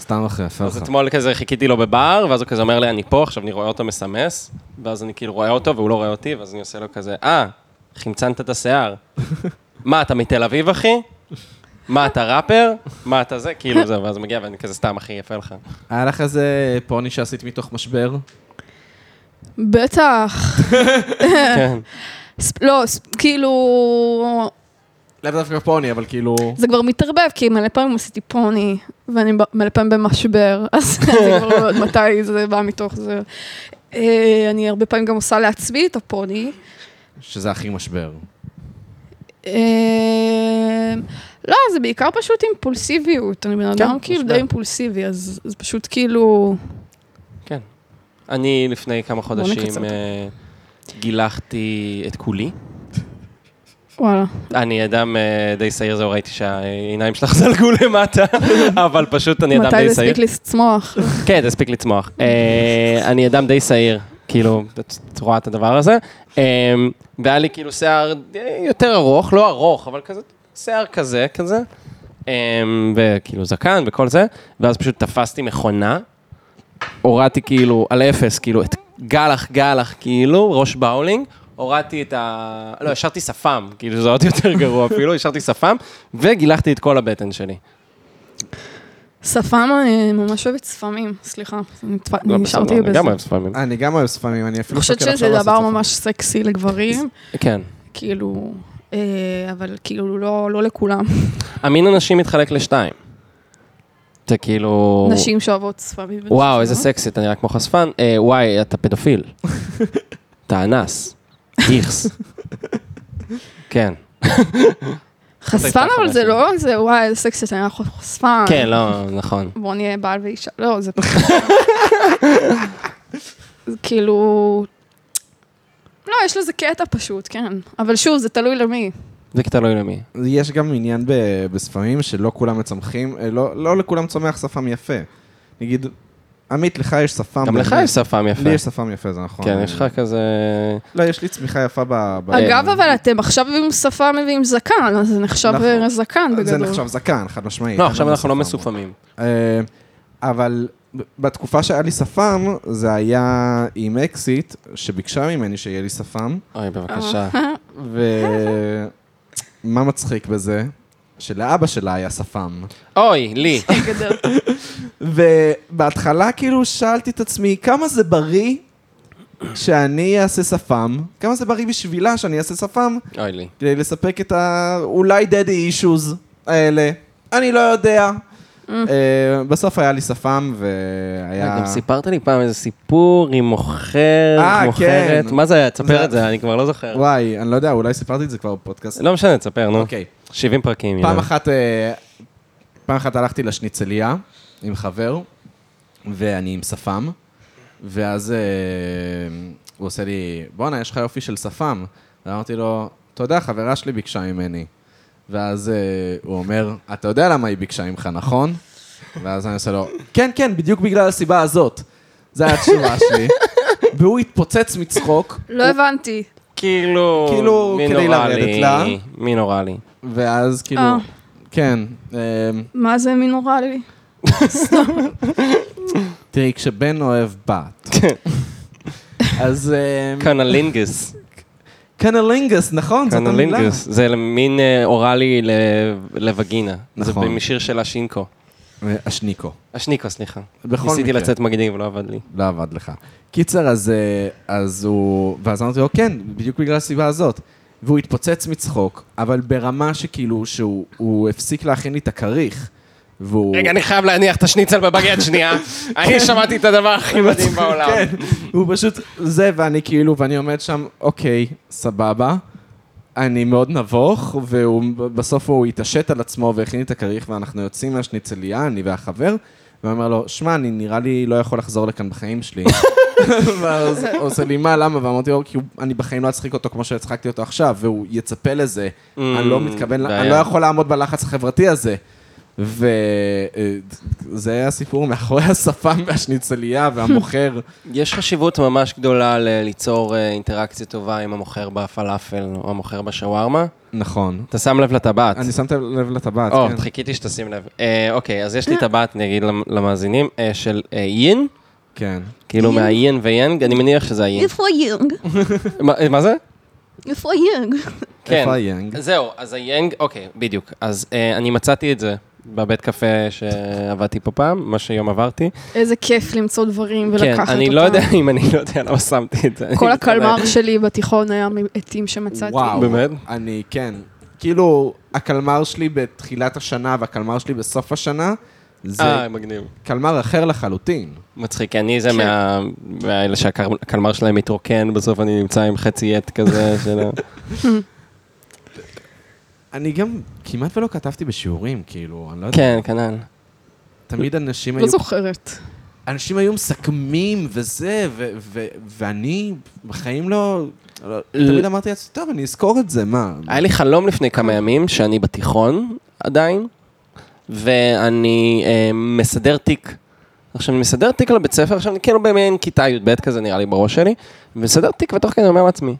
Speaker 1: סתם אחרי, יפה
Speaker 3: אז
Speaker 1: לך.
Speaker 3: אתמול כזה חיכיתי לו בבר, ואז הוא כזה אומר לי, אני פה, עכשיו אני רואה אותו מסמס, ואז אני כאילו רואה אותו והוא לא רואה אותי, ואז אני עושה לו כזה, אה, חמצנת את השיער. מה, אתה מתל אביב, אחי? מה, אתה ראפר? מה, אתה זה? כאילו זה, ואז הוא מגיע ואני כזה, סתם, הכי יפה לך.
Speaker 1: היה לך איזה פוני שעשית מתוך משבר?
Speaker 2: בטח.
Speaker 3: כן.
Speaker 2: ספ- לא, ספ- כאילו,
Speaker 1: לאו דווקא פוני, אבל כאילו...
Speaker 2: זה כבר מתערבב, כי מלא פעמים עשיתי פוני, ואני ב- מלא פעמים במשבר, אז זה כבר לא יודעת מתי זה בא מתוך זה. אה, אני הרבה פעמים גם עושה לעצמי את הפוני.
Speaker 1: שזה הכי משבר.
Speaker 2: אה, לא, זה בעיקר פשוט אימפולסיביות. אני בן אדם כאילו
Speaker 3: משבר.
Speaker 2: די אימפולסיבי, אז אז פשוט כאילו...
Speaker 3: כן. אני לפני כמה
Speaker 2: נקצר.
Speaker 3: חודשים אה, גילחתי את כולי.
Speaker 2: וואלה.
Speaker 3: אני אדם אה, די שעיר, זהו, ראיתי שהעיניים שלך זלגו למטה, אבל פשוט אני אדם
Speaker 2: מתי
Speaker 3: די
Speaker 2: זה
Speaker 3: שעיר.
Speaker 2: הספיק לצמוח?
Speaker 3: כן, זה הספיק לצמוח. אה, אני אדם די שעיר, כאילו, את את רואה את הדבר הזה. אה, והיה לי כאילו שיער אה, יותר ארוך, לא ארוך, אבל כזה, שיער כזה, כזה. אה, וכאילו זקן וכל זה, ואז פשוט תפסתי מכונה, הורדתי כאילו על אפס, כאילו את גלח גלח, כאילו, ראש באולינג. הורדתי את ה... לא, השארתי שפם, כאילו זה עוד יותר גרוע אפילו, השארתי שפם, וגילחתי את כל הבטן שלי.
Speaker 2: שפם, אני ממש אוהבת שפמים, סליחה. אני התפ-
Speaker 3: לא,
Speaker 2: אני נשארתי
Speaker 3: בסדר, אני
Speaker 2: בזה.
Speaker 3: גם אוהב שפמים.
Speaker 1: אני גם אוהב ספמים, אני
Speaker 2: אני
Speaker 1: אפילו
Speaker 2: חושבת
Speaker 1: שוקל עכשיו
Speaker 2: שזה
Speaker 1: לעשות
Speaker 2: דבר
Speaker 1: ספמים.
Speaker 2: ממש סקסי לגברים,
Speaker 3: כן.
Speaker 2: כאילו, אה, אבל כאילו לא לא לכולם.
Speaker 3: המין הנשים מתחלק לשתיים. זה כאילו...
Speaker 2: נשים לא? שאוהבות ספמים.
Speaker 3: וואו, איזה סקסי, אתה נראה כמו חשפן. אה, וואי, אתה פדופיל. אתה אנס. איכס. כן.
Speaker 2: חשפן, אבל זה לא, זה וואי, איזה סקסי, אתה נראה חשפן.
Speaker 3: כן, לא, נכון.
Speaker 2: בוא נהיה בעל ואישה, לא, זה פשוט... זה כאילו... לא, יש לזה קטע פשוט, כן. אבל שוב, זה תלוי למי.
Speaker 3: זה תלוי למי.
Speaker 1: יש גם עניין ב- בספמים שלא כולם מצמחים, אה, לא, לא לכולם צומח שפם יפה. נגיד, עמית, לך יש שפם.
Speaker 3: גם לך
Speaker 1: באמת.
Speaker 3: יש שפם יפה.
Speaker 1: לי יש שפם יפה, זה נכון.
Speaker 3: כן, יש לך כזה...
Speaker 1: לא, יש לי צמיחה יפה ב...
Speaker 3: כן.
Speaker 1: אה, ב-
Speaker 2: אגב, אבל אתם עכשיו עם שפה מביאים זקן, אז זה נחשב
Speaker 1: נכון.
Speaker 2: אה, זקן בגדול.
Speaker 1: זה נחשב זקן, חד משמעית.
Speaker 3: לא,
Speaker 1: אין
Speaker 3: עכשיו
Speaker 1: לנו
Speaker 3: אנחנו לא
Speaker 1: שפם.
Speaker 3: מסופמים.
Speaker 1: אה, אבל ב- בתקופה שהיה לי שפם, זה היה עם אקסיט, שביקשה ממני שיהיה לי שפם,
Speaker 3: אוי, בבקשה.
Speaker 1: ומה מצחיק בזה? שלאבא שלה היה שפם.
Speaker 3: אוי, לי.
Speaker 2: בגדול.
Speaker 1: ובהתחלה כאילו שאלתי את עצמי, כמה זה בריא שאני אעשה שפם? כמה זה בריא בשבילה שאני אעשה שפם?
Speaker 3: אוי, לי.
Speaker 1: כדי לספק את ה... אולי דדי אישוז האלה. אני לא יודע. אה, בסוף היה לי שפם והיה...
Speaker 3: גם סיפרת לי פעם איזה סיפור עם מוכר,
Speaker 1: אה,
Speaker 3: מוכרת.
Speaker 1: כן.
Speaker 3: מה זה היה? תספר
Speaker 1: זה-
Speaker 3: את זה, אני כבר לא זוכר.
Speaker 1: וואי, אני לא יודע, אולי סיפרתי את זה כבר בפודקאסט.
Speaker 3: לא משנה, תספר, נו.
Speaker 1: אוקיי.
Speaker 3: 70 פרקים.
Speaker 1: פעם
Speaker 3: יאללה.
Speaker 1: אחת, אה, פעם אחת הלכתי לשניצליה עם חבר, ואני עם שפם, ואז אה, הוא עושה לי, בואנה, יש לך יופי של שפם. ואמרתי לו, אתה יודע, חברה שלי ביקשה ממני. ואז אה, הוא אומר, אתה יודע למה היא ביקשה ממך, נכון? ואז אני עושה לו, כן, כן, בדיוק בגלל הסיבה הזאת. זו הייתה התשובה שלי. והוא התפוצץ מצחוק,
Speaker 2: לא הבנתי.
Speaker 3: כאילו,
Speaker 1: כאילו,
Speaker 3: מי
Speaker 1: כדי
Speaker 3: נורא
Speaker 1: לרדת
Speaker 3: לי?
Speaker 1: לה.
Speaker 3: מי נורא לי?
Speaker 1: ואז כאילו,
Speaker 2: אה.
Speaker 1: כן. אה,
Speaker 2: מה זה מינורלי?
Speaker 1: תראי, כשבן אוהב בת, אז אמ,
Speaker 3: קנלינגס,
Speaker 1: קנלינגס, נכון, זאת המילה.
Speaker 3: קנלינגס, זה מין אה, אוראלי ל- לווגינה. זה
Speaker 1: נכון.
Speaker 3: משיר של השינקו.
Speaker 1: אה, השניקו,
Speaker 3: השניקו, סליחה.
Speaker 1: בכל
Speaker 3: ניסיתי
Speaker 1: מקרה.
Speaker 3: לצאת מגניב, לא עבד לי.
Speaker 1: לא עבד לך. קיצר, אז, אה, אז הוא... ואז אמרתי לו, כן, בדיוק בגלל הסיבה הזאת. והוא התפוצץ מצחוק, אבל ברמה שכאילו, שהוא הוא הפסיק להכין לי את הכריך. והוא...
Speaker 3: רגע, אני חייב להניח את השניצל בבגט שנייה. אני שמעתי את הדבר הכי מדהים בעולם.
Speaker 1: כן, הוא פשוט... זה, ואני כאילו, ואני עומד שם, אוקיי, סבבה. אני מאוד נבוך, ובסוף הוא התעשת על עצמו והכין לי את הכריך, ואנחנו יוצאים מהשניצליה, אני והחבר, ואומר לו, שמע, אני נראה לי לא יכול לחזור לכאן בחיים שלי. ואז הוא עושה לי, מה, למה? ואמרתי לו, כי הוא- אני בחיים לא אצחיק אותו כמו שהצחקתי אותו עכשיו, והוא יצפה לזה. אני לא מתכוון,
Speaker 3: Mm, בעיה.
Speaker 1: אני לא יכול לעמוד בלחץ החברתי הזה. וזה הסיפור מאחורי השפם והשניצליה והמוכר.
Speaker 3: יש חשיבות ממש גדולה ל- ליצור אה, אינטראקציה טובה עם המוכר בפלאפל או המוכר בשווארמה.
Speaker 1: נכון.
Speaker 3: אתה שם לב לטבעת.
Speaker 1: אני שמתי לב לטבעת,
Speaker 3: או,
Speaker 1: כן.
Speaker 3: חיכיתי שתשים לב. אה, אוקיי, אז יש לי טבעת, אני אגיד למ- למאזינים, אה, של אה, יין,
Speaker 1: כן.
Speaker 3: כאילו
Speaker 2: יין.
Speaker 3: מהיין ויאנג, אני מניח שזה היין.
Speaker 2: איפה יונג?
Speaker 3: מה- מה זה?
Speaker 2: איפה יונג?
Speaker 3: כן.
Speaker 1: איפה היאנג?
Speaker 3: זהו, אז היאנג, אוקיי, בדיוק. אז אה, אני מצאתי את זה בבית קפה שעבדתי פה פעם, מה שיום עברתי.
Speaker 2: איזה כיף למצוא דברים ולקחת
Speaker 3: כן,
Speaker 2: אותם.
Speaker 3: אני לא יודע אם אני לא יודע למה שמתי את זה.
Speaker 2: כל
Speaker 3: אני
Speaker 2: הקלמר שלי בתיכון היה מעטים שמצאתי.
Speaker 1: וואו.
Speaker 3: באמת?
Speaker 1: אני, כן. כאילו, הקלמר שלי בתחילת השנה והקלמר שלי בסוף השנה, זה
Speaker 3: מתלבט. אה, מגניב.
Speaker 1: קלמר אחר לחלוטין.
Speaker 3: מצחיק, כי אני זה
Speaker 2: כן.
Speaker 3: מה- מהאלה שהקלמר שלהם מתרוקן, בסוף אני נמצא עם חצי עט כזה של... ה-
Speaker 1: אני גם כמעט ולא כתבתי בשיעורים, כאילו, אני לא יודע.
Speaker 3: כן, כנ"ל.
Speaker 1: תמיד אנשים היו...
Speaker 2: לא זוכרת.
Speaker 1: אנשים היו מסכמים וזה, ו- ו- ואני בחיים לא... לא-
Speaker 3: ל-
Speaker 1: תמיד אמרתי לעצמי, טוב, אני אזכור את זה, מה?
Speaker 3: היה לי חלום לפני כמה ימים, שאני בתיכון עדיין, ואני אה, מסדר תיק. עכשיו, אני מסדר תיק לבית ספר, עכשיו אני כאילו במעין כיתה י"ב כזה נראה לי בראש שלי, ומסדר תיק ותוך כדי אני אומר לעצמי,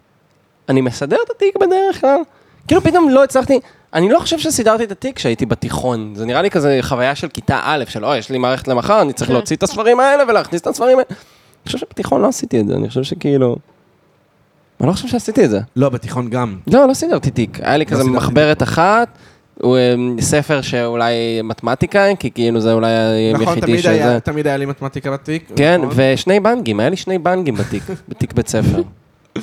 Speaker 3: אני מסדר את התיק בדרך כלל? כאילו פתאום לא הצלחתי, אני לא חושב שסידרתי את התיק כשהייתי בתיכון, זה נראה לי כזה חוויה של כיתה א', של אוי, יש לי מערכת למחר, אני צריך
Speaker 2: כן.
Speaker 3: להוציא את הספרים האלה ולהכניס את הספרים האלה. אני חושב שבתיכון לא עשיתי את זה, אני חושב שכאילו... אני לא חושב שעשיתי את זה.
Speaker 1: לא, בתיכון גם.
Speaker 3: לא, לא סידרתי תיק. היה לי כזה
Speaker 1: סידרתי
Speaker 3: מחברת אחת, הוא, אמ, ספר שאולי מתמטיקה, כי כאילו זה אולי
Speaker 1: נכון,
Speaker 3: היחידי
Speaker 1: תמיד
Speaker 3: שזה...
Speaker 1: היה- תמיד היה לי מתמטיקה בתיק.
Speaker 3: כן,
Speaker 1: נכון?
Speaker 3: ושני בנגים, היה לי שני בנגים בתיק, בתיק בית ספר.
Speaker 2: אה.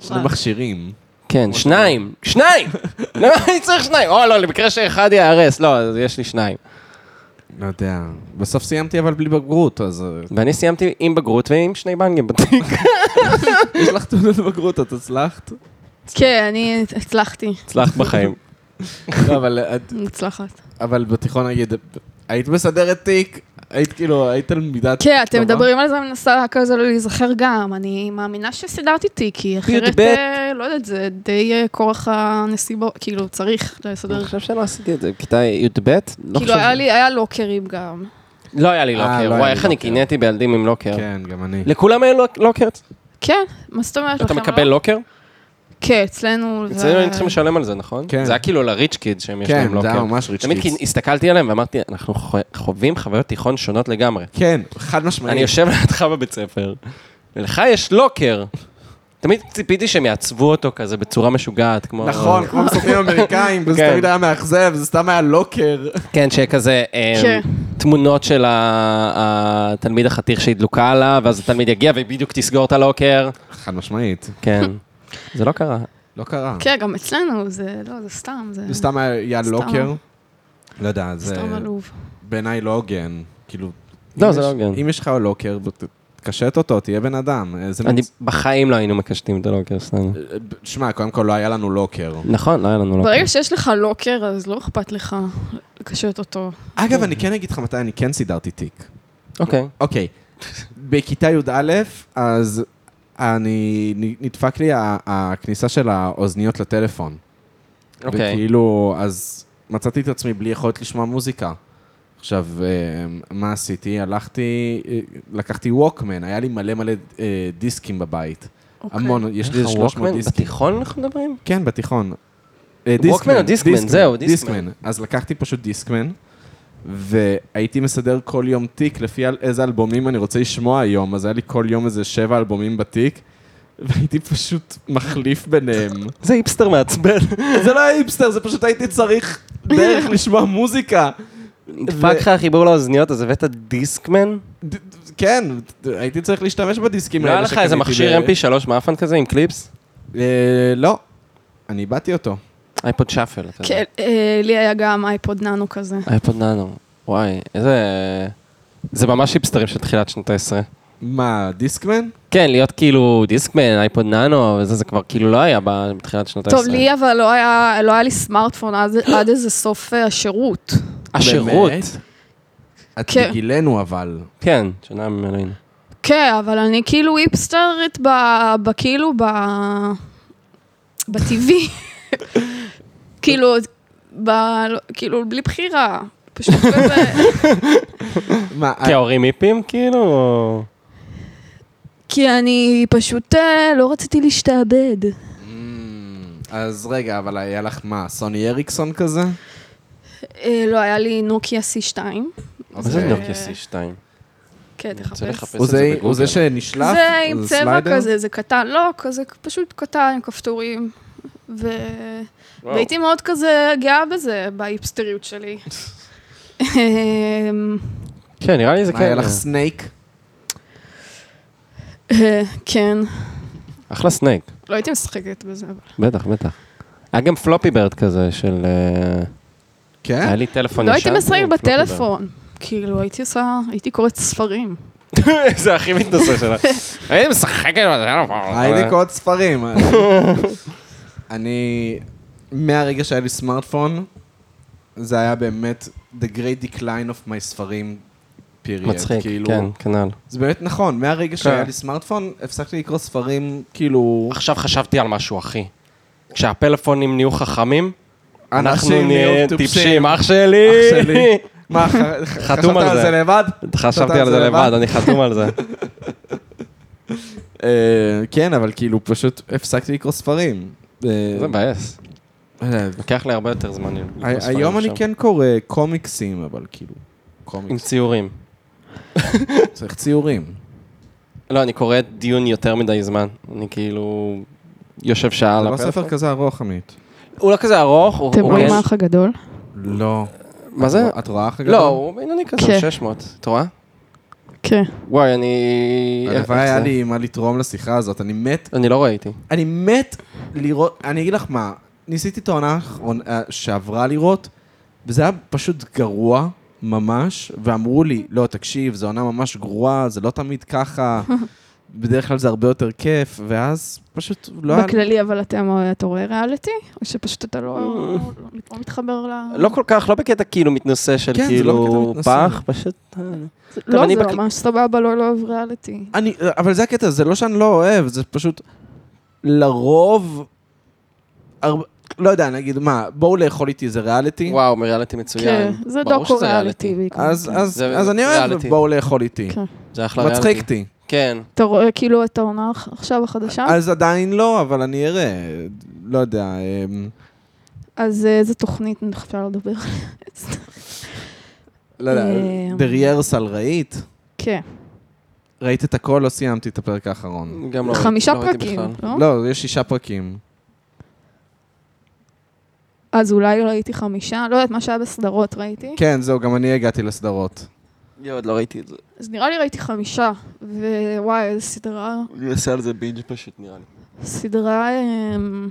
Speaker 1: שני מכשירים.
Speaker 3: כן, שניים, שניים! למה אני צריך שניים? או לא, למקרה שאחד ייהרס, לא, אז יש לי שניים.
Speaker 1: לא יודע. בסוף סיימתי אבל בלי בגרות, אז... אה,
Speaker 3: ואני סיימתי עם בגרות ועם שני בנגים בתיק.
Speaker 1: יש לך תעודת בגרות, את הצלחת?
Speaker 2: כן, אני הצלחתי,
Speaker 3: הצלחת בחיים.
Speaker 1: לא, אבל את-
Speaker 2: מוצלחת.
Speaker 1: אבל בתיכון נגיד, היית מסדרת תיק, היית כאילו, היית תלמידת...
Speaker 2: כן, אתם
Speaker 1: טובה?
Speaker 2: מדברים על זה, אני מנסה כזה לא להיזכר גם. אני מאמינה שסידרתי אותי, כי אחרת,
Speaker 3: ב.
Speaker 2: אה, לא יודעת, זה די אה, כורח הנסיבות, כאילו, צריך
Speaker 3: אני
Speaker 2: לסדר.
Speaker 3: חושב שלא עשיתי את זה, בכיתה י"ב? לא
Speaker 2: כאילו,
Speaker 3: חושב-
Speaker 2: היה לי, היה לוקרים גם.
Speaker 3: לא היה לי
Speaker 1: אה, לא היה
Speaker 3: לוקר,
Speaker 1: לי
Speaker 3: וואי, איך אני
Speaker 1: לוקר.
Speaker 3: קינאתי בילדים עם לוקר.
Speaker 1: כן, גם אני.
Speaker 3: לכולם היה לוק- לוקר?
Speaker 2: כן, מה זאת אומרת לכם?
Speaker 3: אתה
Speaker 2: לא?
Speaker 3: מקבל לוקר?
Speaker 2: כן, אצלנו זה...
Speaker 3: אצלנו היינו צריכים לשלם על זה, נכון?
Speaker 1: כן.
Speaker 3: זה היה כאילו לריץ' קיד שהם יש להם
Speaker 1: כן, זה היה
Speaker 3: לוקר.
Speaker 1: ממש ריץ'
Speaker 3: תמיד כי
Speaker 1: קיץ.
Speaker 3: הסתכלתי עליהם ואמרתי, אנחנו חו- חווים חוויות תיכון שונות לגמרי.
Speaker 1: כן, חד משמעית.
Speaker 3: אני יושב לידך בבית ספר, ולך יש לוקר. תמיד ציפיתי שהם יעצבו אותו כזה בצורה משוגעת, כמו...
Speaker 1: נכון, כמו מסופים אמריקאים, וזה
Speaker 3: כן.
Speaker 1: תמיד היה מאכזב, זה סתם היה לוקר.
Speaker 3: כן, שיהיה כזה אה,
Speaker 2: כן.
Speaker 3: תמונות של ה- התלמיד החתיך שהיא דלוקה עליו, ואז התלמיד יגיע והיא בדיוק תסגור את הלוקר.
Speaker 1: חד משמעית.
Speaker 3: כן. זה לא קרה.
Speaker 1: לא קרה.
Speaker 2: כן, גם אצלנו, זה לא, זה סתם, זה
Speaker 1: זה סתם היה
Speaker 2: סתם.
Speaker 1: לוקר. לא יודע, זה
Speaker 2: סתם עלוב. בעיניי
Speaker 1: בעיניי לא הוגן. כאילו...
Speaker 3: לא,
Speaker 1: אם
Speaker 3: זה
Speaker 1: יש-
Speaker 3: לא הוגן.
Speaker 1: אם יש לך לוקר, ות- תקשט אותו, תהיה בן אדם. אה, זה
Speaker 3: אני,
Speaker 1: מצ-
Speaker 3: בחיים לא היינו מקשטים את הלוקר שלנו.
Speaker 1: אה, ב- שמע, קודם כל לא היה לנו לוקר.
Speaker 3: נכון, לא היה לנו לוקר.
Speaker 2: ברגע שיש לך לוקר, אז לא אכפת לך לקשט אותו.
Speaker 1: אגב, אני כן אגיד לך מתי אני כן סידרתי תיק.
Speaker 3: אוקיי.
Speaker 1: אוקיי, בכיתה י"א, אז אני, נדפק לי ה- הכניסה של האוזניות לטלפון.
Speaker 3: אוקיי.
Speaker 1: וכאילו, אז מצאתי את עצמי בלי יכולת לשמוע מוזיקה. עכשיו, אה, מה עשיתי? הלכתי, אה, לקחתי ווקמן, היה לי מלא מלא אה, דיסקים בבית.
Speaker 2: אוקיי.
Speaker 1: המון, יש לי איזה 300
Speaker 3: ווקמן?
Speaker 1: דיסקים.
Speaker 3: בתיכון אנחנו מדברים?
Speaker 1: כן, בתיכון. אה,
Speaker 3: ווקמן או דיסקמן? זהו, דיסקמן.
Speaker 1: אז לקחתי פשוט דיסקמן, והייתי מסדר כל יום תיק לפי על- איזה אלבומים אני רוצה לשמוע היום, אז היה לי כל יום איזה שבע אלבומים בתיק, והייתי פשוט מחליף ביניהם.
Speaker 3: זה היפסטר מעצבן.
Speaker 1: זה לא היה היפסטר, זה פשוט הייתי צריך דרך לשמוע מוזיקה.
Speaker 3: נדפק לך החיבור לאוזניות, אז הבאת דיסקמן?
Speaker 1: ד- ד- כן, ד- הייתי צריך להשתמש בדיסקים
Speaker 3: לא
Speaker 1: האלה
Speaker 3: היה לך איזה
Speaker 1: שקניתי
Speaker 3: מכשיר
Speaker 1: ב-
Speaker 3: mp3 מאפן כזה עם קליפס?
Speaker 1: אה, לא, אני איבדתי אותו.
Speaker 3: אייפוד שאפל. אתה יודע.
Speaker 2: כן, אה, לי היה גם אייפוד ננו כזה.
Speaker 3: אייפוד ננו. וואי, איזה... זה ממש היפסטרים של תחילת שנות ה-10.
Speaker 1: מה, דיסקמן?
Speaker 3: כן, להיות כאילו דיסקמן, אייפוד ננו, וזה זה כבר כאילו לא היה ב- בתחילת שנות ה-10.
Speaker 2: טוב, לי אבל לא היה, לא היה לי סמארטפון עד, עד איזה סוף אה, השירות.
Speaker 3: השירות.
Speaker 1: באמת? את
Speaker 2: כן.
Speaker 1: בגילנו, אבל...
Speaker 3: כן, שונה ממנו, הנה.
Speaker 2: כן, אבל אני כאילו היפסטרית ב... ב... כאילו ב... בטבעי. כאילו, ב... לא- כאילו, בלי בחירה. פשוט לא כזה...
Speaker 1: מה, את-
Speaker 3: כי ההורים כן, היפים, כאילו? או-
Speaker 2: כי אני פשוט אה, לא רציתי להשתעבד.
Speaker 1: אמ, אה, אז רגע, אבל היה לך מה, סוני הריקסון כזה?
Speaker 2: אה, לא, היה לי נוקיה C2.
Speaker 3: מה
Speaker 1: אז,
Speaker 3: זה
Speaker 1: אה,
Speaker 3: נוקיה C2?
Speaker 2: כן,
Speaker 3: אני רוצה
Speaker 2: תחפש.
Speaker 3: לחפש
Speaker 1: הוא
Speaker 3: את
Speaker 1: זה-
Speaker 3: זה
Speaker 1: הוא
Speaker 3: בגוגל.
Speaker 1: זה שנשלף?
Speaker 2: זה עם
Speaker 1: זה
Speaker 2: צבע
Speaker 1: סליידר?
Speaker 2: כזה, זה קטן, לא, כזה פשוט קטן עם כפתורים. ו...
Speaker 3: וואו.
Speaker 2: והייתי מאוד כזה גאה בזה, בהיפסטריות שלי. אמ,
Speaker 3: כן, נראה לי זה
Speaker 1: מה, היה
Speaker 3: כן.
Speaker 1: לך סנייק?
Speaker 2: אה, כן,
Speaker 3: אחלה סנייק,
Speaker 2: לא הייתי משחקת בזה, אבל...
Speaker 3: בטח, בטח. היה גם פלופי ברד כזה של... אה, היה
Speaker 1: כן?
Speaker 3: לי טלפון
Speaker 2: לא הייתי
Speaker 3: ישן,
Speaker 2: משחקת
Speaker 3: עם פלופי ברד.
Speaker 2: בטלפון. כאילו, הייתי עושה, הייתי קוראת ספרים.
Speaker 3: זה הכי מתנשא שלה. הייתי משחק עם אה,
Speaker 1: הייתי קוראת ספרים. אני, מהרגע שהיה לי סמארטפון, זה היה באמת the great decline of my ספרים, period.
Speaker 3: מצחיק,
Speaker 1: כאילו,
Speaker 3: כן, כנ"ל.
Speaker 1: זה באמת נכון, מהרגע שהיה
Speaker 3: כן.
Speaker 1: לי סמארטפון, הפסקתי לקרוא ספרים, כאילו...
Speaker 3: עכשיו חשבתי על משהו, אחי. כשהפלאפונים נהיו חכמים, אנחנו
Speaker 1: אנשים
Speaker 3: נהיה
Speaker 1: נהיו
Speaker 3: טיפשים, אח שלי.
Speaker 1: אח שלי. מה, ח- חשבת
Speaker 3: על
Speaker 1: על
Speaker 3: זה.
Speaker 1: זה לבד?
Speaker 3: חשבתי על זה לבד, אני חתום על זה.
Speaker 1: אה, כן, אבל כאילו פשוט הפסקתי לקרוא ספרים. אה,
Speaker 3: זה מבאס.
Speaker 1: לא יודע,
Speaker 3: לוקח לי הרבה יותר זמן. לקרוא
Speaker 1: הי-
Speaker 3: ספרים
Speaker 1: היום אני
Speaker 3: עכשיו.
Speaker 1: כן קורא קומיקסים, אבל כאילו,
Speaker 3: עם
Speaker 1: קומיקס,
Speaker 3: ציורים.
Speaker 1: צריך ציורים.
Speaker 3: לא, אני קורא דיון יותר מדי זמן. אני כאילו... יושב שעה
Speaker 1: זה
Speaker 3: על
Speaker 1: לא
Speaker 3: הפלאפון.
Speaker 1: ספר כזה ארוך, עמית.
Speaker 3: הוא לא כזה ארוך, הוא...
Speaker 2: אתם
Speaker 3: הוא
Speaker 2: רואים
Speaker 3: כן-
Speaker 2: מה האח הגדול?
Speaker 1: לא.
Speaker 3: מה זה?
Speaker 1: את רואה אחר
Speaker 3: לא, הוא בינוני כזה,
Speaker 2: כן.
Speaker 3: 600. אתה רואה?
Speaker 2: כן.
Speaker 3: וואי, אני...
Speaker 1: הלוואי
Speaker 3: איך
Speaker 1: היה
Speaker 3: זה?
Speaker 1: לי מה לתרום לשיחה הזאת, אני מת,
Speaker 3: אני לא ראיתי.
Speaker 1: אני מת לראות, אני אגיד לך מה, ניסיתי את העונה האחרונה- אה, שעברה לראות, וזה היה פשוט גרוע, ממש, ואמרו לי, לא, תקשיב, זו עונה ממש גרועה, זה לא תמיד ככה, בדרך כלל זה הרבה יותר כיף, ואז פשוט לא היה...
Speaker 2: בכללי, אבל אתם- אתה רואה ריאליטי? או שפשוט אתה לא לא מתחבר ל...
Speaker 3: לא כל כך, לא בקטע כאילו מתנשא של
Speaker 1: כן, זה לא
Speaker 3: כאילו
Speaker 1: בקטע מתנשא.
Speaker 3: פח, פשוט... אה,
Speaker 2: לא,
Speaker 3: אני
Speaker 2: זה
Speaker 3: בק-
Speaker 2: ממש סבבה, לא לא אוהב ריאליטי.
Speaker 1: אני, אבל זה הקטע, זה לא שאני לא אוהב, זה פשוט לרוב, הר... לא יודע, נגיד מה, בואו לאכול איתי איזה ריאליטי,
Speaker 3: וואו, מריאליטי
Speaker 2: כן,
Speaker 3: מצוין.
Speaker 2: זה
Speaker 3: ברור
Speaker 2: דוקו
Speaker 3: שזה
Speaker 2: ריאליטי כן. בעיקר.
Speaker 1: אז, אז,
Speaker 3: זה
Speaker 1: אז אני אוהב
Speaker 3: ריאליטי.
Speaker 1: בואו לאכול איתי.
Speaker 2: כן.
Speaker 3: זה אחלה ריאליטי.
Speaker 1: מצחיק אותי.
Speaker 3: כן.
Speaker 2: אתה רואה כאילו את העונה עכ- עכשיו החדשה?
Speaker 1: אז עדיין לא, אבל אני אראה, לא יודע. אמ,
Speaker 2: אז אה, איזה תוכנית אפשר לדבר?
Speaker 1: לא יודע,
Speaker 2: אמ.
Speaker 1: דריירסל ראית?
Speaker 2: כן,
Speaker 1: ראית את הכל, לא סיימתי את הפרק האחרון.
Speaker 3: גם לא ראיתי-
Speaker 2: חמישה
Speaker 3: לא ראיתי
Speaker 2: פרקים,
Speaker 3: בכלל.
Speaker 2: לא?
Speaker 1: לא, יש שישה פרקים.
Speaker 2: אז אולי ראיתי חמישה, לא יודעת מה שהיה בסדרות ראיתי.
Speaker 1: כן, זהו, גם אני הגעתי לסדרות.
Speaker 3: יואו, עוד לא ראיתי את זה.
Speaker 2: אז נראה לי ראיתי חמישה, ווואי, איזה סדרה,
Speaker 3: אני אעשה על זה בינג' פשוט, נראה לי.
Speaker 2: סדרה אמ,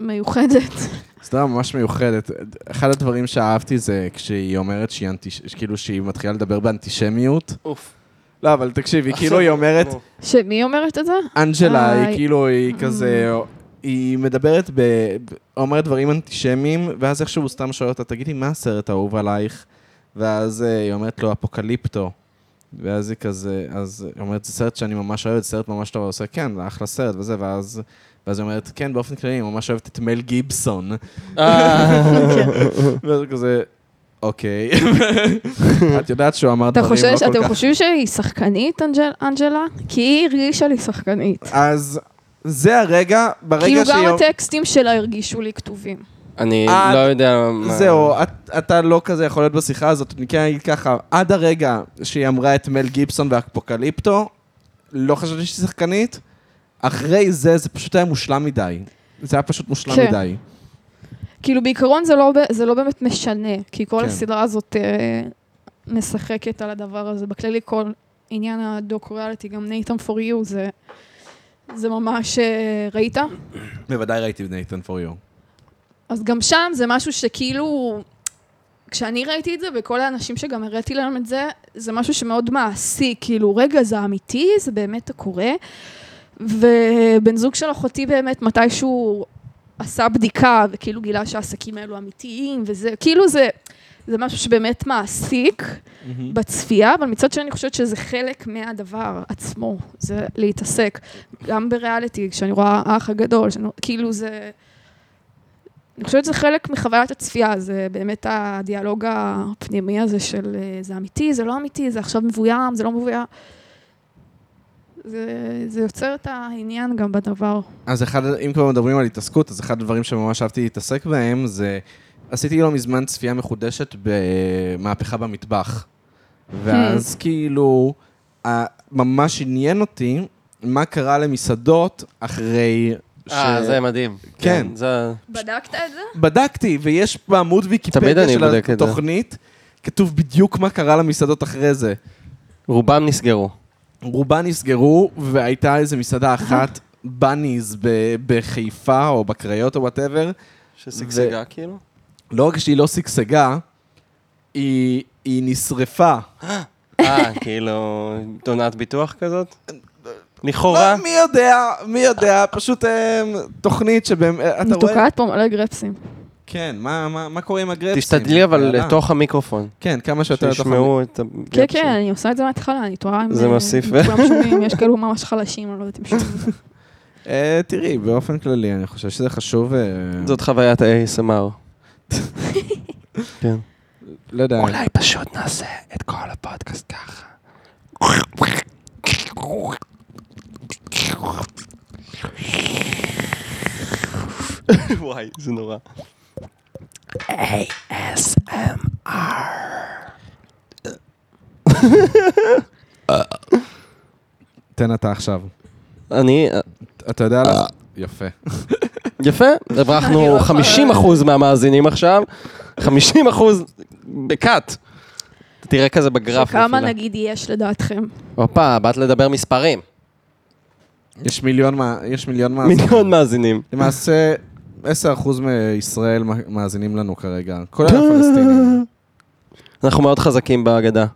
Speaker 2: מיוחדת.
Speaker 1: סדרה ממש מיוחדת. אחד הדברים שאהבתי זה כשהיא אומרת שהיא אנטיש... כאילו שהיא מתחילה לדבר באנטישמיות.
Speaker 3: אוף.
Speaker 1: לא, אבל תקשיבי, כאילו היא אומרת,
Speaker 2: שמי אומרת את זה?
Speaker 1: אנג'לה היא
Speaker 2: איי.
Speaker 1: כאילו, היא כזה, היא מדברת ב... ב- אומרת דברים אנטישמיים, ואז איכשהו הוא סתם שואל אותה, תגידי, מה הסרט האהוב עלייך? ואז אה, היא אומרת לו, אפוקליפטו. ואז היא כזה, אז היא אומרת, זה סרט שאני ממש אוהבת, סרט ממש טוב, הוא עושה, כן, זה אחלה סרט וזה, ואז... ואז היא אומרת, כן, באופן כללי, אני ממש אוהבת את מל גיבסון.
Speaker 3: אה.
Speaker 2: כן.
Speaker 1: ואז הוא כזה, אוקיי. את יודעת שהוא אמר
Speaker 2: אתה
Speaker 1: דברים לא כל
Speaker 2: חושב
Speaker 1: כך...
Speaker 2: שאתם חושבים שהיא שחקנית, אנג'ל- אנג'לה? כי היא הרגישה לי שחקנית.
Speaker 1: אז זה הרגע, ברגע
Speaker 2: כאילו
Speaker 1: שהיא...
Speaker 2: גם הטקסטים שלה הרגישו לי כתובים.
Speaker 3: אני
Speaker 1: אה,
Speaker 3: לא יודע מה... אה,
Speaker 1: זהו, את- אתה לא כזה יכול להיות בשיחה הזאת, אני כן אגיד ככה, עד הרגע שהיא אמרה את מל גיבסון והאפוקליפטו, לא חשבתי שהיא שחקנית, אחרי זה, זה פשוט היה מושלם מדי. זה היה פשוט מושלם
Speaker 2: כן.
Speaker 1: מדי.
Speaker 2: כאילו בעיקרון זה לא, ב- זה לא באמת משנה, כי כל
Speaker 1: כן.
Speaker 2: הסדרה הזאת אה, משחקת על הדבר הזה. בכללי כל עניין הדוקו-ריאליטי, גם נייתם פור יו, זה, זה ממש, אה, ראית?
Speaker 1: בוודאי ראיתי את נייתן פור יו.
Speaker 2: אז גם שם זה משהו שכאילו, כשאני ראיתי את זה, וכל האנשים שגם הראיתי להם את זה, זה משהו שמאוד מעשי, כאילו, רגע, זה אמיתי, זה באמת קורה. ובן זוג של אחותי באמת, מתישהו עשה בדיקה, וכאילו גילה שהעסקים האלו אמיתיים, וזה, כאילו זה, זה משהו שבאמת מעסיק בצפייה, אבל מצד שני אני חושבת שזה חלק מהדבר עצמו, זה להתעסק. גם בריאליטי, כשאני רואה האח הגדול, שאני, כאילו זה... אני חושבת שזה חלק מחוויית הצפייה, זה באמת הדיאלוג הפנימי הזה של אה, זה אמיתי, זה לא אמיתי, זה עכשיו מבוים, זה לא מבוים. זה, זה יוצר את העניין גם בדבר.
Speaker 1: אז אחד, אם כבר מדברים על התעסקות, אז אחד הדברים שממש אהבתי להתעסק בהם זה... עשיתי לא מזמן צפייה מחודשת במהפכה במטבח. ואז כאילו, ה- ממש עניין אותי מה קרה למסעדות אחרי... ש-
Speaker 3: אה, זה מדהים.
Speaker 1: כן.
Speaker 3: זה...
Speaker 2: בדקת את זה?
Speaker 1: בדקתי, ויש בעמוד
Speaker 3: תמיד
Speaker 1: ויקיפדיה
Speaker 3: אני
Speaker 1: של
Speaker 3: בודק את זה.
Speaker 1: התוכנית, כתוב בדיוק מה קרה למסעדות אחרי זה.
Speaker 3: רובם נסגרו.
Speaker 1: רובן נסגרו, והייתה איזו מסעדה אחת, בניז ב- בחיפה או בקריות או וואטאבר,
Speaker 3: ששגשגה כאילו?
Speaker 1: לא רק שהיא לא שגשגה, היא, היא נשרפה.
Speaker 3: אה, כאילו, תאונת ביטוח כזאת? לכאורה?
Speaker 1: לא, מי יודע, מי יודע, פשוט אה, תוכנית שבאמת, אתה רואה...
Speaker 2: מתוקעת פה מלא גרפסים.
Speaker 1: כן, מה, מה, מה קורה עם הגרפסים?
Speaker 3: תשתדלי אבל
Speaker 1: יאללה.
Speaker 3: לתוך המיקרופון,
Speaker 1: כן, כמה שיותר לתוך...
Speaker 3: שישמעו את
Speaker 2: כן,
Speaker 3: הגרפסים.
Speaker 2: כן, אני עושה את זה מההתחלה, אני תוהה אם...
Speaker 3: זה
Speaker 2: אה,
Speaker 3: מוסיף.
Speaker 2: אם כולם שומעים, יש כאלו ממש חלשים, אני לא יודעת אם שומעים.
Speaker 1: אה, תראי, באופן כללי, אני חושב שזה חשוב... אה,
Speaker 3: זאת חוויית ה-ASMR. כן.
Speaker 1: לא יודע.
Speaker 3: פשוט נעשה את כל הפודקאסט ככה. וואי, זה נורא. ASMR.
Speaker 1: תן אתה עכשיו.
Speaker 3: אני,
Speaker 1: אתה יודע לך? יפה.
Speaker 3: יפה,
Speaker 2: לא
Speaker 3: הברחנו 50% מהמאזינים עכשיו, 50% בקאט. תראה כזה בגרף.
Speaker 2: כמה
Speaker 3: נפילה.
Speaker 2: נגיד יש לדעתכם?
Speaker 3: הופה, באת לדבר מספרים.
Speaker 1: יש מיליון מה... יש מיליון מה...
Speaker 3: מיליון מאזינים.
Speaker 1: למעשה, 10% מישראל מא- מאזינים לנו כרגע, כולל הפלסטינים.
Speaker 3: אנחנו מאוד חזקים בהגדה.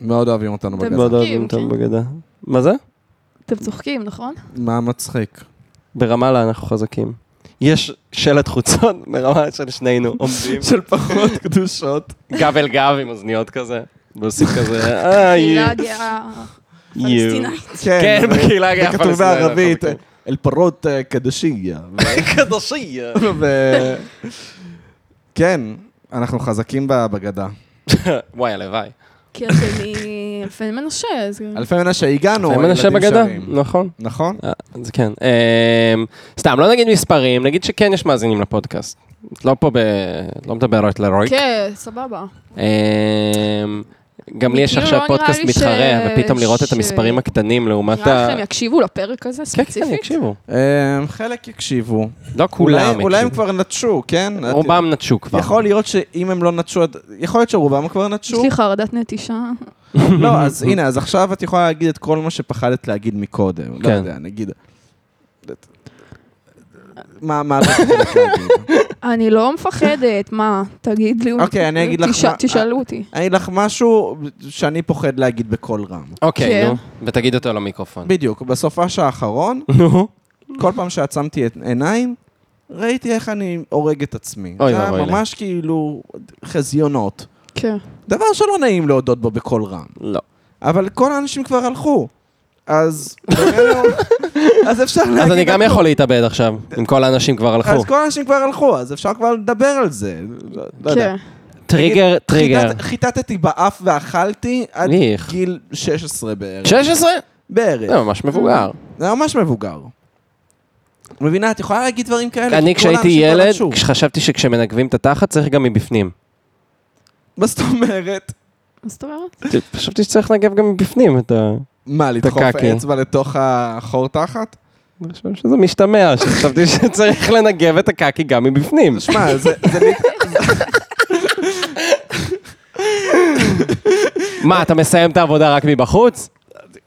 Speaker 1: מאוד אוהבים אותנו
Speaker 2: אתם
Speaker 1: בגזע.
Speaker 3: מאוד אוהבים
Speaker 2: צוחקים,
Speaker 3: אותם
Speaker 2: כן.
Speaker 3: בהגדה. מה זה?
Speaker 2: אתם צוחקים, נכון?
Speaker 1: מה מצחיק?
Speaker 3: ברמאללה אנחנו חזקים. יש שלט חוצות ברמה של שנינו עומדים
Speaker 1: של פחות קדושות.
Speaker 3: גב אל גב עם אוזניות כזה, ועושים כזה, אה, יו,
Speaker 2: קהילה גאה
Speaker 3: יו.
Speaker 2: פלסטינאית.
Speaker 3: כן, בקהילה הגאה
Speaker 1: אה, זה כתוב
Speaker 3: הפלסטינית,
Speaker 1: בערבית,
Speaker 3: אנחנו
Speaker 1: אל פרות אה, קדשיה.
Speaker 3: קדושי.
Speaker 1: ו- כן, אנחנו חזקים ב- בגדה.
Speaker 3: וואי, הלוואי.
Speaker 2: קיר שלי, אלפי מנשה, אז...
Speaker 1: אלפי מנשה,
Speaker 2: לא,
Speaker 1: הגענו,
Speaker 3: זה מנשה
Speaker 1: הילדים
Speaker 3: בגדה,
Speaker 1: שרים.
Speaker 3: נכון.
Speaker 1: נכון?
Speaker 3: אה, זה כן. אמ, סתם, לא נגיד מספרים, נגיד שכן יש מאזינים לפודקאסט. לא פה ב... לא מדברת לרויק.
Speaker 2: כן, סבבה.
Speaker 3: אמ, גם לי יש
Speaker 2: כאילו,
Speaker 3: עכשיו
Speaker 2: לא נראה
Speaker 3: פודקאסט
Speaker 2: לי ש-
Speaker 3: מתחרה, ופתאום לראות את
Speaker 2: ש-
Speaker 3: המספרים הקטנים לעומת ה...
Speaker 2: נראה לכם יקשיבו לפרק הזה
Speaker 3: כן, כן,
Speaker 2: ספציפית?
Speaker 3: יקשיבו.
Speaker 1: אה, חלק יקשיבו.
Speaker 3: לא כולם
Speaker 1: אולי-
Speaker 3: יקשיבו.
Speaker 1: אולי הם כבר נטשו, כן?
Speaker 3: רובם נטשו כבר.
Speaker 1: יכול להיות שאם הם לא נטשו, עד- יכול להיות שרובם כבר
Speaker 2: יש
Speaker 1: נטשו.
Speaker 2: לי חרדת נטישה.
Speaker 1: לא, אז הנה, אז עכשיו את יכולה להגיד את כל מה שפחדת להגיד מקודם. לא
Speaker 3: כן.
Speaker 1: יודע, נגיד... מה, מה את פחדת להגיד?
Speaker 2: אני לא מפחדת, מה? תגיד לי.
Speaker 1: אוקיי, אני אגיד לך
Speaker 2: תשאל-
Speaker 1: מה-
Speaker 2: תשאלו אותי.
Speaker 1: אני אגיד לך משהו שאני פוחד להגיד בקול רם.
Speaker 3: אוקיי,
Speaker 2: כן.
Speaker 3: נו. ותגיד אותו למיקרופון.
Speaker 1: בדיוק, בסופש האחרון,
Speaker 3: נו.
Speaker 1: כל פעם שעצמתי את עיניים, ראיתי איך אני הורג את עצמי.
Speaker 3: אוי
Speaker 1: זה היה
Speaker 3: ואבוי לי.
Speaker 1: ממש כאילו חזיונות.
Speaker 2: כן.
Speaker 1: דבר שלא נעים להודות בו בקול רם.
Speaker 3: לא.
Speaker 1: אבל כל האנשים כבר הלכו. אז... בינינו- אז אפשר להגיד...
Speaker 3: אז אני גם
Speaker 1: הכל.
Speaker 3: יכול להתאבד עכשיו, אם כל האנשים כבר
Speaker 1: אז
Speaker 3: הלכו.
Speaker 1: כל האנשים כבר הלכו, אז אפשר כבר לדבר על זה. לא- לא יודע.
Speaker 2: כן.
Speaker 3: טריגר, טריגר.
Speaker 1: חיטט- חיטטתי באף ואכלתי עד
Speaker 3: איך.
Speaker 1: גיל 16 בערך.
Speaker 3: 16?
Speaker 1: בערך.
Speaker 3: זה ממש מבוגר.
Speaker 1: זה ממש מבוגר. מבינה, את יכולה להגיד דברים כאלה. כי
Speaker 3: אני
Speaker 1: כל
Speaker 3: כשהייתי
Speaker 1: האנשים כבר
Speaker 3: ילד,
Speaker 1: נטשו.
Speaker 3: חשבתי שכשמנגבים את התחת צריך גם מבפנים.
Speaker 1: מה זאת אומרת?
Speaker 2: מה זאת אומרת?
Speaker 3: כן, חשבתי שצריך לנגב גם מבפנים את ה...
Speaker 1: מה, לדחוף
Speaker 3: הקקי.
Speaker 1: אצבע לתוך החור תחת?
Speaker 3: אני חושב שזה משתמע, שחשבתי שצריך לנגב את הקקי גם מבפנים.
Speaker 1: שמע, זה... זה לי-
Speaker 3: מה, אתה מסיים את העבודה רק מבחוץ?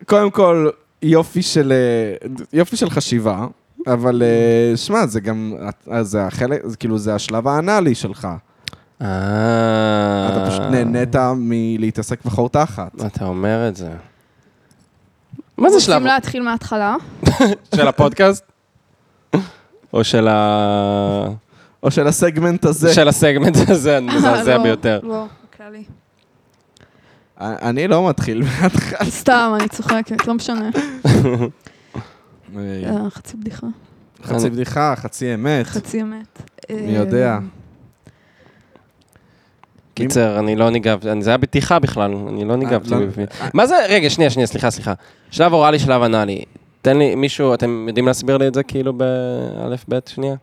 Speaker 1: קודם כל, יופי של... אה, יופי של חשיבה, אבל אה, שמע, זה גם... אה, זה החלק, זה כאילו, זה השלב האנאלי שלך.
Speaker 3: אה...
Speaker 1: אתה פשוט נהנית מלהתעסק בחור תחת.
Speaker 3: אתה אומר את זה. מה זה שלב
Speaker 2: רוצים להתחיל מההתחלה?
Speaker 3: של הפודקאסט? או של ה...
Speaker 1: או של הסגמנט הזה?
Speaker 3: של הסגמנט הזה, המזעזע
Speaker 2: לא,
Speaker 3: ביותר.
Speaker 2: לא, כללי.
Speaker 1: אני לא מתחיל מההתחלה.
Speaker 2: סתם, אני צוחקת, לא משנה.
Speaker 3: כן.
Speaker 2: אה, חצי בדיחה,
Speaker 1: חצי בדיחה, חצי אמת,
Speaker 2: חצי אה, אמת.
Speaker 1: מי יודע.
Speaker 3: קיצר, אני לא ניגב, אני- זה היה בדיחה בכלל, אני לא ניגבתי
Speaker 1: לא-
Speaker 3: בפנים. מה זה, רגע, שנייה, שנייה, סליחה, סליחה. שלב אוראלי, שלב אנאלי. תן לי, מישהו, אתם יודעים להסביר לי את זה כאילו באלף, בית, שנייה?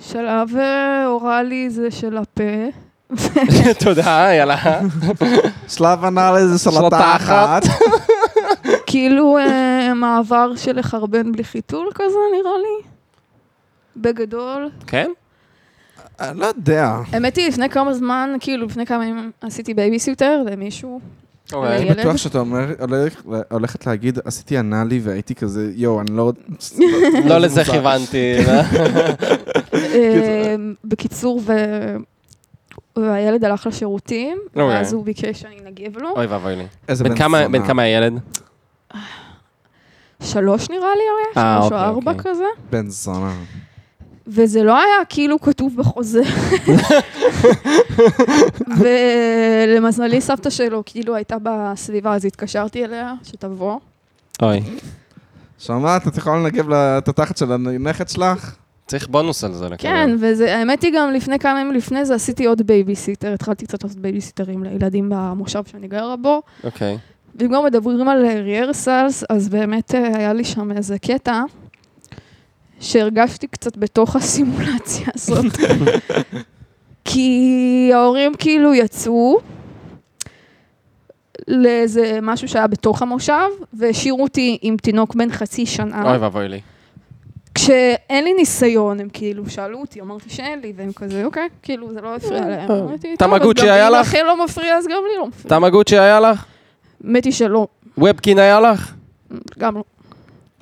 Speaker 2: שלב אה, אוראלי זה של הפה.
Speaker 3: תודה, יאללה.
Speaker 1: שלב אנאלי זה של
Speaker 3: שלטה
Speaker 1: התחת.
Speaker 2: כאילו אה, מעבר של לחרבן בלי חיתול כזה, נראה לי. בגדול.
Speaker 3: כן?
Speaker 1: אני לא יודע.
Speaker 2: האמת היא, לפני כמה זמן, כאילו, לפני כמה ימים עשיתי בייביסיוטר למישהו.
Speaker 3: אוקיי.
Speaker 1: אני
Speaker 2: ילד.
Speaker 1: בטוח שאתה אומר- הולך- הולכת להגיד, עשיתי אנאלי והייתי כזה, יואו, אני לא...
Speaker 3: לא לזה כיוונתי. לא?
Speaker 2: אה, בקיצור, ו... והילד הלך לשירותים,
Speaker 3: אוקיי.
Speaker 2: ואז הוא ביקש שאני נגיב לו.
Speaker 3: אוי ואבוי לי.
Speaker 1: איזה
Speaker 3: בן כמה-
Speaker 1: זונה.
Speaker 3: בן כמה הילד?
Speaker 2: שלוש נראה לי, או
Speaker 3: אה,
Speaker 2: היה שלוש או
Speaker 3: אוקיי,
Speaker 2: ארבע
Speaker 3: אוקיי.
Speaker 2: כזה.
Speaker 1: בן זונה.
Speaker 2: וזה לא היה כאילו כתוב בחוזה. ולמזלי, סבתא שלו כאילו הייתה בסביבה, אז התקשרתי אליה, שתבוא.
Speaker 3: אוי.
Speaker 1: שמעת? את יכולה לנגב לה- את התחת של הנכד שלך?
Speaker 3: צריך בונוס על זה.
Speaker 2: כן,
Speaker 3: לכולם.
Speaker 2: והאמת היא גם לפני כמה ימים לפני זה עשיתי עוד בייביסיטר, התחלתי קצת לעשות בייביסיטרים לילדים במושב שאני גרה בו.
Speaker 3: אוקיי.
Speaker 2: ואם כבר מדברים על אה, ריארסלס, אז באמת אה, היה לי שם איזה קטע שהרגשתי קצת בתוך הסימולציה הזאת. כי ההורים כאילו יצאו לאיזה משהו שהיה בתוך המושב, והשאירו אותי עם תינוק בן חצי שנה.
Speaker 3: אוי ואבוי לי.
Speaker 2: כשאין לי ניסיון, הם כאילו שאלו אותי, אמרתי שאין לי, והם כזה, אוקיי, כאילו, זה לא הפריע להם. אמרתי, "טוב, אז
Speaker 3: תמגוצ'י
Speaker 2: גם
Speaker 3: היה
Speaker 2: אם
Speaker 3: לך?"
Speaker 2: לכם לא מפריע, אז גם לי לא מפריע.
Speaker 3: תמגוצ'י היה לך?
Speaker 2: האמת היא שלא,
Speaker 3: ובקין היה לך?
Speaker 2: גם לא.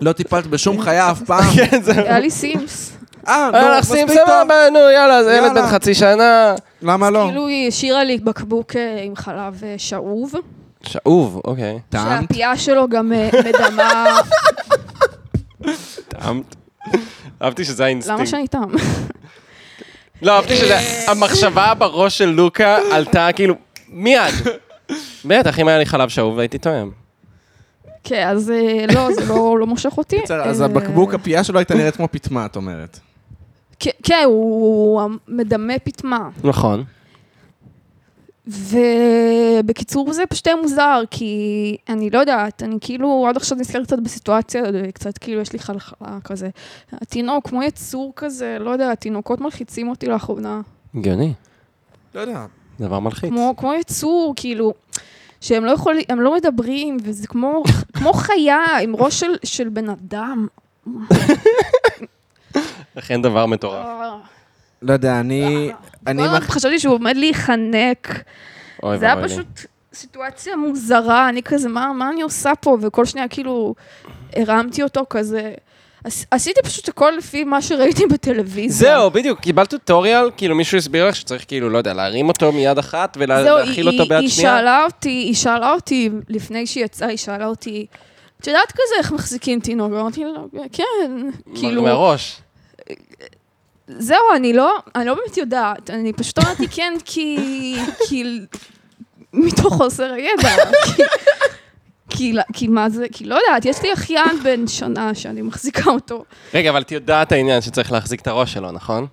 Speaker 1: לא טיפלת בשום חיה אף פעם.
Speaker 3: כן, זהו.
Speaker 2: היה לי סימס.
Speaker 1: אה,
Speaker 3: היה לך שים סבבה, נו, יאללה, זה ילד
Speaker 1: יאללה.
Speaker 3: בן חצי שנה.
Speaker 1: למה לא?
Speaker 2: כאילו, היא השאירה לי בקבוק אה, עם חלב אה, שאוב,
Speaker 3: שאוב, אוקיי.
Speaker 1: טעמת?
Speaker 2: שהפייה שלו גם אה, מדמה,
Speaker 3: טעמת. אהבתי שזה האינסטינקט.
Speaker 2: למה שאני טעם?
Speaker 3: לא, אהבתי שזה... המחשבה בראש של לוקה עלתה כאילו מיד. בטח, אם היה לי חלב שאוב הייתי תואם.
Speaker 2: כן, אז אה, לא, זה לא לא מושך אותי.
Speaker 1: בסדר, אז
Speaker 2: אה,
Speaker 1: הבקבוק, הפייה שלו הייתה נראית כמו פיטמה, את אומרת.
Speaker 2: כן, כן, הוא מדמה פיטמה.
Speaker 3: נכון.
Speaker 2: ובקיצור זה פשוט היה מוזר, כי אני לא יודעת, אני כאילו עד עכשיו נזכרת קצת בסיטואציה, קצת כאילו יש לי חלחלה כזה. התינוק, כמו יצור כזה, לא יודעת, תינוקות מלחיצים אותי לאחרונה.
Speaker 3: הגיוני.
Speaker 1: לא יודע.
Speaker 3: דבר מלחיץ.
Speaker 2: כמו, כמו יצור, כאילו, שהם לא יכולים, הם לא מדברים, וזה כמו, כמו חיה עם ראש של, של בן אדם.
Speaker 3: אכן דבר מטורף.
Speaker 1: לא יודע, אני... אני
Speaker 2: אה, כל הזמן
Speaker 1: מח-
Speaker 2: חשבתי שהוא עומד להיחנק.
Speaker 3: אוי
Speaker 2: זה היה
Speaker 3: ואבוי לי.
Speaker 2: פשוט סיטואציה מוזרה, אני כזה, מה, מה אני עושה פה? וכל שנייה כאילו הרמתי אותו כזה. עש- עשיתי פשוט הכל לפי מה שראיתי בטלוויזיה.
Speaker 3: זהו, בדיוק, קיבלת טוטוריאל, כאילו מישהו הסביר לך שצריך כאילו, לא יודע, להרים אותו מיד אחת
Speaker 2: זהו,
Speaker 3: ולהאכיל
Speaker 2: היא-
Speaker 3: אותו ביד
Speaker 2: היא
Speaker 3: שנייה.
Speaker 2: שאלה אותי, היא שאלה אותי, לפני שהיא יצאה, היא שאלה אותי, את יודעת כזה איך מחזיקים תינוק? אמרתי לה, כן, כאילו,
Speaker 3: מהראש.
Speaker 2: זהו, אני לא, אני לא באמת יודעת, אני פשוט אמרתי כן, כי, כי, מתוך חוסר הידע, כי, כי, כי מה זה, כי לא יודעת, יש לי אחיין בן שנה שאני מחזיקה אותו.
Speaker 3: רגע, אבל את יודעת את העניין שצריך להחזיק את הראש שלו, נכון?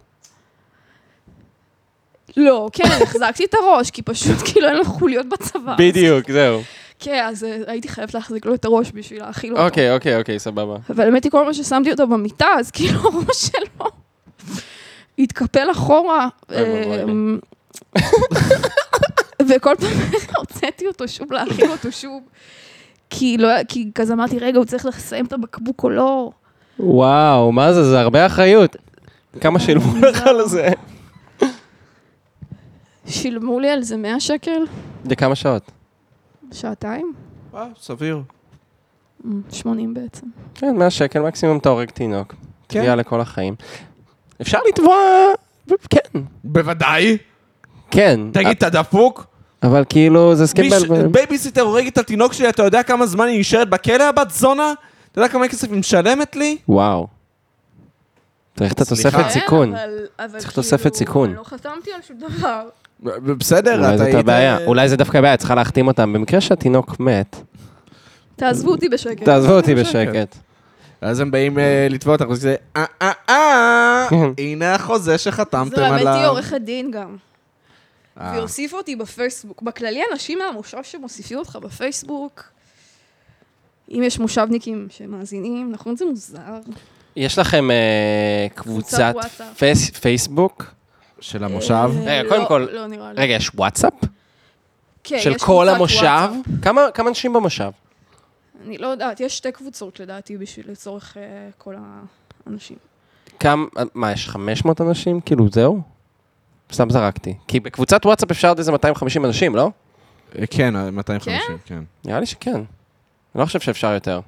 Speaker 2: לא, כן, החזקתי את הראש, כי פשוט כאילו אין לו חוליות בצבא.
Speaker 3: בדיוק, זהו.
Speaker 2: כן, אז אה, הייתי חייבת להחזיק לו את הראש בשביל להאכיל אותו.
Speaker 3: אוקיי, אוקיי, אוקיי, סבבה.
Speaker 2: אבל האמת היא, כל מה ששמתי אותו במיטה, אז כאילו הראש שלו התקפל אחורה.
Speaker 3: אוי ואבוי לי.
Speaker 2: אמ, וכל פעם הוצאתי אותו שוב, להאכיל אותו שוב. כי לא, כי כזה אמרתי, רגע, הוא צריך לסיים את הבקבוק או לא.
Speaker 3: וואו, מה זה? זה הרבה אחריות. כמה שילמו לך על זה?
Speaker 2: שילמו לי על זה 100 שקל,
Speaker 3: לכמה שעות?
Speaker 2: שעתיים,
Speaker 1: אה, סביר.
Speaker 2: אמ, 80 בעצם.
Speaker 3: כן, 100 שקל מקסימום אתה הורג תינוק.
Speaker 1: כן.
Speaker 3: תביעה לכל החיים. אפשר לתבוע... כן.
Speaker 1: בוודאי.
Speaker 3: כן.
Speaker 1: תגיד, אתה דפוק?
Speaker 3: אבל כאילו, זה הסכם
Speaker 1: מי ש-
Speaker 3: בין...
Speaker 1: בייביסיטר הורגת את התינוק שלי, אתה יודע כמה זמן היא נשארת בכלא, הבת זונה? אתה יודע כמה כסף היא משלמת לי?
Speaker 3: וואו. צריך את התוספת
Speaker 1: סליחה.
Speaker 3: סיכון.
Speaker 2: כן, אבל- אבל
Speaker 3: צריך תוספת סיכון.
Speaker 2: לא חתמתי על שום דבר.
Speaker 1: ב- בסדר,
Speaker 3: אולי
Speaker 1: אתה
Speaker 3: זאת
Speaker 1: היית...
Speaker 3: הבעיה. אולי זה דווקא הבעיה, צריכה להחתים אותם. במקרה שהתינוק מת,
Speaker 2: תעזבו אותי בשקט.
Speaker 3: תעזבו אותי
Speaker 1: בשקט.
Speaker 3: בשקט.
Speaker 1: אז הם באים אה, לתבוע אותך, וזה אה אה אה,
Speaker 3: כן.
Speaker 1: הנה החוזה שחתמתם
Speaker 2: זה
Speaker 1: עליו.
Speaker 2: באמת היא עורכת דין גם.
Speaker 1: אה,
Speaker 2: והוסיפו אותי בפייסבוק. בכללי, אנשים מהמושב שמוסיפים אותך בפייסבוק, אם יש מושבניקים שמאזינים, נכון זה מוזר?
Speaker 3: יש לכם אה, קבוצת
Speaker 2: קבוצת וואטסאפ. לא.
Speaker 3: פייס- פייסבוק?
Speaker 1: של המושב.
Speaker 2: אה,
Speaker 3: רגע,
Speaker 2: לא-
Speaker 3: קודם כל-
Speaker 2: לא נראה לי.
Speaker 3: רגע, יש וואטסאפ?
Speaker 2: כן,
Speaker 3: של
Speaker 2: יש
Speaker 3: כל
Speaker 2: קבוצת
Speaker 3: המושב?
Speaker 2: וואטסאפ.
Speaker 3: כמה כמה אנשים במושב?
Speaker 2: אני לא יודעת, יש שתי קבוצות לדעתי בשביל לצורך אה, כל האנשים.
Speaker 3: כמה, מה, יש 500 אנשים? כאילו, זהו? סתם זרקתי. כי בקבוצת וואטסאפ אפשר עד איזה 250 אנשים, לא?
Speaker 1: אה, כן, 250, כן.
Speaker 3: נראה לי שכן. אני לא חושב שאפשר יותר.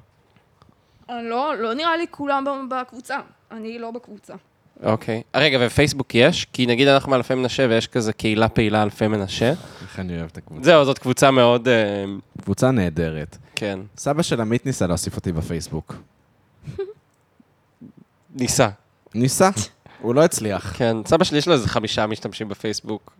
Speaker 2: אה, לא, לא נראה לי כולם ב- בקבוצה. אני לא בקבוצה.
Speaker 3: אוקיי. רגע, ופייסבוק יש? כי נגיד אנחנו מאלפי מנשה ויש כזה קהילה פעילה אלפי מנשה.
Speaker 1: איך אני אוהב את הקבוצה.
Speaker 3: זהו, זאת קבוצה מאוד... אה,
Speaker 1: קבוצה נהדרת.
Speaker 3: כן.
Speaker 1: סבא של עמית ניסה להוסיף אותי בפייסבוק.
Speaker 3: ניסה.
Speaker 1: ניסה, הוא לא הצליח.
Speaker 3: כן. סבא שלי יש לו איזה חמישה משתמשים בפייסבוק.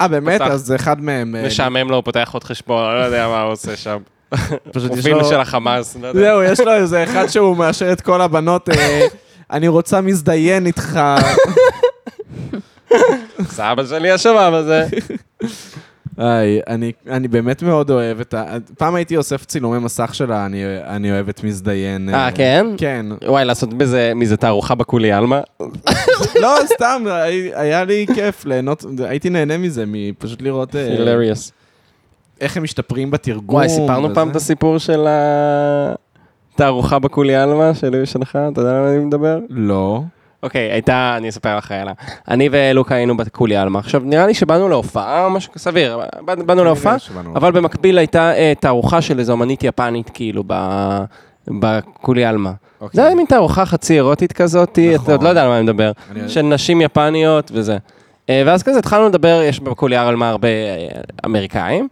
Speaker 1: אה, באמת?
Speaker 3: פתח.
Speaker 1: אז אחד מהם... אה,
Speaker 3: משעמם לו, הוא פותח עוד חשבון, אני לא יודע מה הוא עושה שם.
Speaker 1: פשוט יש
Speaker 3: פרופיל
Speaker 1: לו...
Speaker 3: של החמאס, לא יודע.
Speaker 1: זהו, יש לו איזה אחד שהוא מאשר את כל הבנות, אה, אני רוצה מזדיין איתך.
Speaker 3: סבא שלי השמם הזה.
Speaker 1: היי, אני, אני באמת מאוד אוהב את ה... פעם הייתי אוסף צילומי מסך שלה, אני, אני אוהב את מזדיין.
Speaker 3: אה, כן?
Speaker 1: כן.
Speaker 3: וואי, לעשות בזה, מזה תערוכה בקולי עלמה?
Speaker 1: לא, סתם, הי- היה לי כיף ליהנות, הייתי נהנה מזה, מפשוט לראות אה,
Speaker 3: הילריוס.
Speaker 1: איך הם משתפרים בתרגום.
Speaker 3: וואי, סיפרנו פעם את
Speaker 1: וזה.
Speaker 3: הסיפור של התערוכה בקולי עלמה, שלי ושלך, אתה יודע על מה אני מדבר?
Speaker 1: לא.
Speaker 3: אוקיי, הייתה, אני אספר לך עליה. אני ולוקה היינו בקולי עלמה. עכשיו, נראה לי שבאנו להופעה, או משהו סביר, באנו- באנו להופעה, לא, אבל במקביל הייתה אה, תערוכה של איזו אמנית יפנית, כאילו, ב- בקולי עלמה.
Speaker 1: אוקיי.
Speaker 3: זה היה מין תערוכה חצי אירוטית כזאת,
Speaker 1: נכון.
Speaker 3: אתה עוד לא יודע על מה אני מדבר,
Speaker 1: אני-
Speaker 3: של נשים יפניות וזה. אה, ואז כזה התחלנו לדבר, יש בקוליאר על מה הרבה אה, אמריקאים,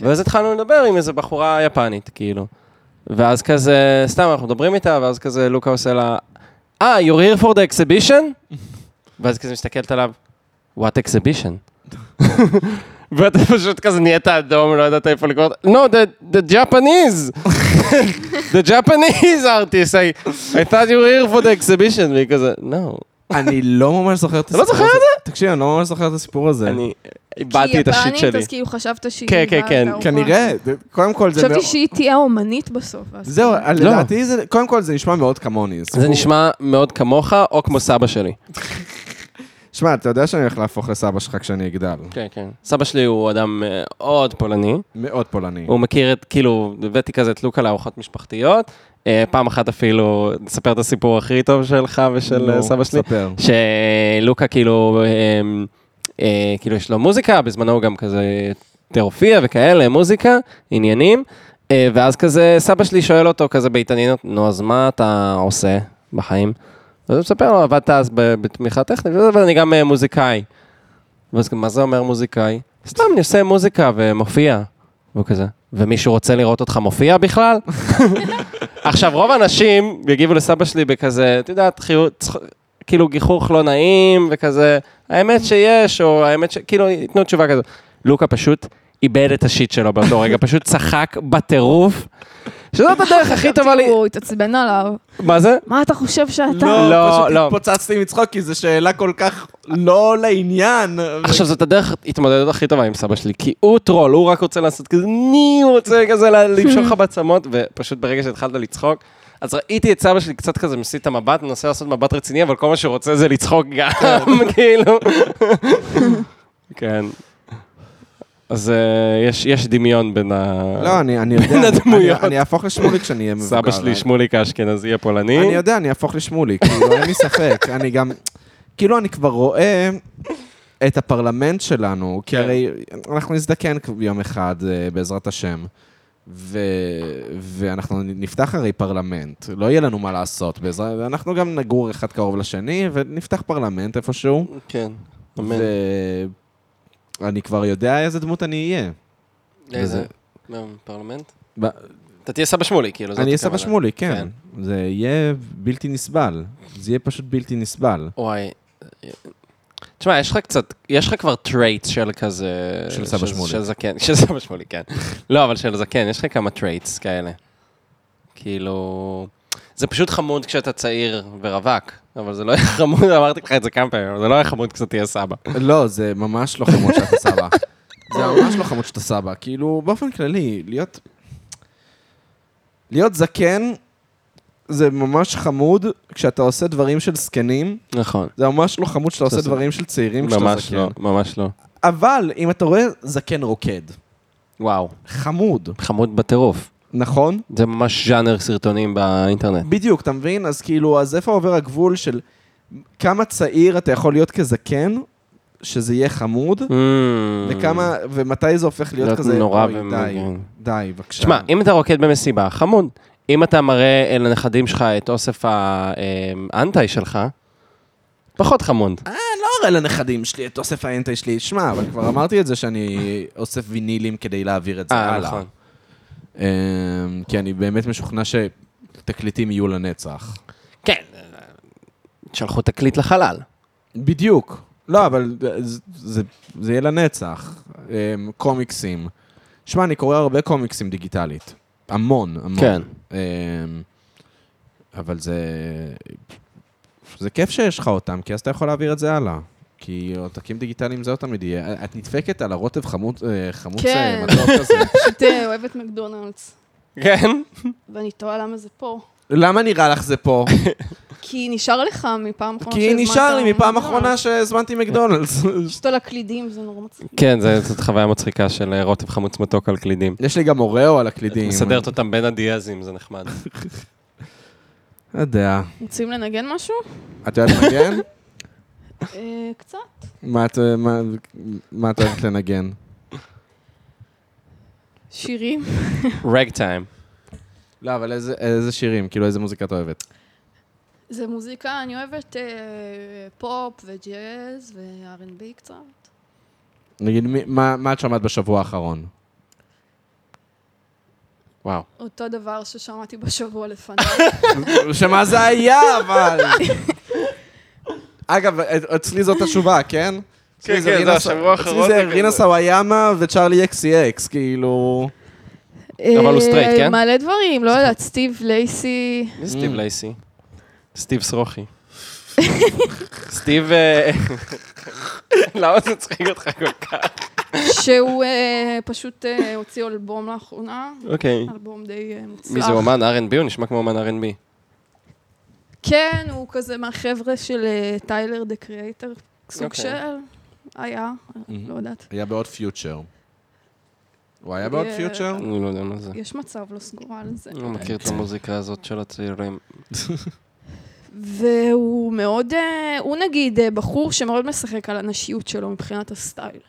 Speaker 3: ואז התחלנו לדבר עם איזו בחורה יפנית, כאילו. ואז כזה, סתם אנחנו מדברים איתה, ואז כזה לוקה עושה לה, אה, you're here for the exhibition? ואז כזה מסתכלת עליו, what exhibition? ואתה פשוט כזה נהיית אדום, לא יודעת איפה לקרוא, no, the, the Japanese, the Japanese artist, I, I thought you were here for the exhibition, והיא כזה, no,
Speaker 1: אני לא ממש זוכר את
Speaker 3: אתה לא
Speaker 1: הסיפור הזה.
Speaker 3: זוכר את
Speaker 1: תקשיב, אני לא ממש זוכר את הסיפור הזה.
Speaker 3: אני איבדתי את השיט
Speaker 2: כי היא יפנית,
Speaker 3: שלי.
Speaker 2: אז כאילו חשבת שהיא...
Speaker 3: כן, כן,
Speaker 2: באה
Speaker 3: כן.
Speaker 2: לתערוכה.
Speaker 1: כנראה, קודם כל זה...
Speaker 2: חשבתי
Speaker 1: מאוד-
Speaker 2: שהיא תהיה אומנית בסוף. אז
Speaker 1: זהו, אה,
Speaker 2: כאילו,
Speaker 3: לא.
Speaker 1: לדעתי זה, קודם כל זה נשמע מאוד כמוני.
Speaker 3: זה
Speaker 1: סיפור-
Speaker 3: נשמע מאוד כמוך, או כמו סבא שלי.
Speaker 1: שמע, אתה יודע שאני הולך להפוך לסבא שלך כשאני אגדל.
Speaker 3: כן, כן. סבא שלי הוא אדם אה, מאוד פולני.
Speaker 1: מאוד פולני.
Speaker 3: הוא מכיר את, כאילו, הבאתי כזה את לוקה לארוחות משפחתיות. אה, פעם אחת אפילו, נספר את הסיפור הכי טוב שלך ושל
Speaker 1: נו,
Speaker 3: אה, סבא שלי.
Speaker 1: ספר.
Speaker 3: שלוקה כאילו, אמ, אה, כאילו יש לו מוזיקה, בזמנו הוא גם כזה תרופיה וכאלה, מוזיקה, עניינים. אה, ואז כזה סבא שלי שואל אותו כזה בהתעניינות, נו אז מה אתה עושה בחיים? אז הוא מספר לו, עבדת אז ב- בתמיכה טכנית, וזה, אבל אני גם אה, מוזיקאי. ואז מה זה אומר מוזיקאי? סתם אני עושה מוזיקה ומופיע. והוא כזה, ומישהו רוצה לראות אותך מופיע בכלל? עכשיו, רוב האנשים יגיבו לסבא שלי בכזה, את יודעת, חיו- צח- כאילו גיחוך לא נעים וכזה, האמת שיש, או האמת ש... כאילו, ייתנו תשובה כזו. לוקה פשוט איבד את השיט שלו באותו רגע, פשוט צחק בטירוף, שזאת הדרך הכי טובה לי...
Speaker 2: הוא התעצבן עליו.
Speaker 3: מה זה?
Speaker 2: מה אתה חושב שאתה?
Speaker 3: לא,
Speaker 1: פשוט
Speaker 3: לא.
Speaker 1: התפוצצתי מצחוק, כי זו שאלה כל כך לא לעניין.
Speaker 3: עכשיו, זאת הדרך התמודדות הכי טובה עם סבא שלי, כי הוא טרול, הוא רק רוצה לעשות כזה, ני, הוא רוצה כזה ל- למשוך לך בעצמות, ופשוט ברגע שהתחלת לצחוק, אז ראיתי את סבא שלי קצת כזה מסיט את המבט, מנסה לעשות מבט רציני, אבל כל מה שהוא רוצה זה לצחוק גם, כאילו. כן. אז אה, יש- יש דמיון בין ה...
Speaker 1: לא, אני אני יודע.
Speaker 3: בין
Speaker 1: אני-
Speaker 3: הדמויות.
Speaker 1: אני אהפוך לשמולי כשאני אהיה מבוגר. אה.
Speaker 3: סבא שלי שמוליק האשכנזי הפולני.
Speaker 1: אני יודע, אני אהפוך לשמולי, כאילו, אין לי ספק. אני גם... כאילו, אני כבר רואה את הפרלמנט שלנו, כי
Speaker 3: כן.
Speaker 1: הרי אנחנו נזדקן יום אחד, אה, בעזרת השם. ו... ואנחנו נפתח הרי פרלמנט, לא יהיה לנו מה לעשות בעזרת, אנחנו גם נגור אחד קרוב לשני ונפתח פרלמנט איפשהו.
Speaker 3: כן. אמן.
Speaker 1: ואני כבר יודע איזה דמות אני אהיה.
Speaker 3: איזה?
Speaker 1: וזה-
Speaker 3: מה, פרלמנט?
Speaker 1: ב-
Speaker 3: אה, אתה תהיה סבא שמולי, כאילו. זאת
Speaker 1: אני אהיה סבא
Speaker 3: הכוונה.
Speaker 1: שמולי, כן. זה יהיה בלתי נסבל. זה יהיה פשוט בלתי נסבל.
Speaker 3: וואי. תשמע, יש לך קצת, יש לך כבר טרייטס של כזה...
Speaker 1: של סבא שמולי.
Speaker 3: של זקן, של סבא שמולי, כן. לא, אבל של זקן, יש לך כמה טרייטס כאלה. כאילו... זה פשוט חמוד כשאתה צעיר ורווק, אבל זה לא יהיה חמוד, אמרתי לך את זה כמה פעמים, אבל זה לא יהיה חמוד כשאתה תהיה סבא.
Speaker 1: לא, זה ממש לא חמוד שאתה סבא. זה ממש לא חמוד שאתה סבא. כאילו, באופן כללי, להיות... להיות זקן זה ממש חמוד כשאתה עושה דברים של זקנים.
Speaker 3: נכון.
Speaker 1: זה ממש לא חמוד שאתה עושה
Speaker 3: כשאתה-
Speaker 1: דברים של צעירים כשאתה
Speaker 3: ממש
Speaker 1: זקן.
Speaker 3: לא, ממש לא.
Speaker 1: אבל אם אתה רואה זקן רוקד,
Speaker 3: וואו,
Speaker 1: חמוד,
Speaker 3: חמוד בטירוף.
Speaker 1: נכון?
Speaker 3: זה ממש ז'אנר סרטונים באינטרנט.
Speaker 1: בדיוק, אתה מבין? אז כאילו, אז איפה עובר הגבול של כמה צעיר אתה יכול להיות כזקן, שזה יהיה חמוד, וכמה, ומתי זה הופך להיות
Speaker 3: להיות
Speaker 1: כזה,
Speaker 3: נורא
Speaker 1: אוי, די,
Speaker 3: ומגעיל.
Speaker 1: די, בבקשה.
Speaker 3: תשמע, אם אתה רוקד במסיבה, חמוד. אם אתה מראה לנכדים שלך את אוסף אמ, האנטי שלך, פחות חמוד.
Speaker 1: לא אראה לנכדים שלי את אוסף האנטי שלי, שמע, אבל כבר אמרתי את זה שאני אוסף וינילים כדי להעביר את זה
Speaker 3: אה,
Speaker 1: הלאה.
Speaker 3: נכון.
Speaker 1: אמ, כי אני באמת משוכנע שתקליטים יהיו לנצח.
Speaker 3: כן. שלחו תקליט לחלל.
Speaker 1: בדיוק. לא, אבל זה- זה- זה יהיה לנצח. אמ, קומיקסים. שמע, אני קורא הרבה קומיקסים דיגיטלית. המון, המון.
Speaker 3: כן.
Speaker 1: אמ, אבל זה... זה כיף שיש לך אותם, כי אז אתה יכול להעביר את זה הלאה. כי עותקים דיגיטליים זה לא תמיד יהיה. את נדפקת על הרוטב חמוץ, אה, חמוץ
Speaker 2: כן.
Speaker 1: אה, מתוק כזה.
Speaker 2: פשוט אה, אוהבת מקדונלדס,
Speaker 3: כן?
Speaker 2: ואני תוהה למה זה פה.
Speaker 1: למה נראה לך זה פה?
Speaker 2: כי נשאר לך מפעם אחרונה
Speaker 1: כי
Speaker 2: שהזמנת
Speaker 1: נשאר לי מפעם
Speaker 2: מקדונלדס.
Speaker 1: אחרונה שהזמנתי מקדונלדס.
Speaker 2: פשוט על הקלידים, זה נורא מצחיק.
Speaker 3: כן, זה- זאת חוויה מצחיקה של אה, רוטב חמוץ מתוק על קלידים.
Speaker 1: יש לי גם אוראו על הקלידים.
Speaker 3: מסדרת אותם בין הדיאזים, זה נחמד.
Speaker 1: לא יודע.
Speaker 2: רוצים לנגן משהו?
Speaker 1: את יודעת לנגן?
Speaker 2: אה, קצת.
Speaker 1: מה את, אה, מה, מה את אוהבת לנגן?
Speaker 2: שירים.
Speaker 3: רג טיים.
Speaker 1: לא, אבל איזה, איזה שירים? כאילו, איזה מוזיקה את אוהבת?
Speaker 2: זה מוזיקה, אני אוהבת אה, פופ וג'אז ו-R&B קצת.
Speaker 1: נגיד, מי, מה, מה את שמעת בשבוע האחרון?
Speaker 3: וואו.
Speaker 2: אותו דבר ששמעתי בשבוע לפניו.
Speaker 1: שמה זה היה, אבל... אגב, אצלי זאת התשובה, כן? אצלי
Speaker 3: כן,
Speaker 1: רינה
Speaker 3: זה
Speaker 1: ס-
Speaker 3: השבוע האחרון
Speaker 1: אצלי
Speaker 3: זה
Speaker 1: זה רינה
Speaker 3: כזה.
Speaker 1: סוויאמה וצ'ארלי אקסי אקס, כאילו...
Speaker 3: אבל הוא straight, כן?
Speaker 2: אה, מלא דברים, לא יודעת, סטיב לייסי.
Speaker 3: מי זה סטיב לייסי? סטיב סרוכי. סטיב... אה, למה זה צחיק אותך כל כך?
Speaker 2: שהוא אה, פשוט אה, הוציא אלבום לאחרונה,
Speaker 3: אוקיי.
Speaker 2: אלבום די אה, מוצלח.
Speaker 3: מי זה אומן R&B? הוא נשמע כמו אומן R&B.
Speaker 2: כן, הוא כזה מהחבר'ה של אה, טיילר דה קריאייטר, סוג
Speaker 3: אוקיי. Mm.
Speaker 2: של... היה, לא יודעת.
Speaker 1: היה בעוד פיוטשר. הוא היה בעוד
Speaker 2: אה,
Speaker 1: פיוטשר?
Speaker 3: אני לא יודע מה זה.
Speaker 2: יש מצב, לא סגורה על זה.
Speaker 3: אני לא מכיר את המוזיקה הזאת של הצעירים.
Speaker 2: והוא מאוד, אה, הוא נגיד אה, בחור שמאוד משחק על הנשיות שלו מבחינת הסטייל.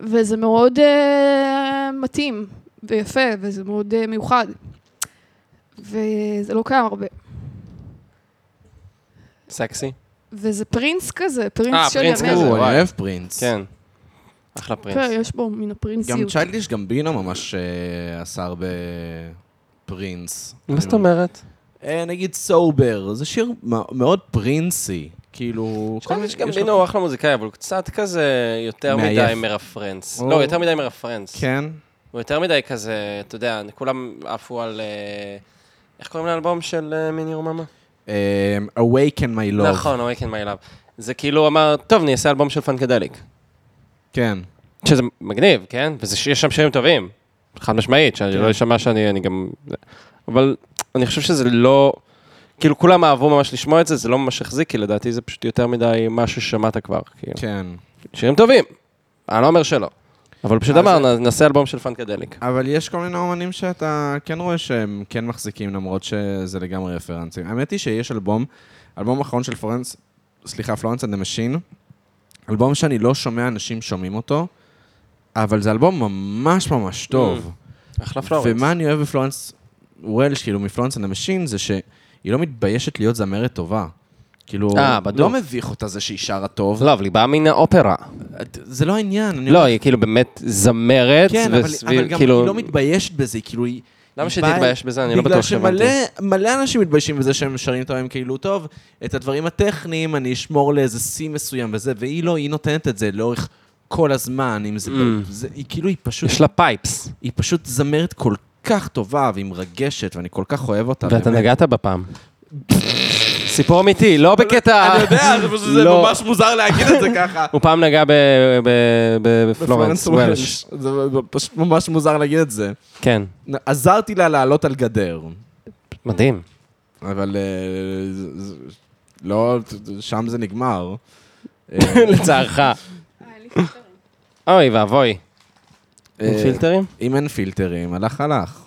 Speaker 2: וזה מאוד אה, מתאים ויפה, וזה מאוד אה, מיוחד. וזה לא קיים הרבה.
Speaker 3: סקסי?
Speaker 2: וזה פרינס כזה, פרינס
Speaker 3: אה,
Speaker 2: של
Speaker 3: פרינס
Speaker 2: ימינו.
Speaker 3: כזה,
Speaker 1: או, אני
Speaker 3: וואי.
Speaker 1: אוהב פרינס.
Speaker 3: כן. אחלה פרינס.
Speaker 2: כן, יש בו כן, מן הפרינסיות.
Speaker 1: גם צ'יילדיש גמבינו ממש אה, עשה הרבה פרינס.
Speaker 3: מה זאת אומרת?
Speaker 1: אה, נגיד סובר, זה שיר מ- מאוד פרינסי, כאילו... כל מיני-
Speaker 3: יש גם
Speaker 1: יש
Speaker 3: בינו
Speaker 1: לו-
Speaker 3: הוא אחלה מוזיקאי, אבל הוא קצת כזה יותר
Speaker 1: מעייף.
Speaker 3: מדי מרפרנס.
Speaker 1: או.
Speaker 3: לא, יותר מדי מרפרנס.
Speaker 1: כן.
Speaker 3: הוא יותר מדי כזה, אתה יודע, כולם עפו על... אה, איך קוראים לאלבום של אה, מיני רוממה?
Speaker 1: אה, Awaken my love.
Speaker 3: נכון, Awaken My Love. זה כאילו הוא אמר, טוב, אני אעשה אלבום של פנקדליק.
Speaker 1: כן.
Speaker 3: שזה מגניב, כן? ויש שם שירים טובים. חד משמעית,
Speaker 1: כן.
Speaker 3: שאני לא אשמע שאני אני גם... אבל אני חושב שזה לא... כאילו, כולם אהבו ממש לשמוע את זה, זה לא ממש החזיק, כי לדעתי זה פשוט יותר מדי משהו ששמעת כבר. כאילו.
Speaker 1: כן.
Speaker 3: שירים טובים, אני לא אומר שלא. אבל פשוט
Speaker 1: אה,
Speaker 3: אמר,
Speaker 1: זה-
Speaker 3: "נ- נעשה אלבום של פנקדליק.
Speaker 1: אבל יש כל מיני אומנים שאתה כן רואה שהם כן מחזיקים, למרות שזה לגמרי רפרנסים. האמת היא שיש אלבום, אלבום אחרון של פלורנס, סליחה, פלורנס אנד המשין, אלבום שאני לא שומע אנשים שומעים אותו, אבל זה אלבום ממש ממש טוב.
Speaker 3: Mm. אחלה פלורנס.
Speaker 1: ומה אני אוהב בפלורנס וולש, כאילו, מפלורנס אנד המשין, זה שהיא לא מתביישת להיות זמרת טובה. כאילו,
Speaker 3: אה, בדוק.
Speaker 1: לא מביך אותה זה שהיא שרה טוב.
Speaker 3: לא, אבל היא באה מן האופרה.
Speaker 1: את- זה לא העניין. אני
Speaker 3: לא,
Speaker 1: אומר-
Speaker 3: היא כאילו באמת זמרת.
Speaker 1: כן, אבל-
Speaker 3: וסביב-
Speaker 1: אבל גם
Speaker 3: כאילו-
Speaker 1: היא לא מתביישת בזה, כאילו, היא...
Speaker 3: למה שתתבייש בזה? אני לא בטוח שהבנתי.
Speaker 1: בגלל שמלא אנשים מתביישים בזה שהם שרים את הרעיון כאילו, טוב, את הדברים הטכניים אני אשמור לאיזה שיא מסוים וזה, והיא לא, היא נותנת את זה לאורך כל הזמן, אם זה...
Speaker 3: Mm.
Speaker 1: זה היא כאילו, היא פשוט,
Speaker 3: יש לה פייפס.
Speaker 1: היא פשוט זמרת כל כך טובה והיא מרגשת, ואני כל כך אוהב אותה.
Speaker 3: ואתה
Speaker 1: באמת.
Speaker 3: נגעת בפעם. סיפור אמיתי, לא בקטע...
Speaker 1: אני יודע, זה פשוט זה
Speaker 3: לא.
Speaker 1: ממש מוזר להגיד את זה ככה.
Speaker 3: הוא פעם נגע ב- ב- ב- בפלורנס, וולש.
Speaker 1: זה פשוט ממש מוזר להגיד את זה.
Speaker 3: כן,
Speaker 1: עזרתי לה לעלות על גדר,
Speaker 3: מדהים.
Speaker 1: אבל אה, זה- זה- לא, שם זה נגמר. אה,
Speaker 3: לצערך. אוי ואבוי. אין
Speaker 1: אה,
Speaker 3: פילטרים?
Speaker 1: אם אין פילטרים, הלך הלך.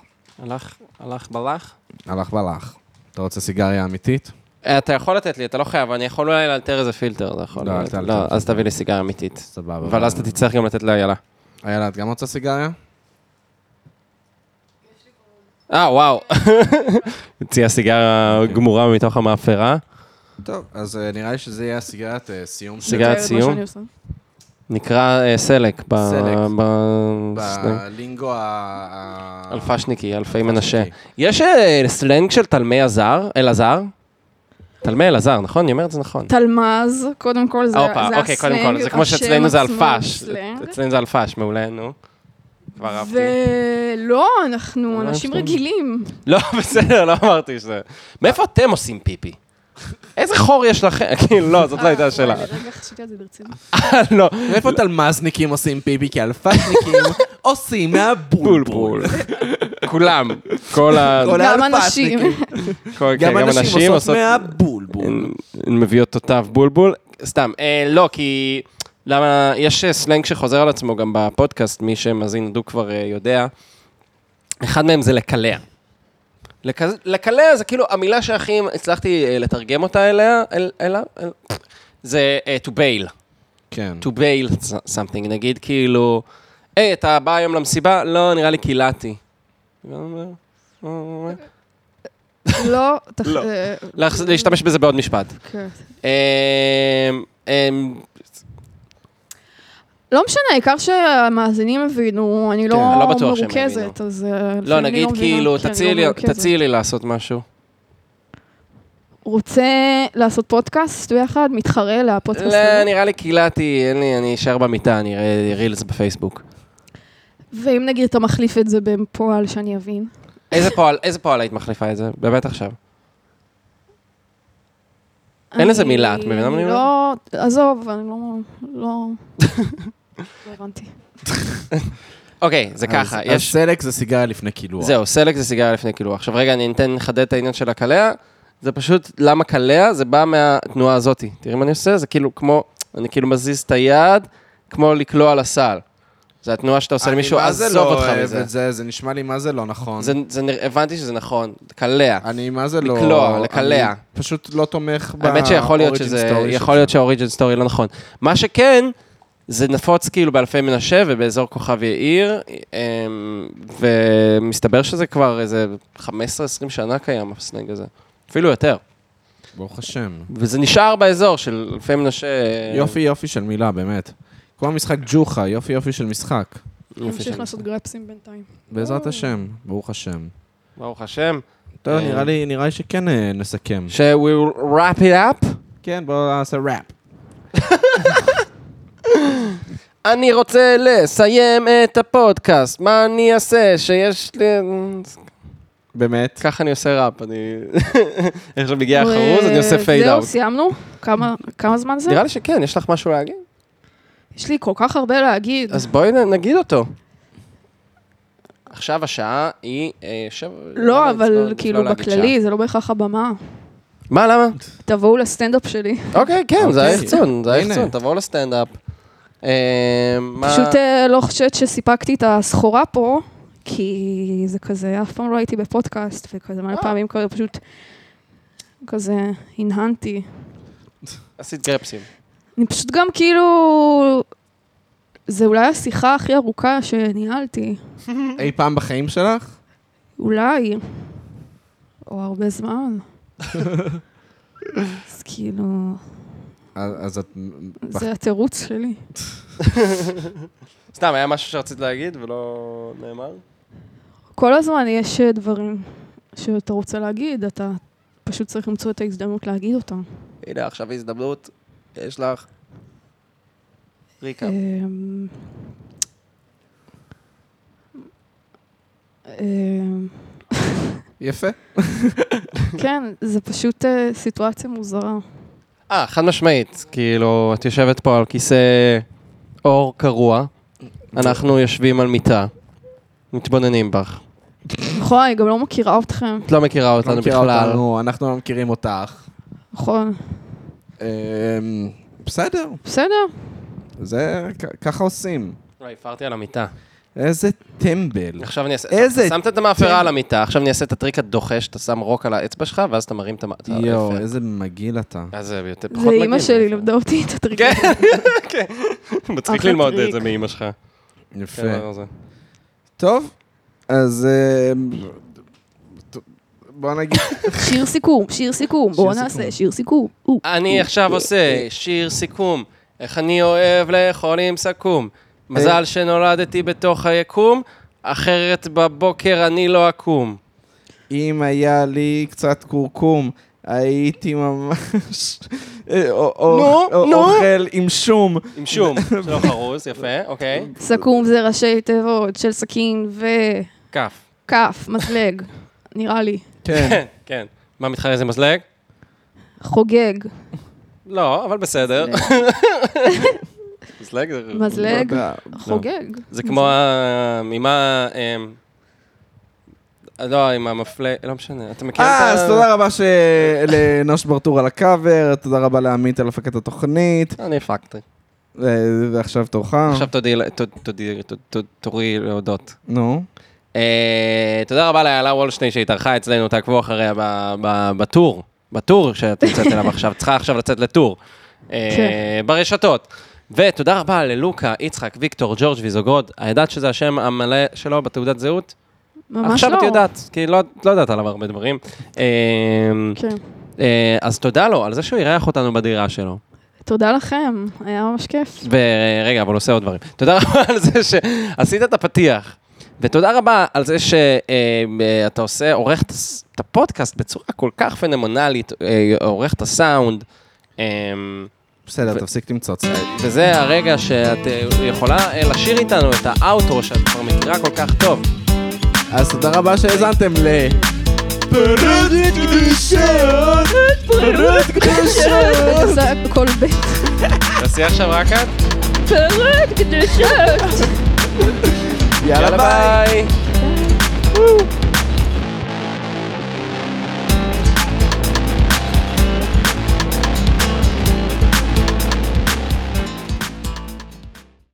Speaker 3: הלך, הלך בלך?
Speaker 1: הלך והלך. אתה רוצה סיגריה אמיתית?
Speaker 3: אתה יכול לתת לי, אתה לא חייב, אני יכול אולי לאלתר איזה פילטר, אתה יכול.
Speaker 1: לא, אל תאלתר.
Speaker 3: לא, אז תביא לי סיגריה אמיתית.
Speaker 1: סבבה.
Speaker 3: אבל אז אתה תצטרך גם לתת לאיילה.
Speaker 1: איילה, את גם רוצה סיגריה?
Speaker 3: אה, וואו. אוקיי. הוציאה סיגריה גמורה מתוך המאפרה.
Speaker 1: טוב, אז אה, נראה לי שזה יהיה הסיגרת אה, סיום של
Speaker 3: סיגרת
Speaker 2: זה מה
Speaker 3: סיום?
Speaker 2: שאני עושה.
Speaker 3: נקרא אה, סלק. ב-
Speaker 1: סלק.
Speaker 3: ב...
Speaker 1: בלינגו ה- ה...
Speaker 3: אלפשניקי, אלפי מנשה. יש אה, סלנג של תלמי הזר, אלעזר? תלמי אלעזר, נכון? אני אומר את זה נכון.
Speaker 2: תלמ"ז, קודם כל זה
Speaker 3: הופה,
Speaker 2: זה
Speaker 3: אוקיי, קודם כל,
Speaker 2: הסלנג,
Speaker 3: זה כמו
Speaker 2: השם
Speaker 3: שאצלנו זה
Speaker 2: עצמו
Speaker 3: אלפש.
Speaker 2: סלנג.
Speaker 3: אצלנו זה אלפש, מעולה, נו. כבר אהבתי.
Speaker 2: ולא, אנחנו
Speaker 3: לא
Speaker 2: אנשים
Speaker 3: אהבת.
Speaker 2: רגילים.
Speaker 3: לא, בסדר, לא אמרתי שזה. מאיפה אתם עושים פיפי? איזה חור יש לכם? כאילו, לא, זאת לא הייתה השאלה.
Speaker 2: אה, אוקיי. רגע, חשבתי על זה ברצינות.
Speaker 3: לא,
Speaker 1: מאיפה תלמזניקים עושים פיפי? כי אלפשניקים עושים מהבולבול.
Speaker 3: בולבול. כולם. כל ה...
Speaker 1: כל
Speaker 2: גם
Speaker 1: האלפסניקים.
Speaker 2: אנשים.
Speaker 3: כל- כן,
Speaker 1: אוקיי, גם אנשים עושות
Speaker 3: הן
Speaker 1: מהבולבול.
Speaker 3: הן מביאות אותיו בולבול. סתם, אה, לא, כי... למה, יש אה, סלנג שחוזר על עצמו גם בפודקאסט, מי שמאזין לדו כבר אה, יודע. אחד מהם זה לקלע. לקז- לקלע זה כאילו המילה שהכי הצלחתי אה, לתרגם אותה אליה, אל- אלה, אל- זה אה, to bail.
Speaker 1: כן.
Speaker 3: to bail something, נגיד כאילו, היי, אתה בא היום למסיבה? לא, נראה לי קילעתי.
Speaker 2: לא, תח-
Speaker 3: לא.
Speaker 2: אה,
Speaker 3: להחז- להשתמש בזה בעוד משפט.
Speaker 2: כן.
Speaker 3: אמ, אמ,
Speaker 2: לא משנה, העיקר שהמאזינים הבינו, אני לא
Speaker 3: אני לא בטוח שהם
Speaker 2: מרוכזת,
Speaker 3: הבינו.
Speaker 2: אז... אה, לפעמים
Speaker 3: לא,
Speaker 2: אני
Speaker 3: נגיד
Speaker 2: מבינה,
Speaker 3: כאילו,
Speaker 2: כי אני
Speaker 3: תציעי
Speaker 2: לא
Speaker 3: לי-
Speaker 2: מרוכזת.
Speaker 3: תציעי לי לעשות משהו.
Speaker 2: רוצה לעשות פודקאסט ביחד? מתחרה לפודקאסט
Speaker 3: לא,
Speaker 2: הזה?
Speaker 3: נראה לי קילעתי, אין לי, אני אשאר במיטה, אני אראה רילס בפייסבוק.
Speaker 2: ואם נגיד אתה מחליף את זה בפועל שאני אבין?
Speaker 3: איזה פועל, איזה פועל היית מחליפה את זה? באמת עכשיו. אין לזה
Speaker 2: אני-
Speaker 3: מילה, את מבינה מה אני
Speaker 2: אני לא... עזוב, אני לא... לא... לא הבנתי.
Speaker 3: אוקיי, זה ככה.
Speaker 1: אז- אז
Speaker 3: יש...
Speaker 1: סלק זה סיגריה לפני קילוח.
Speaker 3: זהו, סלק זה סיגריה לפני קילוח. עכשיו רגע, אני אתן לחדד את העניין של הקלע. זה פשוט, למה קלע? זה בא מהתנועה הזאתי. תראי מה אני עושה? זה כאילו כמו, אני כאילו מזיז את היד, כמו לקלוע על הסל. זה התנועה שאתה עושה
Speaker 1: אני
Speaker 3: למישהו,
Speaker 1: מה זה
Speaker 3: עזוב
Speaker 1: לא
Speaker 3: אותך
Speaker 1: אוהב
Speaker 3: מזה.
Speaker 1: את זה, זה נשמע לי מה זה לא נכון.
Speaker 3: זה, זה, נרא- הבנתי שזה נכון, קלע.
Speaker 1: אני מה זה לא...
Speaker 3: לקלוע, לקלע.
Speaker 1: אני פשוט לא תומך ב...
Speaker 3: האמת שיכול להיות שזה, יכול להיות שהאוריג'ן סטורי לא נכון. מה שכן, זה נפוץ כאילו באלפי מנשה ובאזור כוכב יאיר, אמ, ומסתבר שזה כבר איזה 15-20 שנה קיים, הסלנג הזה. אפילו יותר.
Speaker 1: ברוך השם.
Speaker 3: וזה נשאר באזור של אלפי מנשה. אמ,
Speaker 1: יופי יופי של מילה, באמת. כמו המשחק ג'וחה, יופי יופי של משחק.
Speaker 2: נמשיך לעשות גרפסים בינתיים.
Speaker 1: בעזרת השם, ברוך השם.
Speaker 3: ברוך השם.
Speaker 1: טוב,
Speaker 3: אה,
Speaker 1: נראה לי- נראה לי שכן אה, נסכם.
Speaker 3: ש- we will wrap it up.
Speaker 1: כן, בואו נעשה ראפ.
Speaker 3: אני רוצה לסיים את הפודקאסט, מה אני אעשה שיש לי...
Speaker 1: באמת.
Speaker 3: ככה אני עושה ראפ, אני... עכשיו מגיע החרוז, אני עושה פייד
Speaker 2: אה, זהו,
Speaker 3: אאוט.
Speaker 2: סיימנו? כמה- כמה זמן זה?
Speaker 3: נראה לי שכן, יש לך משהו להגיד?
Speaker 2: יש לי כל כך הרבה להגיד.
Speaker 3: אז בואי נ- נגיד אותו. עכשיו השעה היא אה, שבע...
Speaker 2: לא,
Speaker 3: למה
Speaker 2: אבל
Speaker 3: נפלא
Speaker 2: כאילו
Speaker 3: להגיד
Speaker 2: בכללי, זה לא בהכרח הבמה.
Speaker 3: שעה? מה, למה?
Speaker 2: תבואו לסטנדאפ שלי.
Speaker 3: אוקיי, כן, זה
Speaker 1: אוקיי.
Speaker 3: היחצון, זה
Speaker 1: הנה.
Speaker 3: היחצון, תבואו לסטנדאפ. אה, מה-
Speaker 2: פשוט אה, לא חושבת שסיפקתי את הסחורה פה, כי זה כזה, אף פעם לא הייתי בפודקאסט, וכזה מלא
Speaker 3: אה.
Speaker 2: פעמים כזה פשוט, כזה, הנהנתי.
Speaker 3: עשית גרפסים.
Speaker 2: אני פשוט גם כאילו... זה אולי השיחה הכי ארוכה שניהלתי.
Speaker 1: אי פעם בחיים שלך?
Speaker 2: אולי. או הרבה זמן. אז כאילו,
Speaker 1: אז אז את...
Speaker 2: זה התירוץ שלי.
Speaker 3: סתם, היה משהו שרצית להגיד ולא נאמר?
Speaker 2: כל הזמן יש אה, דברים שאתה רוצה להגיד, אתה פשוט צריך למצוא את ההזדמנות להגיד אותם.
Speaker 3: הנה, עכשיו הזדמנות, יש לך ריקה.
Speaker 2: אמ, אמ,
Speaker 3: לא
Speaker 1: יפה.
Speaker 2: כן, זה פשוט אה, סיטואציה מוזרה.
Speaker 3: אה, חד משמעית. כאילו, את יושבת פה על כיסא אור קרוע, אנחנו יושבים על מיטה, מתבוננים בך.
Speaker 2: נכון, אני גם לא מכירה אתכם,
Speaker 3: את לא מכירה אותנו
Speaker 1: לא מכירה
Speaker 3: בכלל.
Speaker 1: אותנו, אנחנו לא מכירים אותך.
Speaker 2: נכון.
Speaker 1: אמ, בסדר,
Speaker 2: בסדר,
Speaker 1: זה כ- ככה עושים.
Speaker 3: לא, הפרתי על המיטה.
Speaker 1: איזה טמבל.
Speaker 3: עכשיו אני אעשה...
Speaker 1: איזה כן.
Speaker 3: שמת את המאפרה
Speaker 1: טמבל.
Speaker 3: על המיטה, עכשיו אני אעשה את הטריק הדוחה, שאתה שם רוק על האצבע שלך, ואז אתה מרים את המ... את
Speaker 1: יואו,
Speaker 3: האפר.
Speaker 1: איזה מגעיל אתה.
Speaker 3: אז זה יותר פחות
Speaker 2: זה
Speaker 3: מגעיל.
Speaker 2: אימא שלי לימדה אותי את הטריק.
Speaker 3: כן,
Speaker 2: הזה.
Speaker 3: כן. מצחיק
Speaker 2: אחלה
Speaker 3: ללמוד את
Speaker 2: טריק.
Speaker 3: זה מאימא שלך. כן,
Speaker 1: יפה.
Speaker 3: לא, זה.
Speaker 1: טוב, אז אמ, בוא נגיד...
Speaker 2: שיר סיכום, שיר סיכום, בואו
Speaker 1: שיר
Speaker 2: נעשה
Speaker 1: סיכום.
Speaker 2: שיר סיכום. או,
Speaker 3: אני עכשיו עושה שיר סיכום, איך אני אוהב לאכול עם סכו"ם.
Speaker 1: אה.
Speaker 3: מזל שנולדתי בתוך היקום, אחרת בבוקר אני לא אקום.
Speaker 1: אם היה לי קצת קורקום, הייתי ממש... אה, או- או-
Speaker 3: נו,
Speaker 1: או-
Speaker 3: נו.
Speaker 1: אוכל עם שום.
Speaker 3: עם שום, שלא חרוז, יפה, אוקיי.
Speaker 2: סכו"ם זה ראשי תיבות של סכין וכף,
Speaker 3: כף.
Speaker 2: מזלג, נראה לי.
Speaker 1: כן.
Speaker 3: כן, כן. מה מתחרה זה מזלג?
Speaker 2: חוגג,
Speaker 3: לא, אבל בסדר. מזלג זה...
Speaker 2: מזלג,
Speaker 1: לא יודע.
Speaker 2: חוגג.
Speaker 3: זה כמו ה- ממה... אמ, לא, עם המפלה, לא משנה, אתה מכיר את ה...
Speaker 1: אה, אז תודה רבה ש- לנוש ברטור על הקאבר, תודה רבה לעמית על הפקת התוכנית,
Speaker 3: אני הפקתי.
Speaker 1: ו- ועכשיו תורך.
Speaker 3: עכשיו תודי, ל- ת- תודי, ת- ת- תורי להודות.
Speaker 1: נו.
Speaker 3: אה, תודה רבה לאיילה וולשטיין שהתארחה אצלנו, תעקבו אחריה ב- ב- בטור, בטור שאת יוצאת אליו עכשיו, צריכה עכשיו לצאת לטור. אה,
Speaker 2: כן.
Speaker 3: ברשתות. ותודה רבה ללוקה, יצחק, ויקטור, ג'ורג' ויזוגרוד. ידעת שזה השם המלא שלו בתעודת זהות?
Speaker 2: ממש לא.
Speaker 3: עכשיו את יודעת, כי לא, לא יודעת עליו הרבה דברים. אה,
Speaker 2: כן.
Speaker 3: אה, אז תודה לו על זה שהוא אירח אותנו בדירה שלו.
Speaker 2: תודה לכם, היה ממש כיף.
Speaker 3: ורגע, אבל הוא עושה עוד דברים. תודה רבה על זה שעשית את הפתיח, ותודה רבה על זה שאתה עושה, עורך את הס- את הפודקאסט בצורה כל כך פנומנלית, אה, עורך את הסאונד, אה,
Speaker 1: בסדר,
Speaker 3: ו-
Speaker 1: תפסיק למצוץ.
Speaker 3: וזה הרגע שאת אה, יכולה אה, לשיר איתנו את האאוטרו שאת כבר מכירה כל כך טוב.
Speaker 1: אז תודה רבה שהאזנתם ל... פרות קדושות, פרות קדושות.
Speaker 2: זה כל בית.
Speaker 3: תעשי עכשיו רק את?
Speaker 2: פרק קדושות.
Speaker 1: יאללה ביי.